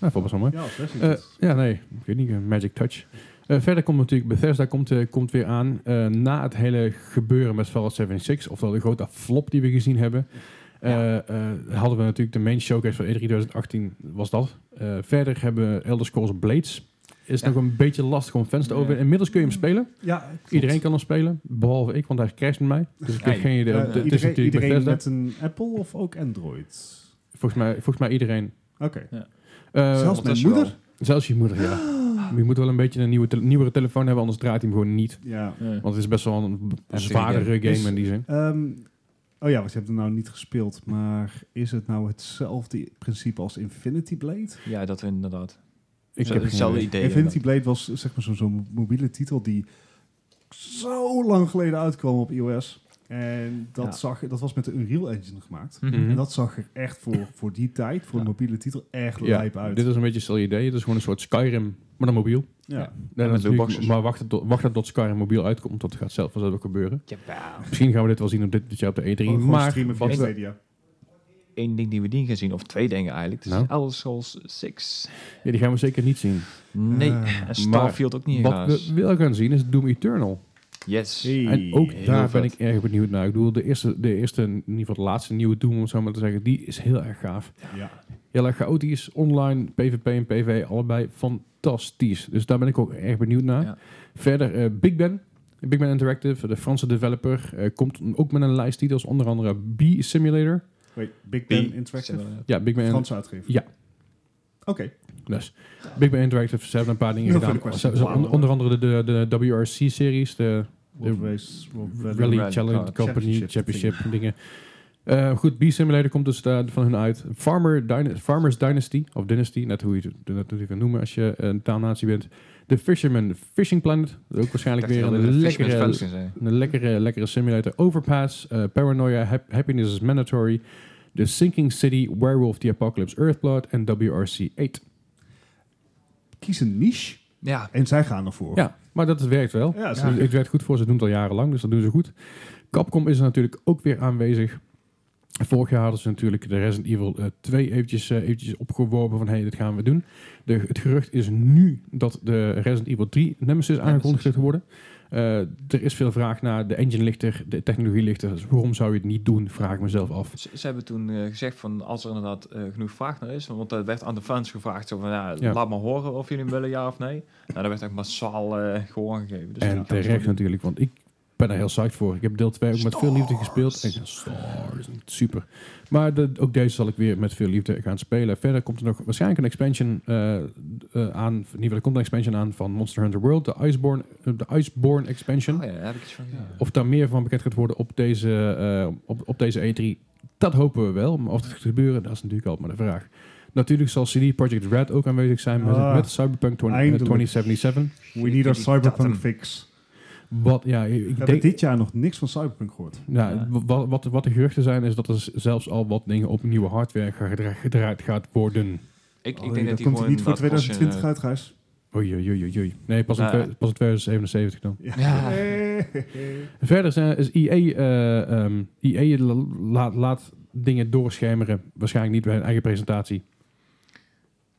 Speaker 3: Nou, volgens mij.
Speaker 1: Ja, als
Speaker 3: Eh, ja, nee, ik weet niet, een magic touch. Eh, verder komt natuurlijk Bethesda komt, eh, komt weer aan eh, na het hele gebeuren met Fallout 76, oftewel de grote flop die we gezien hebben. eh, eh, hadden we natuurlijk de main showcase van E E3 2018, was dat. Eh, verder hebben we Elder Scrolls Blades. Is
Speaker 4: Ja.
Speaker 3: nog een beetje lastig om fans te
Speaker 4: Ja.
Speaker 3: over. Inmiddels kun je hem spelen.
Speaker 1: ja, klopt.
Speaker 3: Iedereen kan hem spelen, behalve ik, want hij crasht met mij. Dus ik heb
Speaker 4: Ja,
Speaker 3: geen idee.
Speaker 1: Eh,
Speaker 3: Het is
Speaker 1: iedereen
Speaker 3: natuurlijk
Speaker 1: iedereen
Speaker 3: Bethesda.
Speaker 1: met een Apple of ook Android?
Speaker 3: Volgens, mij, volgens mij iedereen.
Speaker 1: Oké.
Speaker 3: Eh,
Speaker 1: Zelfs mijn
Speaker 4: ondertussen
Speaker 1: moeder?
Speaker 3: zelfs je moeder, ja. Maar je moet wel een beetje een nieuwe tele- nieuwere telefoon hebben, anders draait hij hem gewoon niet.
Speaker 1: Ja.
Speaker 4: wel.
Speaker 3: Want het is best wel een, een
Speaker 4: Heftige
Speaker 3: zwaardere game.
Speaker 1: game.
Speaker 3: in die zin.
Speaker 1: Ehm, oh ja, want je hebt hem nou niet gespeeld. Maar is het nou hetzelfde principe als Infinity Blade?
Speaker 4: Ja, dat inderdaad.
Speaker 3: Ik
Speaker 4: Zo-
Speaker 3: heb
Speaker 4: hetzelfde
Speaker 3: geen idee.
Speaker 4: idee.
Speaker 1: Infinity
Speaker 4: inderdaad.
Speaker 1: Blade was zeg maar zo'n zo'n mobiele titel die zo lang geleden uitkwam op iOS. En dat,
Speaker 4: Ja.
Speaker 1: zag, dat was met de Unreal Engine gemaakt.
Speaker 3: Mhm.
Speaker 1: En dat zag er echt voor, voor die tijd, voor een mobiele titel, echt lijp
Speaker 3: Ja,
Speaker 1: uit.
Speaker 3: dit is een beetje hetzelfde idee. Het is gewoon een soort Skyrim, maar dan mobiel.
Speaker 1: ja.
Speaker 3: Nee,
Speaker 4: met
Speaker 3: natuurlijk,
Speaker 4: lootboxes.
Speaker 3: maar wachten tot, wachten tot Skyrim mobiel uitkomt. Dat gaat zelf vanzelf ook gebeuren.
Speaker 4: Jawel.
Speaker 3: Misschien gaan we dit wel zien op dit, dit jaar op de E3.
Speaker 1: Oh, Gewoon
Speaker 3: maar
Speaker 1: streamen via
Speaker 3: wat we,
Speaker 1: Stadia.
Speaker 4: één ding die we niet gaan zien, of twee dingen eigenlijk. Dus
Speaker 3: Nou?
Speaker 4: Elder Scrolls 6.
Speaker 3: Ja, die gaan we zeker niet zien.
Speaker 4: Nee,
Speaker 1: Eh,
Speaker 4: en Starfield ook niet
Speaker 3: Ah, Wat
Speaker 4: helaas.
Speaker 3: we wel gaan zien is Doom Eternal.
Speaker 4: Yes.
Speaker 1: Hey.
Speaker 3: En ook
Speaker 4: Heel
Speaker 3: daar ben
Speaker 4: vet.
Speaker 3: ik erg benieuwd naar. Ik bedoel, de eerste, de eerste, in ieder geval de laatste nieuwe Doom, om het zo maar te zeggen, die is heel erg gaaf.
Speaker 1: Ja.
Speaker 3: Heel erg chaotisch, online, PvP en PvE, allebei fantastisch. Dus daar ben ik ook erg benieuwd naar.
Speaker 4: Ja.
Speaker 3: Verder eh, Big Ben, Big Ben Interactive, de Franse developer, eh, komt ook met een lijst titels, onder andere B-Simulator.
Speaker 1: Wait, Big Ben
Speaker 4: Die-
Speaker 1: Interactive?
Speaker 3: Ja, Big Ben
Speaker 1: Franse uitgever?
Speaker 3: Ja.
Speaker 1: Oké.
Speaker 3: Dus Big Bang Interactive, ze hebben een paar dingen
Speaker 1: No
Speaker 3: gedaan.
Speaker 1: further
Speaker 3: Ze- ze-
Speaker 1: questions.
Speaker 3: onder, onder andere de, de, de WRC-series, de
Speaker 1: World Race, World
Speaker 3: Rally,
Speaker 1: Rally.
Speaker 4: Rally
Speaker 3: Challenge
Speaker 4: Car-
Speaker 3: Company,
Speaker 1: Championship
Speaker 3: Championship dingen. Eh, goed, B-Simulator komt dus daar van hun uit. Farmer Dyna- Farmers Dynasty, of Dynasty, net hoe je het net hoe je het kan noemen als je een taalnatie bent. The Fisherman Fishing Planet, ook waarschijnlijk weer een lekkere, een lekkere, lekkere simulator. Overpass, eh, Paranoia, Hap- Happiness is Mandatory, The Sinking City, Werewolf, The Apocalypse, Earthblood en WRC-8.
Speaker 1: Kies een niche
Speaker 4: Ja,
Speaker 1: en zij gaan ervoor.
Speaker 3: Ja, maar dat werkt wel.
Speaker 1: Ja,
Speaker 3: Dus
Speaker 1: zeker.
Speaker 3: Het werkt goed voor ze. Ze doen het al jarenlang, dus dat doen ze goed. Capcom is er natuurlijk ook weer aanwezig. Vorig jaar hadden ze natuurlijk de Resident Evil eh, 2 eventjes, eh, eventjes opgeworpen van... hé, hey, dit gaan we doen. De, het gerucht is nu dat de Resident Evil 3 Nemesis aangekondigd gaat worden. Eh, er is veel vraag naar. De engine ligt er, de technologie ligt er. Dus waarom zou je het niet doen, vraag ik mezelf af.
Speaker 4: ze, ze hebben toen eh, gezegd van als er inderdaad eh, genoeg vraag naar is, want dat werd aan de fans gevraagd zo van ja,
Speaker 3: Ja.
Speaker 4: laat maar horen of jullie hem willen ja of nee. Nou, dat werd echt massaal eh gehoor gegeven. Dus
Speaker 3: en
Speaker 4: ja,
Speaker 3: terecht natuurlijk, want ik ben er heel psyched voor. Ik heb deel 2 ook met veel liefde gespeeld. En,
Speaker 4: Stars.
Speaker 3: stars, super. Maar de- ook deze zal ik weer met veel liefde gaan spelen. Verder komt er nog waarschijnlijk een expansion eh, eh, aan. In ieder geval, er komt een expansion aan van Monster Hunter World. De Iceborne, eh, de Iceborne expansion.
Speaker 4: Oh ja, daar heb ik iets van gezien.
Speaker 3: Of daar meer van bekend gaat worden op deze, eh, op, op deze E3, dat hopen we wel. Maar of dat gaat gebeuren, dat is natuurlijk altijd maar de vraag. Natuurlijk zal CD Projekt Red ook aanwezig zijn met,
Speaker 1: Ah,
Speaker 3: met Cyberpunk 20, eh,
Speaker 1: eindelijk.
Speaker 3: 2077.
Speaker 1: We need our
Speaker 4: Die datum.
Speaker 1: cyberpunk fix.
Speaker 3: Wat, ja, ik
Speaker 1: Ik heb
Speaker 3: denk...
Speaker 1: dit jaar nog niks van cyberpunk gehoord.
Speaker 3: Nou,
Speaker 4: Ja.
Speaker 3: wa- wa- wat, wat de geruchten zijn, is dat er z- zelfs al wat dingen op nieuwe hardware gedra- gedraaid gaat worden.
Speaker 4: Ik,
Speaker 1: Oh, dat
Speaker 4: ik denk dat, die
Speaker 1: komt er
Speaker 4: gewoon eh,
Speaker 1: niet voor
Speaker 4: inderdaad pas in,
Speaker 1: 2020 uit, Gijs.
Speaker 3: Oei, oei, oei, oei, oei. Nee, pas, in,
Speaker 4: Nou,
Speaker 3: twe- pas in 2077 dan.
Speaker 4: Ja.
Speaker 3: Verder zijn, is EA, eh, ehm, EA la- laat, laat dingen doorschemeren. Waarschijnlijk niet bij hun eigen presentatie.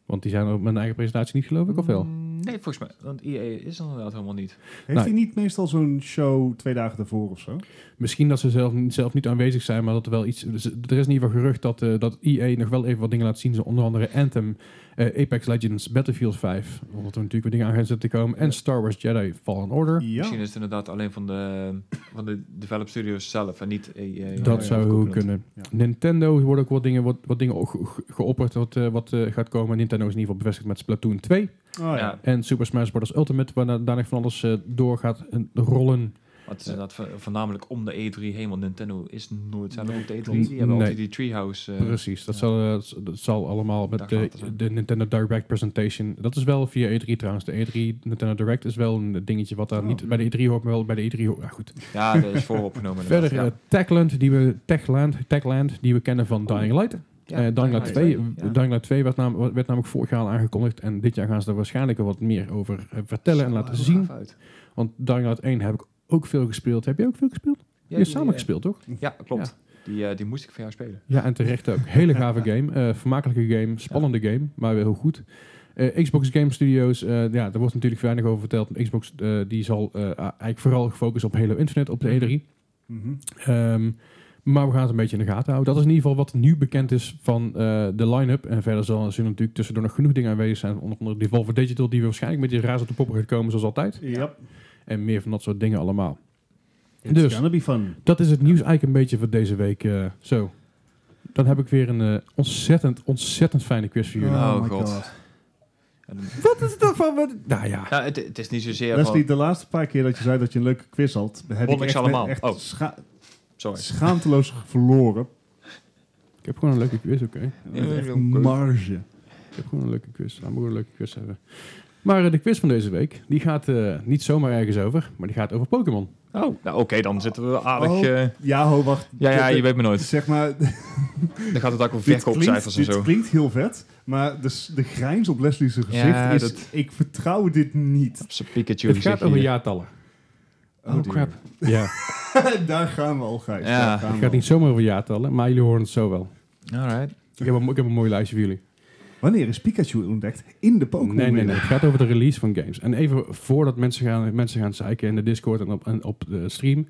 Speaker 3: Want die zijn er met hun eigen presentatie niet, geloof ik, of wel?
Speaker 4: Mm, Nee, volgens mij. Want IE is er inderdaad helemaal niet.
Speaker 1: <laughs> Heeft
Speaker 3: Nee.
Speaker 1: hij niet meestal zo'n show twee dagen daarvoor of zo?
Speaker 3: Misschien dat ze zelf, zelf niet aanwezig zijn, maar dat er wel iets... dus Er is in ieder geval gerucht dat, eh, dat EA nog wel even wat dingen laat zien. Zo onder andere Anthem, eh, Apex Legends, Battlefield 5. Omdat er natuurlijk weer dingen aan gaan zitten te komen. En Star Wars Jedi Fallen Order.
Speaker 1: Ja.
Speaker 4: Misschien is het inderdaad alleen van de, van de develop studios zelf en niet E IE.
Speaker 3: Dat
Speaker 1: ja,
Speaker 3: zou
Speaker 4: Koppelend.
Speaker 3: kunnen.
Speaker 1: Ja.
Speaker 3: Nintendo er worden ook wat dingen, wat, wat dingen ook ge- ge- geopperd wat, eh, wat eh, gaat komen. Nintendo is in ieder geval bevestigd met Splatoon 2
Speaker 1: Oh, ja.
Speaker 4: Ja,
Speaker 3: en Super Smash Bros. Ultimate, waarna daar nog van alles eh, door gaat eh, rollen.
Speaker 4: Want het is inderdaad vo- voornamelijk om de E3 heen, want Nintendo is nooit zelf
Speaker 1: Nee,
Speaker 4: op de E3.
Speaker 1: klopt.
Speaker 4: Die hebben
Speaker 3: Nee.
Speaker 4: altijd die Treehouse. eh,
Speaker 3: Precies, dat,
Speaker 4: ja.
Speaker 3: zal, eh, s- dat zal allemaal met
Speaker 4: Daar
Speaker 3: de,
Speaker 4: gaat het om.
Speaker 3: de Nintendo Direct presentation. Dat is wel via E3 trouwens. De E3 Nintendo Direct is wel een dingetje wat daar
Speaker 1: Oh.
Speaker 3: niet bij de E3 hoort, maar wel bij de E3 hoort. Nou goed.
Speaker 4: Ja, dat is vooropgenomen.
Speaker 3: <laughs> Verder eh,
Speaker 4: inderdaad,
Speaker 3: Techland, die we, Techland, Techland, die we kennen van Dying Light.
Speaker 4: Oh, ja.
Speaker 3: Eh,
Speaker 4: Ja,
Speaker 3: Dying Light 2,
Speaker 4: ja.
Speaker 3: eh, Dying Light 2 werd, nam- werd namelijk vorig jaar al aangekondigd. En dit jaar gaan ze er waarschijnlijk wat meer over eh, vertellen en
Speaker 4: Ziet er
Speaker 3: laten
Speaker 4: wel
Speaker 3: zien.
Speaker 4: gaaf uit.
Speaker 3: Want Dying Light 1 heb ik ook veel gespeeld. Heb jij ook veel gespeeld?
Speaker 4: Ja,
Speaker 3: je hebt
Speaker 4: die,
Speaker 3: samen
Speaker 4: eh,
Speaker 3: gespeeld, toch?
Speaker 4: Ja, klopt. Die, eh, die moest ik voor jou spelen.
Speaker 3: Ja, en terecht ook. Hele gave game. eh, vermakelijke game. Spannende game, maar wel heel goed. Eh, Xbox Game Studios, eh, ja, daar wordt natuurlijk weinig over verteld. Xbox eh, die zal eh, eigenlijk vooral gefocust op Halo Infinite op de E3.
Speaker 1: Mhm.
Speaker 3: Ehm, maar we gaan het een beetje in de gaten houden. Dat is in ieder geval wat nu bekend is van eh, de line-up. En verder zal, zullen natuurlijk tussendoor nog genoeg dingen aanwezig zijn. Onder andere Devolver Digital, die waarschijnlijk met die raas op de poppen gaat komen, zoals altijd.
Speaker 1: Ja.
Speaker 3: En meer van dat soort dingen allemaal.
Speaker 1: It's
Speaker 3: Dus.
Speaker 1: gonna be fun.
Speaker 3: Dat is het nieuws eigenlijk een beetje voor deze week. eh, zo. Dan heb ik weer een eh, ontzettend, ontzettend fijne quiz voor jullie.
Speaker 4: Oh,
Speaker 1: my
Speaker 4: god.
Speaker 1: god.
Speaker 4: En dan-
Speaker 3: Wat is dat van... Wat? Nou ja.
Speaker 4: ja, het, het is niet zozeer
Speaker 1: Leslie,
Speaker 4: van...
Speaker 1: de laatste paar keer dat je zei dat je een leuke quiz had, heb
Speaker 4: Won
Speaker 1: ik
Speaker 4: ik
Speaker 1: echt,
Speaker 4: ze allemaal?
Speaker 1: echt
Speaker 4: Oh.
Speaker 1: scha-
Speaker 4: Sorry.
Speaker 1: schaamteloos verloren.
Speaker 3: Ik heb gewoon een leuke quiz, oké.
Speaker 1: Met echt
Speaker 4: oké.
Speaker 1: marge.
Speaker 3: Ik heb gewoon een leuke quiz. Laat me gewoon een leuke quiz hebben. Maar eh, de quiz van deze week, die gaat eh, niet zomaar ergens over, maar die gaat over Pokémon.
Speaker 4: Oh, nou oké, dan zitten we aardig...
Speaker 1: Oh.
Speaker 4: eh,
Speaker 1: Ja, ho, wacht.
Speaker 4: ja, ja, je weet me nooit.
Speaker 1: Zeg maar,
Speaker 4: Dan gaat het ook over
Speaker 1: dit klinkt,
Speaker 4: verkoopcijfers en
Speaker 1: dit
Speaker 4: zo.
Speaker 1: klinkt heel vet, maar de, s- de grijns op Leslie's gezicht
Speaker 4: Ja,
Speaker 1: is,
Speaker 4: dat-
Speaker 1: ik vertrouw dit niet.
Speaker 4: Zo'n Pikachu
Speaker 3: Het gaat
Speaker 4: gezichtje
Speaker 3: over
Speaker 4: hier.
Speaker 3: jaartallen.
Speaker 1: Oh, crap.
Speaker 3: Ja,
Speaker 1: Daar gaan we al, Gijs.
Speaker 4: Ja,
Speaker 1: <laughs> Daar gaan
Speaker 3: het
Speaker 1: we
Speaker 3: gaat
Speaker 1: al.
Speaker 3: niet zomaar over jaartallen, maar jullie horen het zo wel.
Speaker 4: Alright.
Speaker 3: Ik heb, een, ik heb een mooi lijstje voor jullie.
Speaker 1: Wanneer is Pikachu ontdekt? In de Pokémon
Speaker 3: nee, nee, nee. Het gaat over de release van games. En even voordat mensen gaan, mensen gaan zeiken in de Discord en op, en op de stream.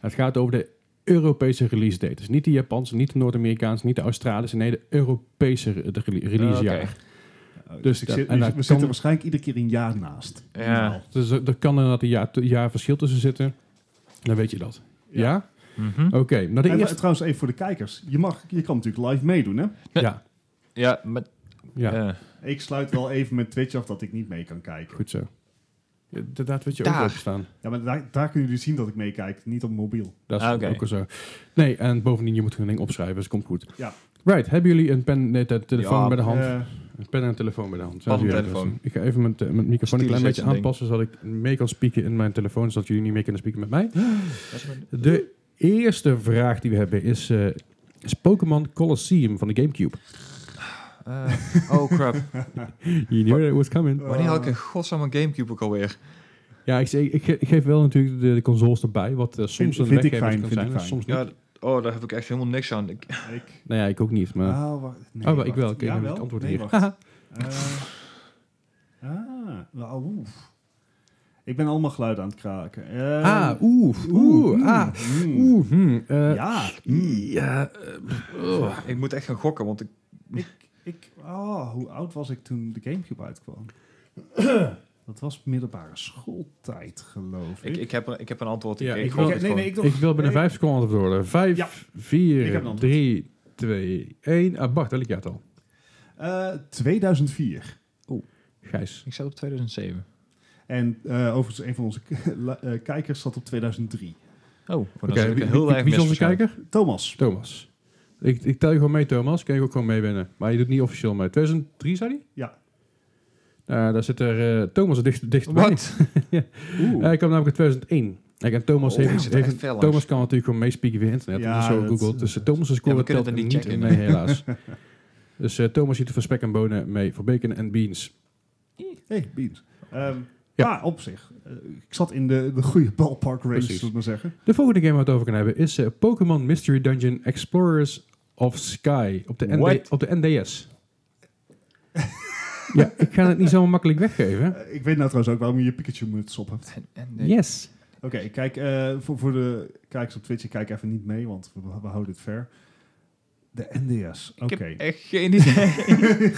Speaker 3: Het gaat over de Europese release date. Dus niet de Japanse, niet de Noord-Amerikaanse, niet de Australische. Nee, de Europese re- de rele- release jaar.
Speaker 4: Oké.
Speaker 1: Dus
Speaker 3: Dus
Speaker 1: ik
Speaker 3: dat-
Speaker 1: zit,
Speaker 3: en
Speaker 1: we
Speaker 3: daar
Speaker 1: zitten
Speaker 3: kan-
Speaker 1: waarschijnlijk iedere keer een jaar naast.
Speaker 4: Ja.
Speaker 3: Dus er, er kan inderdaad een jaar, een jaar verschil tussen zitten. Dan weet je dat.
Speaker 1: Ja.
Speaker 3: Ja?
Speaker 4: Mhm.
Speaker 3: Oké. Nou, de
Speaker 1: En
Speaker 3: eerste...
Speaker 1: trouwens, even voor de kijkers. Je, mag, je kan natuurlijk live meedoen, hè?
Speaker 3: Ja,
Speaker 4: Ja, maar...
Speaker 3: ja.
Speaker 4: eh,
Speaker 1: Ik sluit wel even mijn Twitch af dat ik niet mee kan kijken.
Speaker 3: goed zo. Ja, Inderdaad, weet je ook
Speaker 4: Daar.
Speaker 3: wel te staan.
Speaker 1: Ja, maar daar, daar kunnen jullie zien dat ik meekijk, niet op mobiel.
Speaker 3: Dat is
Speaker 4: Ah, oké.
Speaker 3: ook al zo. Nee, en bovendien, je moet gewoon een ding opschrijven, dus komt goed.
Speaker 1: Ja.
Speaker 3: Right, hebben jullie een pen, nee, te- telefoon
Speaker 4: Ja,
Speaker 3: bij de hand?
Speaker 1: Eh,
Speaker 3: Een pen en een telefoon bij de hand.
Speaker 4: Pan en
Speaker 3: Zoals jullie
Speaker 4: telefoon.
Speaker 3: dat doen. Ik ga even mijn, te- mijn microfoon een klein beetje
Speaker 4: Stilisatie
Speaker 3: aanpassen, zodat ik mee kan spieken in mijn telefoon, zodat jullie niet meer kunnen spieken met mij. De eerste vraag die we hebben is, eh, is Pokémon Colosseum van de Gamecube.
Speaker 4: eh, oh crap.
Speaker 3: You knew it was coming. <laughs>
Speaker 4: Wanneer had ik een godsamme Gamecube ook alweer?
Speaker 3: Ja, ik, ik, ik, ge- ik geef wel natuurlijk de, de consoles erbij, wat eh, soms
Speaker 1: Vind-
Speaker 3: een
Speaker 1: vind ik
Speaker 3: weggever
Speaker 1: fijn,
Speaker 3: kan
Speaker 1: vind
Speaker 3: zijn,
Speaker 1: ik
Speaker 3: en
Speaker 1: fijn.
Speaker 3: soms niet.
Speaker 4: Ja, oh, daar heb ik echt helemaal niks aan. Ik,
Speaker 1: ik,
Speaker 3: Nou <laughs> ja, ik ook niet, maar...
Speaker 1: Ah, wa- nee,
Speaker 3: oh, wel,
Speaker 1: wacht.
Speaker 3: ik wel. Oké, dan heb ik
Speaker 1: Jawel?
Speaker 3: het antwoord
Speaker 1: Nee,
Speaker 3: hier.
Speaker 1: wacht.
Speaker 3: <laughs> Haha.
Speaker 1: Eh, ah, nou, oef. Ik ben allemaal geluid aan het kraken. Eh,
Speaker 3: ah, oeh, oeh,
Speaker 1: mm,
Speaker 3: ah,
Speaker 1: mm.
Speaker 3: oeh, hmm, eh,
Speaker 1: Ja, hmm.
Speaker 3: ja, eh, oh.
Speaker 4: ik moet echt gaan gokken, want ik...
Speaker 1: ik, ik, ah, hoe oud was ik toen de Gamecube
Speaker 3: <coughs>
Speaker 1: uitkwam? Dat was middelbare schooltijd, geloof ik.
Speaker 4: Ik, ik, heb, een- ik heb een antwoord.
Speaker 3: Ja,
Speaker 4: ik,
Speaker 3: ik
Speaker 4: gooi
Speaker 3: wil-
Speaker 4: het
Speaker 1: nee,
Speaker 4: gewoon.
Speaker 1: nee, ik nog.
Speaker 3: Ik wil binnen
Speaker 1: nee.
Speaker 3: vijf seconden antwoord worden.
Speaker 1: Ja.
Speaker 3: Vijf,
Speaker 1: Ik heb een
Speaker 3: vier,
Speaker 1: antwoord.
Speaker 3: drie, twee, één. Ah, Bart, welk jaar al?
Speaker 1: Eh, 2004.
Speaker 3: Gijs.
Speaker 4: Ik zat op 2007.
Speaker 1: En eh, overigens, een van onze k- <laughs> la- eh, kijkers zat op 2003.
Speaker 4: Oh, oké.
Speaker 3: Oké, wie,
Speaker 4: heel
Speaker 3: wie-
Speaker 4: erg
Speaker 3: wie is onze
Speaker 4: misverstand.
Speaker 3: kijker?
Speaker 1: Thomas.
Speaker 3: Thomas. Ik, ik tel je gewoon mee, Thomas. Kan je ook gewoon meewinnen. Maar je doet niet officieel mee. 2003, zei hij?
Speaker 1: Ja.
Speaker 3: Nou, daar zit er eh, Thomas er dicht, dicht bij.
Speaker 4: Wat?
Speaker 1: Oeh.
Speaker 4: Eh,
Speaker 3: Hij kwam namelijk in 2001. Kijk, en Thomas,
Speaker 4: Oh, daar
Speaker 3: heeft,
Speaker 4: zit er
Speaker 3: heeft-
Speaker 4: echt fel langs.
Speaker 3: Thomas kan natuurlijk gewoon meespieken via internet.
Speaker 1: Ja,
Speaker 3: Ja, zo
Speaker 1: dat-
Speaker 3: Google. Dus eh, Thomas' score
Speaker 4: Ja, we kunnen
Speaker 3: telt
Speaker 4: het
Speaker 3: er
Speaker 4: niet
Speaker 3: niet
Speaker 4: checken. <laughs>
Speaker 3: in mee, helaas. dus eh, Thomas ziet er voor spek en bonen mee. Voor bacon en beans.
Speaker 1: Hey, Beans. Ehm, ja.
Speaker 3: Ja.
Speaker 1: op zich. Eh, ik zat in de, de goede ballpark range,
Speaker 3: Precies.
Speaker 1: zullen we maar zeggen.
Speaker 3: De volgende game waar we het over gaan hebben is eh, Pokémon Mystery Dungeon Explorers of Sky op de, ND
Speaker 4: What?
Speaker 3: op de NDS. ja, ik ga het niet zo makkelijk weggeven.
Speaker 1: Eh, ik weet nou trouwens ook waarom je je Pikachu-muts op
Speaker 4: <laughs>
Speaker 1: hebt.
Speaker 4: En- en- nee.
Speaker 3: Yes.
Speaker 1: Oké, kijk, eh, voor, voor de kijkers op Twitch, ik kijk even niet mee, want we, we houden het ver. De NDS,
Speaker 4: eh, Ik
Speaker 1: oké.
Speaker 4: heb echt geen idee.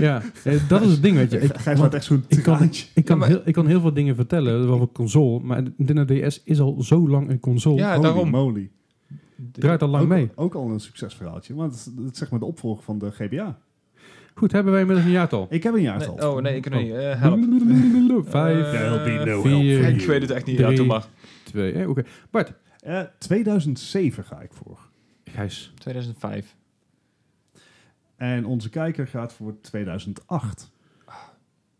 Speaker 3: Ja, eh, dat is het ding, weet je. Ik,
Speaker 1: Gijs laat echt zo'n
Speaker 3: ik kan,
Speaker 1: traantje.
Speaker 3: ik, kan
Speaker 4: Ja, maar-
Speaker 3: heel, ik kan heel veel dingen vertellen over console, maar de Nintendo DS is al zo lang een console.
Speaker 4: Ja,
Speaker 1: Holy
Speaker 4: daarom.
Speaker 1: moly.
Speaker 3: Draait al lang
Speaker 1: ook,
Speaker 3: mee.
Speaker 1: Ook al een succesverhaaltje, want het is- het is zeg maar de opvolger van de GBA.
Speaker 3: Goed, hebben wij inmiddels een jaartal.
Speaker 1: Ik heb een
Speaker 4: Nee,
Speaker 1: jaartal.
Speaker 4: oh, nee, ik kan
Speaker 3: Oh.
Speaker 4: niet. Eh, help.
Speaker 3: Vijf,
Speaker 4: Eh,
Speaker 1: There'll be no
Speaker 3: vier,
Speaker 1: help for
Speaker 4: Ik
Speaker 1: you.
Speaker 4: weet het echt niet. Ja,
Speaker 3: Drie.
Speaker 4: doe maar.
Speaker 3: twee. eh, Oké, Bart.
Speaker 1: Eh, 2007 ga ik voor.
Speaker 3: Gijs.
Speaker 4: 2005.
Speaker 1: En onze kijker gaat voor 2008.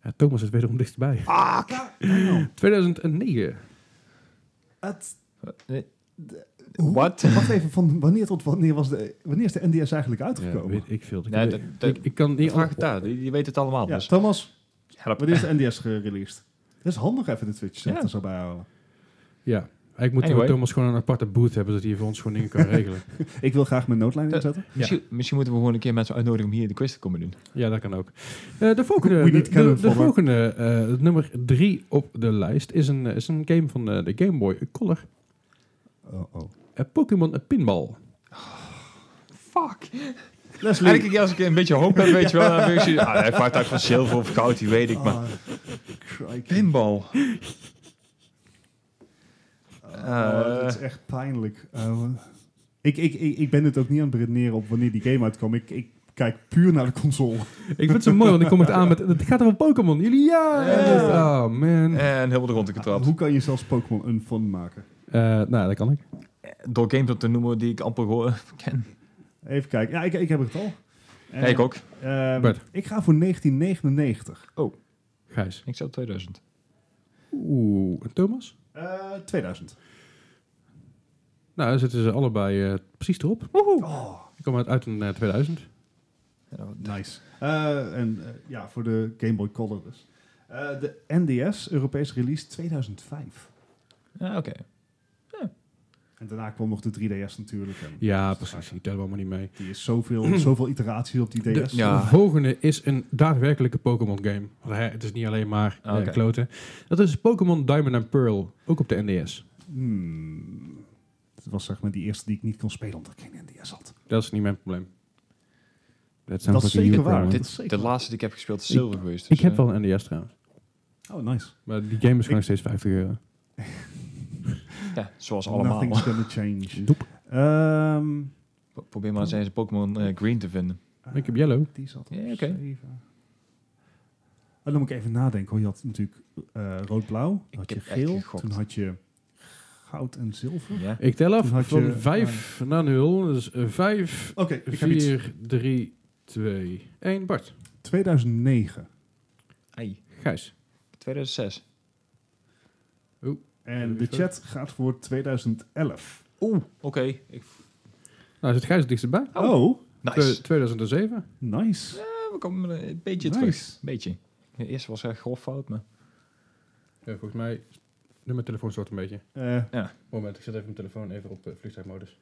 Speaker 3: Ja, Thomas is wederom dichtbij.
Speaker 1: Ah, kijk nou.
Speaker 3: 2009.
Speaker 1: Het-
Speaker 4: Nee.
Speaker 1: hoe-
Speaker 4: Wat?
Speaker 1: Wacht even, van wanneer tot wanneer was de, wanneer is de NDS eigenlijk
Speaker 3: Ja,
Speaker 1: uitgekomen?
Speaker 3: weet ik veel. Ik,
Speaker 4: Nee,
Speaker 3: weet-
Speaker 4: dat- dat-
Speaker 3: ik, ik kan
Speaker 4: Die
Speaker 3: niet...
Speaker 4: vraag het daar. Die, die weet het allemaal.
Speaker 1: Ja,
Speaker 4: Dus
Speaker 1: Thomas,
Speaker 4: help.
Speaker 1: wanneer is de NDS gereleased? Dat is handig even de Twitch chat
Speaker 4: Ja.
Speaker 1: er zo bij houden.
Speaker 3: Ja, ik moet
Speaker 4: Anyway.
Speaker 3: Thomas gewoon een aparte booth hebben, dat hij voor ons gewoon dingen
Speaker 4: <laughs>
Speaker 3: kan regelen.
Speaker 1: Ik wil graag mijn noodlijn
Speaker 4: Ja.
Speaker 1: inzetten.
Speaker 4: Misschien, misschien moeten we gewoon een keer mensen uitnodigen om hier de quiz te komen doen.
Speaker 3: ja, dat kan ook. Eh, de volgende,
Speaker 1: We
Speaker 3: de,
Speaker 1: need cannon
Speaker 3: de- de
Speaker 1: fodder.
Speaker 3: volgende eh, nummer drie op de lijst is een, is een game van eh, de Game Boy Color.
Speaker 1: Oh, oh.
Speaker 3: Eh, Pokémon Pinball.
Speaker 4: Fuck.
Speaker 1: Leslie.
Speaker 4: Eigenlijk als ik een beetje hoop heb, weet je wel. Dan heb ik, ah, hij vaart uit van zilver of goud, die weet ik. Maar
Speaker 1: Ah, crikey.
Speaker 4: Pinball.
Speaker 1: Oh, dat is echt pijnlijk. Oh, ik, ik, ik, ik ben het ook niet aan het redeneren op wanneer die game uitkwam. Ik, ik kijk puur naar de console.
Speaker 3: Ik vind het zo mooi, want ik kom
Speaker 4: <laughs>
Speaker 3: het aan met... Het gaat over Pokémon. Jullie, ja!
Speaker 4: Ja. Eh.
Speaker 3: Oh, man.
Speaker 4: En heel de rond getrapt.
Speaker 1: Hoe kan je zelfs Pokémon een fun maken?
Speaker 3: Eh, nou, dat kan ik.
Speaker 4: Door games op te noemen die ik amper hoor, ken.
Speaker 1: Even kijken. Ja, ik, ik heb het al.
Speaker 4: Ja, ik ook.
Speaker 1: Ehm,
Speaker 3: Bert.
Speaker 1: ik ga voor 1999.
Speaker 3: Gijs.
Speaker 4: Ik zat op 2000.
Speaker 3: Oeh, en Thomas?
Speaker 1: Eh, 2000.
Speaker 3: Nou, dan zitten ze allebei eh, precies erop.
Speaker 1: Oh,
Speaker 3: Ik kom uit, uit een eh, 2000.
Speaker 1: nice. Eh, en eh, ja, voor de Game Boy Color dus. Eh, de NDS, Europese release 2005.
Speaker 4: Ja, oké.
Speaker 1: En daarna kwam nog de 3DS natuurlijk. En
Speaker 3: Ja, precies. Die tellen we allemaal niet mee.
Speaker 1: Die is zoveel, <clears throat> zoveel iteraties op die
Speaker 3: De
Speaker 1: DS.
Speaker 4: Ja.
Speaker 3: volgende is een daadwerkelijke Pokémon game. Want, hè, het is niet alleen maar eh,
Speaker 4: Oké.
Speaker 3: kloten. Dat is Pokémon Diamond and Pearl. Ook op de NDS.
Speaker 1: Hmm. Dat was zeg maar die eerste die ik niet kon spelen omdat ik geen NDS had.
Speaker 3: Dat is niet mijn probleem. That sounds
Speaker 1: Dat is
Speaker 3: a you
Speaker 1: zeker waar.
Speaker 3: problem.
Speaker 1: Dat is
Speaker 4: Dit, de
Speaker 1: zeker-
Speaker 4: laatste die ik heb gespeeld is zilver geweest.
Speaker 3: Ik
Speaker 4: dus,
Speaker 3: heb
Speaker 4: eh,
Speaker 3: wel een NDS trouwens.
Speaker 1: Oh, nice.
Speaker 3: Maar die game is gewoon nog steeds 50 euro.
Speaker 4: Ja, zoals allemaal.
Speaker 1: Nothing's gonna change.
Speaker 3: Doep.
Speaker 1: Ehm,
Speaker 4: Pro- <laughs> Probeer maar eens eens Pokémon eh, Green te vinden.
Speaker 3: Ik heb yellow.
Speaker 1: Ah, Die zat op
Speaker 4: Ja, oké.
Speaker 1: zeven. En dan moet ik even nadenken. hoor. Je had natuurlijk eh, rood-blauw,
Speaker 4: Ik
Speaker 1: had je
Speaker 4: heb echt
Speaker 1: geel,
Speaker 4: gegokt.
Speaker 1: toen had je goud en zilver.
Speaker 4: Ja.
Speaker 3: Ik tel af
Speaker 1: Toen had
Speaker 3: van
Speaker 1: je-
Speaker 3: 5 naar 0. Dus 5,
Speaker 1: Oké, ik heb iets.
Speaker 3: 4, 3, 2, 1. Bart.
Speaker 1: 2009.
Speaker 4: Ai,
Speaker 3: Gijs.
Speaker 4: 2006.
Speaker 1: En
Speaker 3: Heb
Speaker 1: de
Speaker 3: ik
Speaker 1: chat gaat voor 2011.
Speaker 4: Oeh, oké. Ik-
Speaker 3: Nou, zit Gijs het dichtst bij?
Speaker 1: Oh,
Speaker 3: Twe-
Speaker 4: Nice.
Speaker 3: 2007.
Speaker 1: nice.
Speaker 4: Ja, we komen er een beetje
Speaker 1: Nice.
Speaker 4: terug. Beetje. De eerste was echt grof fout, maar...
Speaker 3: Ja, Eh, volgens mij... Nu mijn telefoon stort een beetje.
Speaker 1: Eh,
Speaker 3: Moment, ik zet even mijn telefoon even op eh, vliegtuigmodus.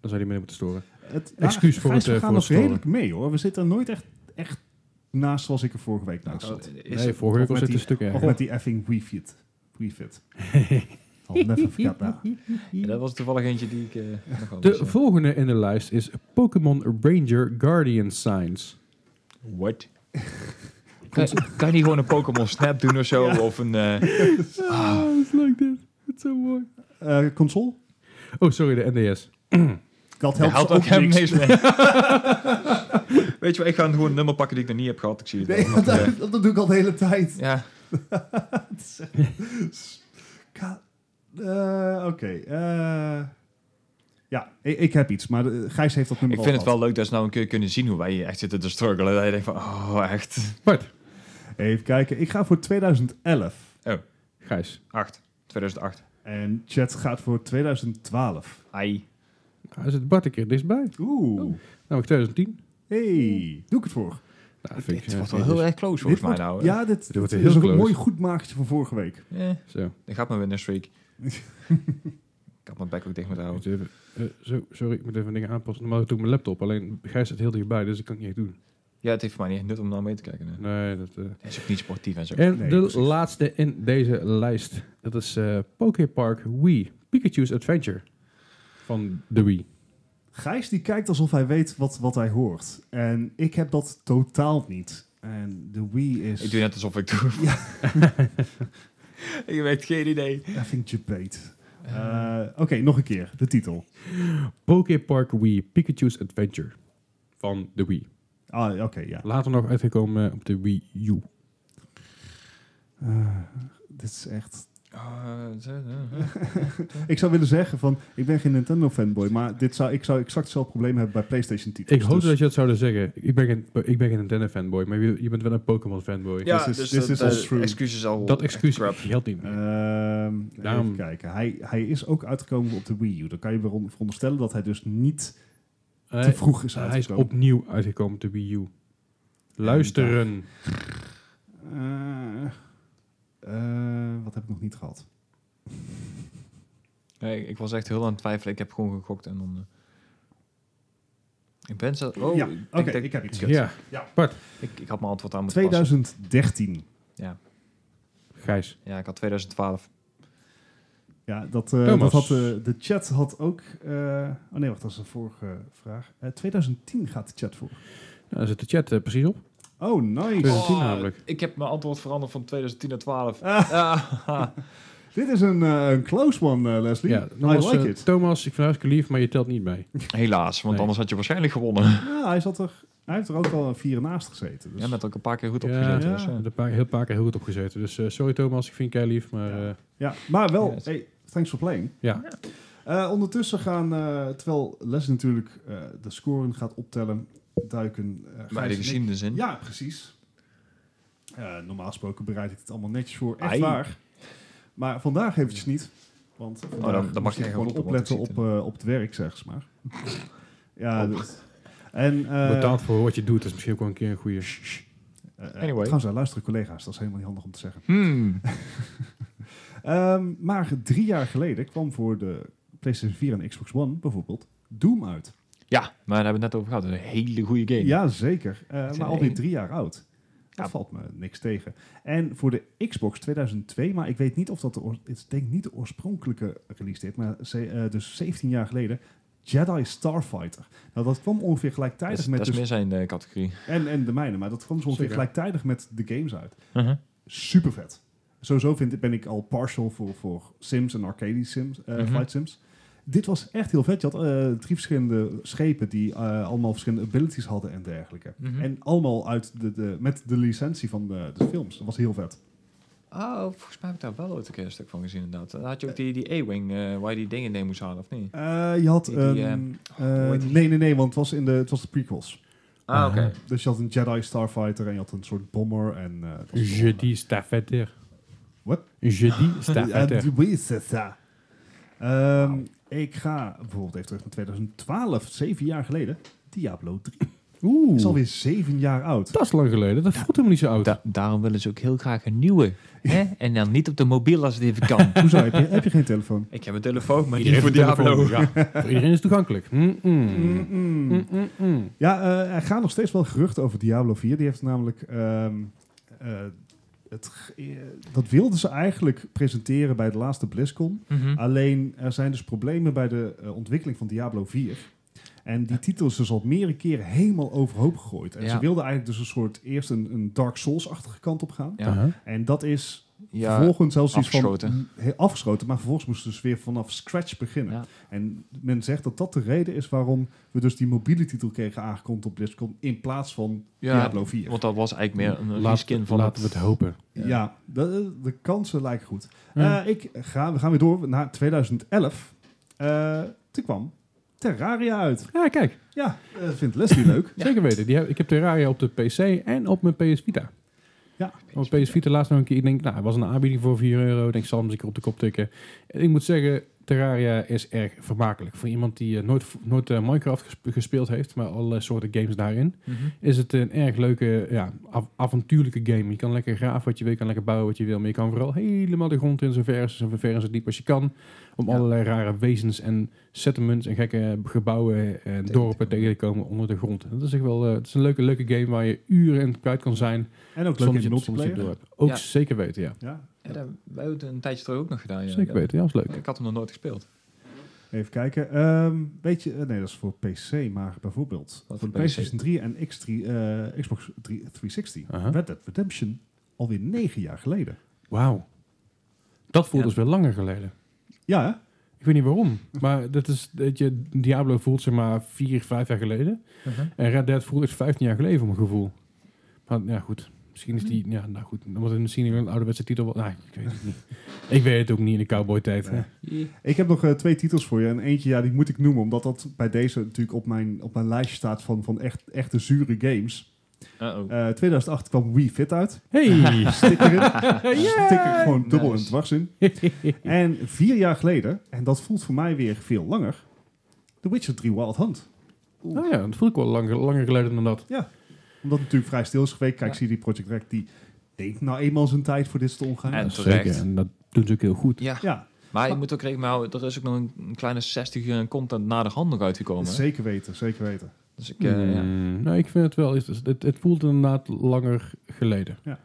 Speaker 3: Dan zou die me niet moeten storen.
Speaker 1: het,
Speaker 3: Excuus
Speaker 1: nou,
Speaker 3: voor
Speaker 1: Gijs,
Speaker 3: het, eh,
Speaker 1: We gaan
Speaker 3: voor het
Speaker 1: nog
Speaker 3: storen.
Speaker 1: redelijk mee hoor. We zitten nooit echt, echt naast zoals ik er vorige week naast
Speaker 4: Oh,
Speaker 1: zat.
Speaker 4: is
Speaker 3: nee,
Speaker 4: het-
Speaker 3: vorige
Speaker 1: of
Speaker 3: week
Speaker 1: met
Speaker 3: was het een stuk
Speaker 1: Of
Speaker 3: erger.
Speaker 1: met die effing refit.
Speaker 3: <laughs>
Speaker 1: refit. I'll never forget that.
Speaker 4: Ja, dat was toevallig eentje die ik eh, nog wel
Speaker 3: De
Speaker 4: wist, ja.
Speaker 3: volgende in de lijst is Pokémon Ranger Guardian Signs.
Speaker 4: What? kan, kan je niet gewoon een Pokémon Snap doen of zo? Of een... eh,
Speaker 3: Oh, is leuk dit. Het is zo mooi.
Speaker 1: Eh, console?
Speaker 3: Oh, sorry, de NDS.
Speaker 1: Dat
Speaker 4: dat
Speaker 1: helpt
Speaker 4: helpt
Speaker 1: ook
Speaker 4: ook hem
Speaker 1: niks.
Speaker 4: niks mee. Weet je wel, ik ga gewoon een nummer pakken die ik nog niet heb gehad. Ik zie het
Speaker 1: Nee, <laughs>
Speaker 4: wel,
Speaker 1: dat,
Speaker 4: want, eh,
Speaker 1: dat doe ik al de hele tijd.
Speaker 4: ja,
Speaker 1: Ka- eh, Oké. eh, ja, ik, ik heb iets, maar eh, Gijs heeft dat nummer al
Speaker 4: ik vind het wel
Speaker 1: gehad.
Speaker 4: leuk dat ze nou een keer kunnen zien hoe wij echt zitten te struggelen. Dat je denkt van, oh, echt.
Speaker 3: Bart.
Speaker 1: Even kijken. Ik ga voor 2011.
Speaker 3: Gijs.
Speaker 4: 8. 2008.
Speaker 1: En chat gaat voor 2012.
Speaker 4: Ai.
Speaker 3: Hij zit Nou, Bart een keer dichtstbij.
Speaker 1: Oeh.
Speaker 3: Namelijk 2010.
Speaker 1: Hey, doe ik het voor.
Speaker 3: Nou, dat vind ik,
Speaker 4: Dit
Speaker 3: eh,
Speaker 4: wordt wel heel
Speaker 3: is-
Speaker 4: erg close volgens mij
Speaker 1: wordt-
Speaker 4: nou. hè.
Speaker 1: Ja, dit,
Speaker 3: wordt
Speaker 1: dit
Speaker 3: heel
Speaker 1: is ook een
Speaker 3: close.
Speaker 1: mooi goed maagdje van vorige week.
Speaker 4: Eh,
Speaker 3: Zo.
Speaker 4: dan gaat mijn winner streak. ik had mijn bek ook dicht moeten
Speaker 3: Moet
Speaker 4: houden.
Speaker 3: even, eh, zo. Sorry, ik moet even dingen aanpassen. Normaal doe ik mijn laptop. Alleen Gijs zit heel dichtbij, dus ik kan het niet echt doen.
Speaker 4: Ja, het heeft voor mij niet nut om nou mee te kijken. hè.
Speaker 3: Nee, dat... eh,
Speaker 4: Hij is ook niet sportief en zo.
Speaker 3: En
Speaker 1: Nee,
Speaker 3: de
Speaker 1: precies.
Speaker 3: laatste in deze lijst. Dat is eh Poképark Wii. Pikachu's Adventure. Van de Wii.
Speaker 1: Gijs die kijkt alsof hij weet wat, wat hij hoort. En ik heb dat totaal niet. En de Wii is...
Speaker 4: Ik doe net alsof ik doe. <laughs> ik heb echt geen idee.
Speaker 1: Effing Jebate. Eh, Oké, nog een keer. De titel.
Speaker 3: Poképark Wii. Pikachu's Adventure. Van de Wii.
Speaker 1: Ah, oké, ja.
Speaker 3: Later nog uitgekomen eh, op de Wii U.
Speaker 1: Eh, dit is echt... <laughs>
Speaker 4: Ah, eh, eh,
Speaker 1: Ik zou willen zeggen van, ik ben geen Nintendo fanboy, maar dit zou, ik zou exact hetzelfde probleem hebben bij PlayStation titels.
Speaker 3: Ik hoop
Speaker 1: Dus
Speaker 3: dat je dat zouden zeggen. Ik ben geen, ik ben geen Nintendo fanboy, maar je, je bent wel een Pokémon fanboy.
Speaker 4: Ja,
Speaker 1: This is-
Speaker 4: dus
Speaker 1: this
Speaker 4: dat,
Speaker 1: is
Speaker 4: eh,
Speaker 1: all true.
Speaker 4: excuus is al
Speaker 3: dat
Speaker 4: echt
Speaker 3: excuus
Speaker 4: crap.
Speaker 3: geldt niet meer.
Speaker 1: ehm,
Speaker 3: Daarom-
Speaker 1: Even kijken. Hij, hij is ook uitgekomen op de Wii U. Dan kan je veron- veronderstellen dat hij dus niet
Speaker 3: Eh,
Speaker 1: te vroeg is
Speaker 3: hij is
Speaker 1: uitgekomen.
Speaker 3: opnieuw uitgekomen op de Wii U. Luisteren.
Speaker 1: Eh, eh, wat heb ik nog niet gehad?
Speaker 4: Nee, ik, ik was echt heel aan het twijfelen. Ik heb gewoon gegokt en dan... eh, ik ben zo... Oh,
Speaker 1: ja,
Speaker 4: ik,
Speaker 1: oké,
Speaker 4: denk dat-
Speaker 1: ik heb iets.
Speaker 3: Ja,
Speaker 4: ik, ik had mijn antwoord aan moeten
Speaker 1: 2013.
Speaker 3: Gijs.
Speaker 4: passen. Ja, ik had 2012.
Speaker 1: Ja, dat, eh, dat
Speaker 3: Thomas.
Speaker 1: had, eh, de chat had ook... eh, oh nee, wacht, dat is de vorige vraag. Eh, 2010 gaat de chat voor.
Speaker 3: Nou, daar zit de chat eh, precies op.
Speaker 1: Oh, nice.
Speaker 3: 2010 namelijk.
Speaker 4: Ik heb mijn antwoord veranderd van 2010 naar 12.
Speaker 1: Ah.
Speaker 4: Ah,
Speaker 1: Dit is een, eh, een close one, eh, Leslie.
Speaker 3: Ja,
Speaker 1: I
Speaker 3: nogmaals,
Speaker 1: like
Speaker 3: eh,
Speaker 1: it.
Speaker 3: Thomas, ik vind het hartstikke lief, maar je telt niet mee.
Speaker 4: Helaas, want
Speaker 3: Nee.
Speaker 4: anders had je waarschijnlijk gewonnen.
Speaker 1: Ja, hij, zat er, hij heeft er ook al een vier naast gezeten. Dus.
Speaker 4: Ja, met ook een paar keer goed
Speaker 3: Ja.
Speaker 4: opgezet.
Speaker 1: Ja.
Speaker 4: dus, eh.
Speaker 3: Ik heb er een paar, heel paar keer heel goed opgezeten. Dus eh, sorry Thomas, ik vind je lief, maar
Speaker 1: Ja.
Speaker 3: eh,
Speaker 1: Ja, maar wel,
Speaker 4: Yes.
Speaker 1: hey, thanks for playing.
Speaker 3: ja.
Speaker 1: Eh, ondertussen gaan, eh, terwijl Leslie natuurlijk eh, de scoren gaat optellen, duiken... eh, Gijs
Speaker 4: Bij
Speaker 1: en
Speaker 4: de
Speaker 1: ik-
Speaker 4: geschiedenis in.
Speaker 1: Ja, precies. Eh, normaal gesproken bereid ik het allemaal netjes voor. Echt
Speaker 4: Ai.
Speaker 1: waar. Maar vandaag eventjes niet. Want vandaag
Speaker 4: Oh, dan- dan mag
Speaker 1: moest
Speaker 4: jij
Speaker 1: ik
Speaker 4: gewoon
Speaker 1: gewoon
Speaker 4: roepen, want ik
Speaker 1: opletten op,
Speaker 4: zie
Speaker 1: eh, op het werk, zeg maar. <laughs> ja, dat- en... eh,
Speaker 3: betaald voor wat je doet is misschien ook wel een keer een goede.
Speaker 1: eh, eh,
Speaker 4: Anyway.
Speaker 1: Trouwens, hij luisteren collega's. Dat is helemaal niet handig om te zeggen.
Speaker 4: Hmm.
Speaker 1: Ehm, maar drie jaar geleden kwam voor de PlayStation 4 en Xbox One bijvoorbeeld Doom uit.
Speaker 4: Ja, maar daar hebben we het net over gehad. Dat is een hele goede game.
Speaker 1: Ja, zeker. Eh,
Speaker 4: is
Speaker 1: maar
Speaker 4: een
Speaker 1: alweer
Speaker 4: één. Nou.
Speaker 1: drie jaar oud. Dat
Speaker 4: Ja.
Speaker 1: valt me niks tegen. En voor de Xbox 2002, maar ik weet niet of dat de, oor- ik denk niet de oorspronkelijke release dit, maar ze- eh, dus 17 jaar geleden, Jedi Starfighter. Nou, dat kwam ongeveer
Speaker 4: dat
Speaker 1: gelijktijdig
Speaker 4: is,
Speaker 1: met
Speaker 4: dat is
Speaker 1: dus-
Speaker 4: meer zijn eh, categorie.
Speaker 1: en, en de mijne, maar dat kwam zo ongeveer
Speaker 3: Zeker.
Speaker 1: gelijktijdig met de games uit.
Speaker 4: Mhm.
Speaker 1: Super vet. Sowieso vind, ik- ben ik al partial voor, voor Sims en arcade Sims, eh,
Speaker 4: Mhm.
Speaker 1: Flight Sims. Dit was echt heel vet. Je had eh, drie verschillende schepen die eh, allemaal verschillende abilities hadden en dergelijke.
Speaker 4: Mhm.
Speaker 1: En allemaal uit de, de, met de licentie van de, de films. Dat was heel vet.
Speaker 4: Oh, volgens mij heb ik daar wel ooit een keer een stuk van gezien, inderdaad. Dan had je ook die, die A-Wing, eh, waar je die dingen neer moest halen, of niet?
Speaker 1: Eh, je had
Speaker 4: Die-
Speaker 1: een...
Speaker 4: die, ehm,
Speaker 1: eh,
Speaker 4: hoe heet die?
Speaker 1: nee, nee, nee, want het was, in de, het was de prequels.
Speaker 4: Ah, oké.
Speaker 1: Dus je had een Jedi Starfighter en je had een soort bomber. En, eh, het was een
Speaker 3: Je die stafetter.
Speaker 1: Wat?
Speaker 3: Je die
Speaker 1: Ja,
Speaker 3: stafetter.
Speaker 1: die Beast is daar. Ehm, Ik ga bijvoorbeeld even terug naar 2012, zeven jaar geleden. Diablo 3.
Speaker 3: Oeh,
Speaker 1: Is alweer zeven jaar oud.
Speaker 3: dat is lang geleden. Dat voelt helemaal niet zo oud.
Speaker 4: Da- daarom willen ze ook heel graag een nieuwe. hè? En dan niet op de mobiel als het even kan.
Speaker 1: Hoezo? Heb je, heb je geen telefoon?
Speaker 4: ik heb een telefoon, maar
Speaker 3: Iedereen
Speaker 4: niet voor
Speaker 3: heeft een
Speaker 4: Diablo.
Speaker 3: telefoon, ja. <laughs> Voor iedereen is het toegankelijk. Mm,
Speaker 1: Mm.
Speaker 3: Mm-mm.
Speaker 1: Mm-mm.
Speaker 3: Mm. Mm-mm-mm.
Speaker 1: Ja, eh, er gaan nog steeds wel geruchten over Diablo 4. Die heeft namelijk... ehm, eh, het, ge- eh, dat wilden ze eigenlijk presenteren bij de laatste BlizzCon.
Speaker 4: Mhm.
Speaker 1: Alleen er zijn dus problemen bij de eh, ontwikkeling van Diablo 4. En die titel is dus al meerdere keren helemaal overhoop gegooid. En
Speaker 4: Ja.
Speaker 1: ze wilden eigenlijk dus een soort eerst een, een Dark Souls-achtige kant op gaan.
Speaker 4: Ja.
Speaker 3: Uh-huh.
Speaker 1: En dat is
Speaker 4: Ja,
Speaker 1: vervolgens zelfs iets van
Speaker 4: afgeschoten.
Speaker 1: he- afgeschoten. Maar vervolgens moesten ze dus weer vanaf scratch beginnen.
Speaker 4: Ja.
Speaker 1: En men zegt dat dat de reden is waarom we dus die mobiele titel kregen aangekondigd op BlizzCon in plaats van
Speaker 4: Ja,
Speaker 1: Diablo 4.
Speaker 4: want dat was eigenlijk meer een
Speaker 3: Laat-
Speaker 4: reskin van
Speaker 3: Laten we het hopen.
Speaker 1: Ja, de, de kansen lijken goed.
Speaker 3: Ja.
Speaker 1: Eh, ik ga, we gaan weer door naar 2011. Eh, toen kwam Terraria uit.
Speaker 3: Ja, kijk.
Speaker 1: Ja, eh, vindt Leslie leuk.
Speaker 3: Zeker weten. Die heb, ik heb Terraria op de PC en op mijn PS Vita.
Speaker 1: Ja.
Speaker 3: Op mijn PS Vita laatst nog een keer. Ik denk, nou, het was een aanbieding voor 4 euro. Ik denk, ik zal hem eens een keer op de kop tikken. En ik moet zeggen, Terraria is erg vermakelijk. Voor iemand die eh, nooit, nooit eh, Minecraft gesp- gespeeld heeft, maar allerlei soorten games daarin,
Speaker 4: Mhm.
Speaker 3: is het een erg leuke, ja, av- avontuurlijke game. Je kan lekker graven wat je wil, je kan lekker bouwen wat je wil, maar je kan vooral helemaal de grond in zo ver, zo ver en zo diep als je kan, om
Speaker 4: Ja.
Speaker 3: allerlei rare wezens en settlements en gekke gebouwen en
Speaker 4: te
Speaker 3: dorpen
Speaker 4: komen.
Speaker 3: tegen te komen onder de grond. En dat is echt wel, eh, het is een leuke, leuke game waar je uren in kwijt kan zijn,
Speaker 1: En ook leuk
Speaker 3: zonder
Speaker 1: in
Speaker 3: dat je het zonder dat je het
Speaker 1: multiplayer.
Speaker 3: door hebt. Ook
Speaker 4: Ja.
Speaker 3: zeker weten, ja.
Speaker 1: Ja,
Speaker 4: Ja, dat hebben we hebben een tijdje terug ook nog gedaan. Ja.
Speaker 3: Zeker
Speaker 4: Ja.
Speaker 3: weten, ja, dat is leuk.
Speaker 4: Ik had hem nog nooit gespeeld.
Speaker 1: even kijken. Ehm weet je, eh, nee, dat is voor PC, maar bijvoorbeeld voor de
Speaker 4: Wat voor PC?
Speaker 1: PlayStation 3 en X3, eh, Xbox 3 360.
Speaker 3: Aha.
Speaker 1: Red Dead Redemption alweer negen jaar geleden.
Speaker 3: Wauw. Dat voelt
Speaker 4: Ja.
Speaker 3: dus weer langer geleden.
Speaker 1: Ja, hè?
Speaker 3: Ik weet niet waarom, maar dat is, dat je, Diablo voelt zeg maar vier, vijf jaar geleden. En Red Dead voelt is 15 jaar geleden, voor mijn gevoel. Maar ja, goed. Misschien is
Speaker 4: Hmm.
Speaker 3: die... Ja, nou goed. Dan wordt het misschien een ouderwetse titel. wel- Nou, ik weet het niet. Ik weet het ook niet in de cowboy-tijd.
Speaker 1: Nee.
Speaker 3: hè.
Speaker 4: Ja.
Speaker 1: Ik heb nog eh, twee titels voor je. En eentje, ja, die moet ik noemen, omdat dat bij deze natuurlijk op mijn, op mijn lijstje staat van, van echt, echte zure games.
Speaker 4: Uh-oh.
Speaker 1: Eh 2008 kwam Wii Fit uit.
Speaker 4: <laughs>
Speaker 3: Hey!
Speaker 1: Stik
Speaker 3: <laughs>
Speaker 1: erin. Stik er gewoon dubbel en
Speaker 4: Nice.
Speaker 1: dwars in. en vier jaar geleden, en dat voelt voor mij weer veel langer, The Witcher 3 Wild Hunt.
Speaker 3: nou ja, dat voel ik wel langer, langer geleden dan dat.
Speaker 1: Omdat het natuurlijk vrij stil is geweest. Kijk,
Speaker 4: Ja.
Speaker 1: zie die Project Rec, die deed nou eenmaal zijn tijd voor dit te omgaan.
Speaker 4: En
Speaker 3: Ja,
Speaker 4: terecht.
Speaker 3: Zeker. En dat doen ze ook heel goed.
Speaker 4: Ja,
Speaker 1: ja,
Speaker 4: maar je moet ook rekening mee houden, er is ook nog een, een kleine 60 uur aan content na de hand nog uitgekomen. hè.
Speaker 1: zeker weten, zeker weten.
Speaker 4: Dus ik, eh, ja.
Speaker 3: Mm, Nou, ik vind het wel... is- is- Het, het voelt inderdaad langer geleden.
Speaker 1: Ja.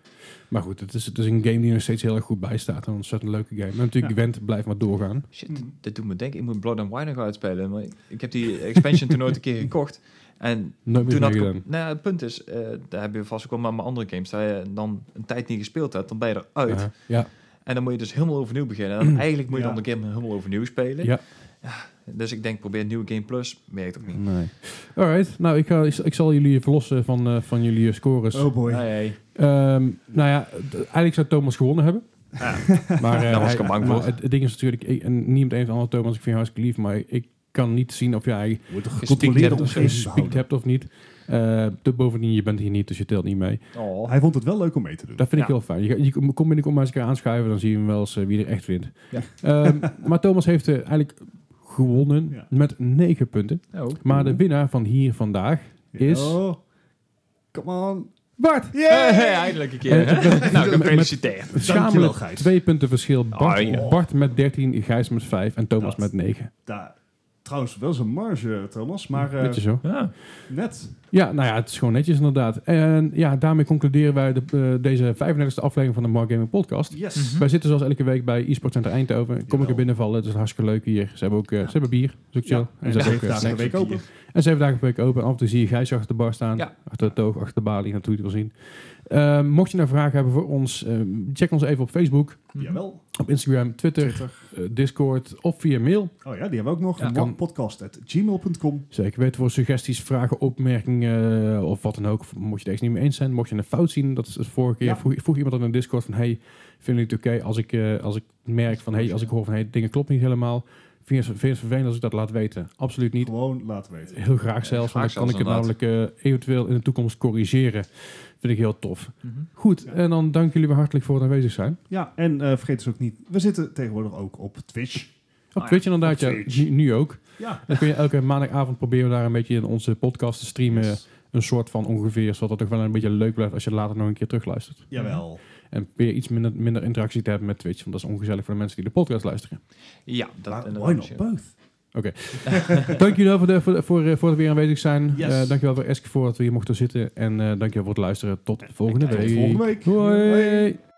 Speaker 3: Maar goed, het is, het is een game die nog steeds heel erg goed bijstaat. Een ontzettend leuke game. En natuurlijk,
Speaker 1: Ja.
Speaker 3: Gwent blijft maar doorgaan.
Speaker 4: Shit, dit, dit doet me denken, ik moet Blood and Wine nog uitspelen. Maar ik, ik heb die expansion toen nooit een keer gekocht. En
Speaker 3: Nooit meer
Speaker 4: toen had ik...
Speaker 3: gedaan.
Speaker 4: op- Nou, ja, het punt is, eh, daar heb je vast ook wel met mijn andere games, dat je dan een tijd niet gespeeld hebt, dan ben je eruit.
Speaker 3: Aha. Ja,
Speaker 4: En dan moet je dus helemaal overnieuw beginnen. En eigenlijk moet je
Speaker 1: <clears throat> Ja.
Speaker 4: dan de game helemaal overnieuw spelen.
Speaker 3: Ja.
Speaker 4: Ja, Dus ik denk, probeer New Game Plus. Werkt ook niet.
Speaker 3: nee. Alright, nou ik, ga, ik, ik zal jullie verlossen van, eh, van jullie eh, scores.
Speaker 1: Oh boy.
Speaker 4: Nee, nee.
Speaker 3: Ehm, nou ja, d- eigenlijk zou Thomas gewonnen hebben. <laughs> Maar, eh,
Speaker 4: Daar was
Speaker 3: hij-
Speaker 4: ik al bang voor.
Speaker 3: maar het, het ding is natuurlijk, ik, en niemand heeft ander Thomas, ik vind je hartstikke lief, maar ik kan niet zien of jij
Speaker 1: Wordt er
Speaker 4: gespiekt
Speaker 1: gecontroleerd
Speaker 4: hebben
Speaker 1: om
Speaker 4: of
Speaker 1: geen
Speaker 3: gespiekt hebt of niet. Eh, te bovendien, je bent hier niet, dus je telt niet mee.
Speaker 4: Oh.
Speaker 1: Hij vond het wel leuk om mee te doen.
Speaker 3: Dat vind ik
Speaker 4: Ja.
Speaker 3: heel fijn. Je, gaat- je komt binnenkom maar eens een keer aanschuiven, dan zien we wel eens eh, wie er echt wint.
Speaker 4: Ja.
Speaker 3: Ehm, <laughs> maar Thomas heeft eh, eigenlijk gewonnen
Speaker 1: Ja.
Speaker 3: met 9 punten.
Speaker 4: Oh.
Speaker 3: Maar de winnaar van hier vandaag is...
Speaker 1: Oh, come on.
Speaker 3: Bart!
Speaker 1: Yay!
Speaker 4: Hey, eindelijk een keer. hè? <laughs> nou, gefeliciteerd.
Speaker 1: Dankjewel,
Speaker 3: Schamelijk
Speaker 1: Gijs.
Speaker 3: twee punten verschil. Bart,
Speaker 4: Ah, ja.
Speaker 3: Bart met 13, Gijs met 5 en Thomas
Speaker 1: Dat.
Speaker 3: met 9.
Speaker 1: Daar, trouwens, wel zijn marge, Thomas, maar eh,
Speaker 3: Beetje zo.
Speaker 4: Ja.
Speaker 1: net.
Speaker 3: Ja, nou ja, het is gewoon netjes inderdaad. En ja, daarmee concluderen wij de, eh, deze 35e aflevering van de Mark Gaming Podcast.
Speaker 1: Yes.
Speaker 3: Wij zitten zoals elke week bij eSport Center Eindhoven. Kom ik
Speaker 1: Jawel.
Speaker 3: er binnenvallen, het is hartstikke leuk hier. Ze hebben ook eh, ze hebben bier, dat is ook chill.
Speaker 1: Ja,
Speaker 3: En
Speaker 1: en
Speaker 3: ze
Speaker 1: dat
Speaker 3: hebben
Speaker 1: heeft
Speaker 3: ook eh,
Speaker 1: daar een week open.
Speaker 3: En zeven dagen per week open. En af en toe zie je Gijs achter de bar staan.
Speaker 4: Ja.
Speaker 3: Achter de toog, achter de balie, naartoe je het wil zien. Ehm, mocht je nou vragen hebben voor ons, ehm, check ons even op Facebook,
Speaker 1: Jawel.
Speaker 3: op Instagram, Twitter, eh, Discord of via mail.
Speaker 1: Oh ja, die hebben we ook nog.
Speaker 3: Ja,
Speaker 1: Ja,
Speaker 3: kan.
Speaker 1: Podcast.gmail.com.
Speaker 3: Zeker weten voor suggesties, vragen, opmerkingen eh, of wat dan ook. Of Mocht je het ergens niet mee eens zijn, mocht je een fout zien. Dat is de vorige keer.
Speaker 1: Ja.
Speaker 3: Vroeg, vroeg iemand aan in de Discord van, hey, vinden jullie het oké als, ik, eh, als ik merk van, hey, als ik hoor van, hey, dingen klopt niet helemaal. Vind je het- vind je het vervelend als ik dat laat weten? Absoluut niet.
Speaker 1: Gewoon laten weten.
Speaker 3: Heel graag zelfs, want
Speaker 4: graag
Speaker 3: dan kan ik het
Speaker 4: zelfs,
Speaker 3: namelijk eh, eventueel in de toekomst corrigeren. Vind ik heel tof.
Speaker 4: Mhm.
Speaker 3: Goed, en dan dank jullie weer hartelijk voor het aanwezig zijn.
Speaker 1: Ja, en eh, vergeet dus ook niet, we zitten tegenwoordig ook op Twitch.
Speaker 3: Op Twitch inderdaad,
Speaker 1: op
Speaker 3: ja,
Speaker 1: Twitch.
Speaker 3: nu, nu ook.
Speaker 1: Ja.
Speaker 3: Dan kun je elke maandagavond proberen we daar een beetje in onze podcast te streamen.
Speaker 1: Yes.
Speaker 3: Een soort van ongeveer, zodat het ook wel een beetje leuk blijft als je later nog een keer terugluistert.
Speaker 1: Jawel.
Speaker 3: En probeer iets minder, minder interactie te hebben met Twitch, want dat is ongezellig voor de mensen die de podcast <laughs> luisteren.
Speaker 4: Ja, dat
Speaker 1: Maar
Speaker 4: en
Speaker 1: why not both?
Speaker 3: dank jullie wel voor, de, voor, de- voor, eh, voor het weer aanwezig zijn.
Speaker 1: Yes.
Speaker 3: Eh dankjewel eh, voor Eske voor dat we hier mochten zitten. En eh dankjewel voor het luisteren. Tot volgende
Speaker 1: Tot
Speaker 3: week.
Speaker 1: volgende week.
Speaker 3: Hoi.
Speaker 1: Hoi.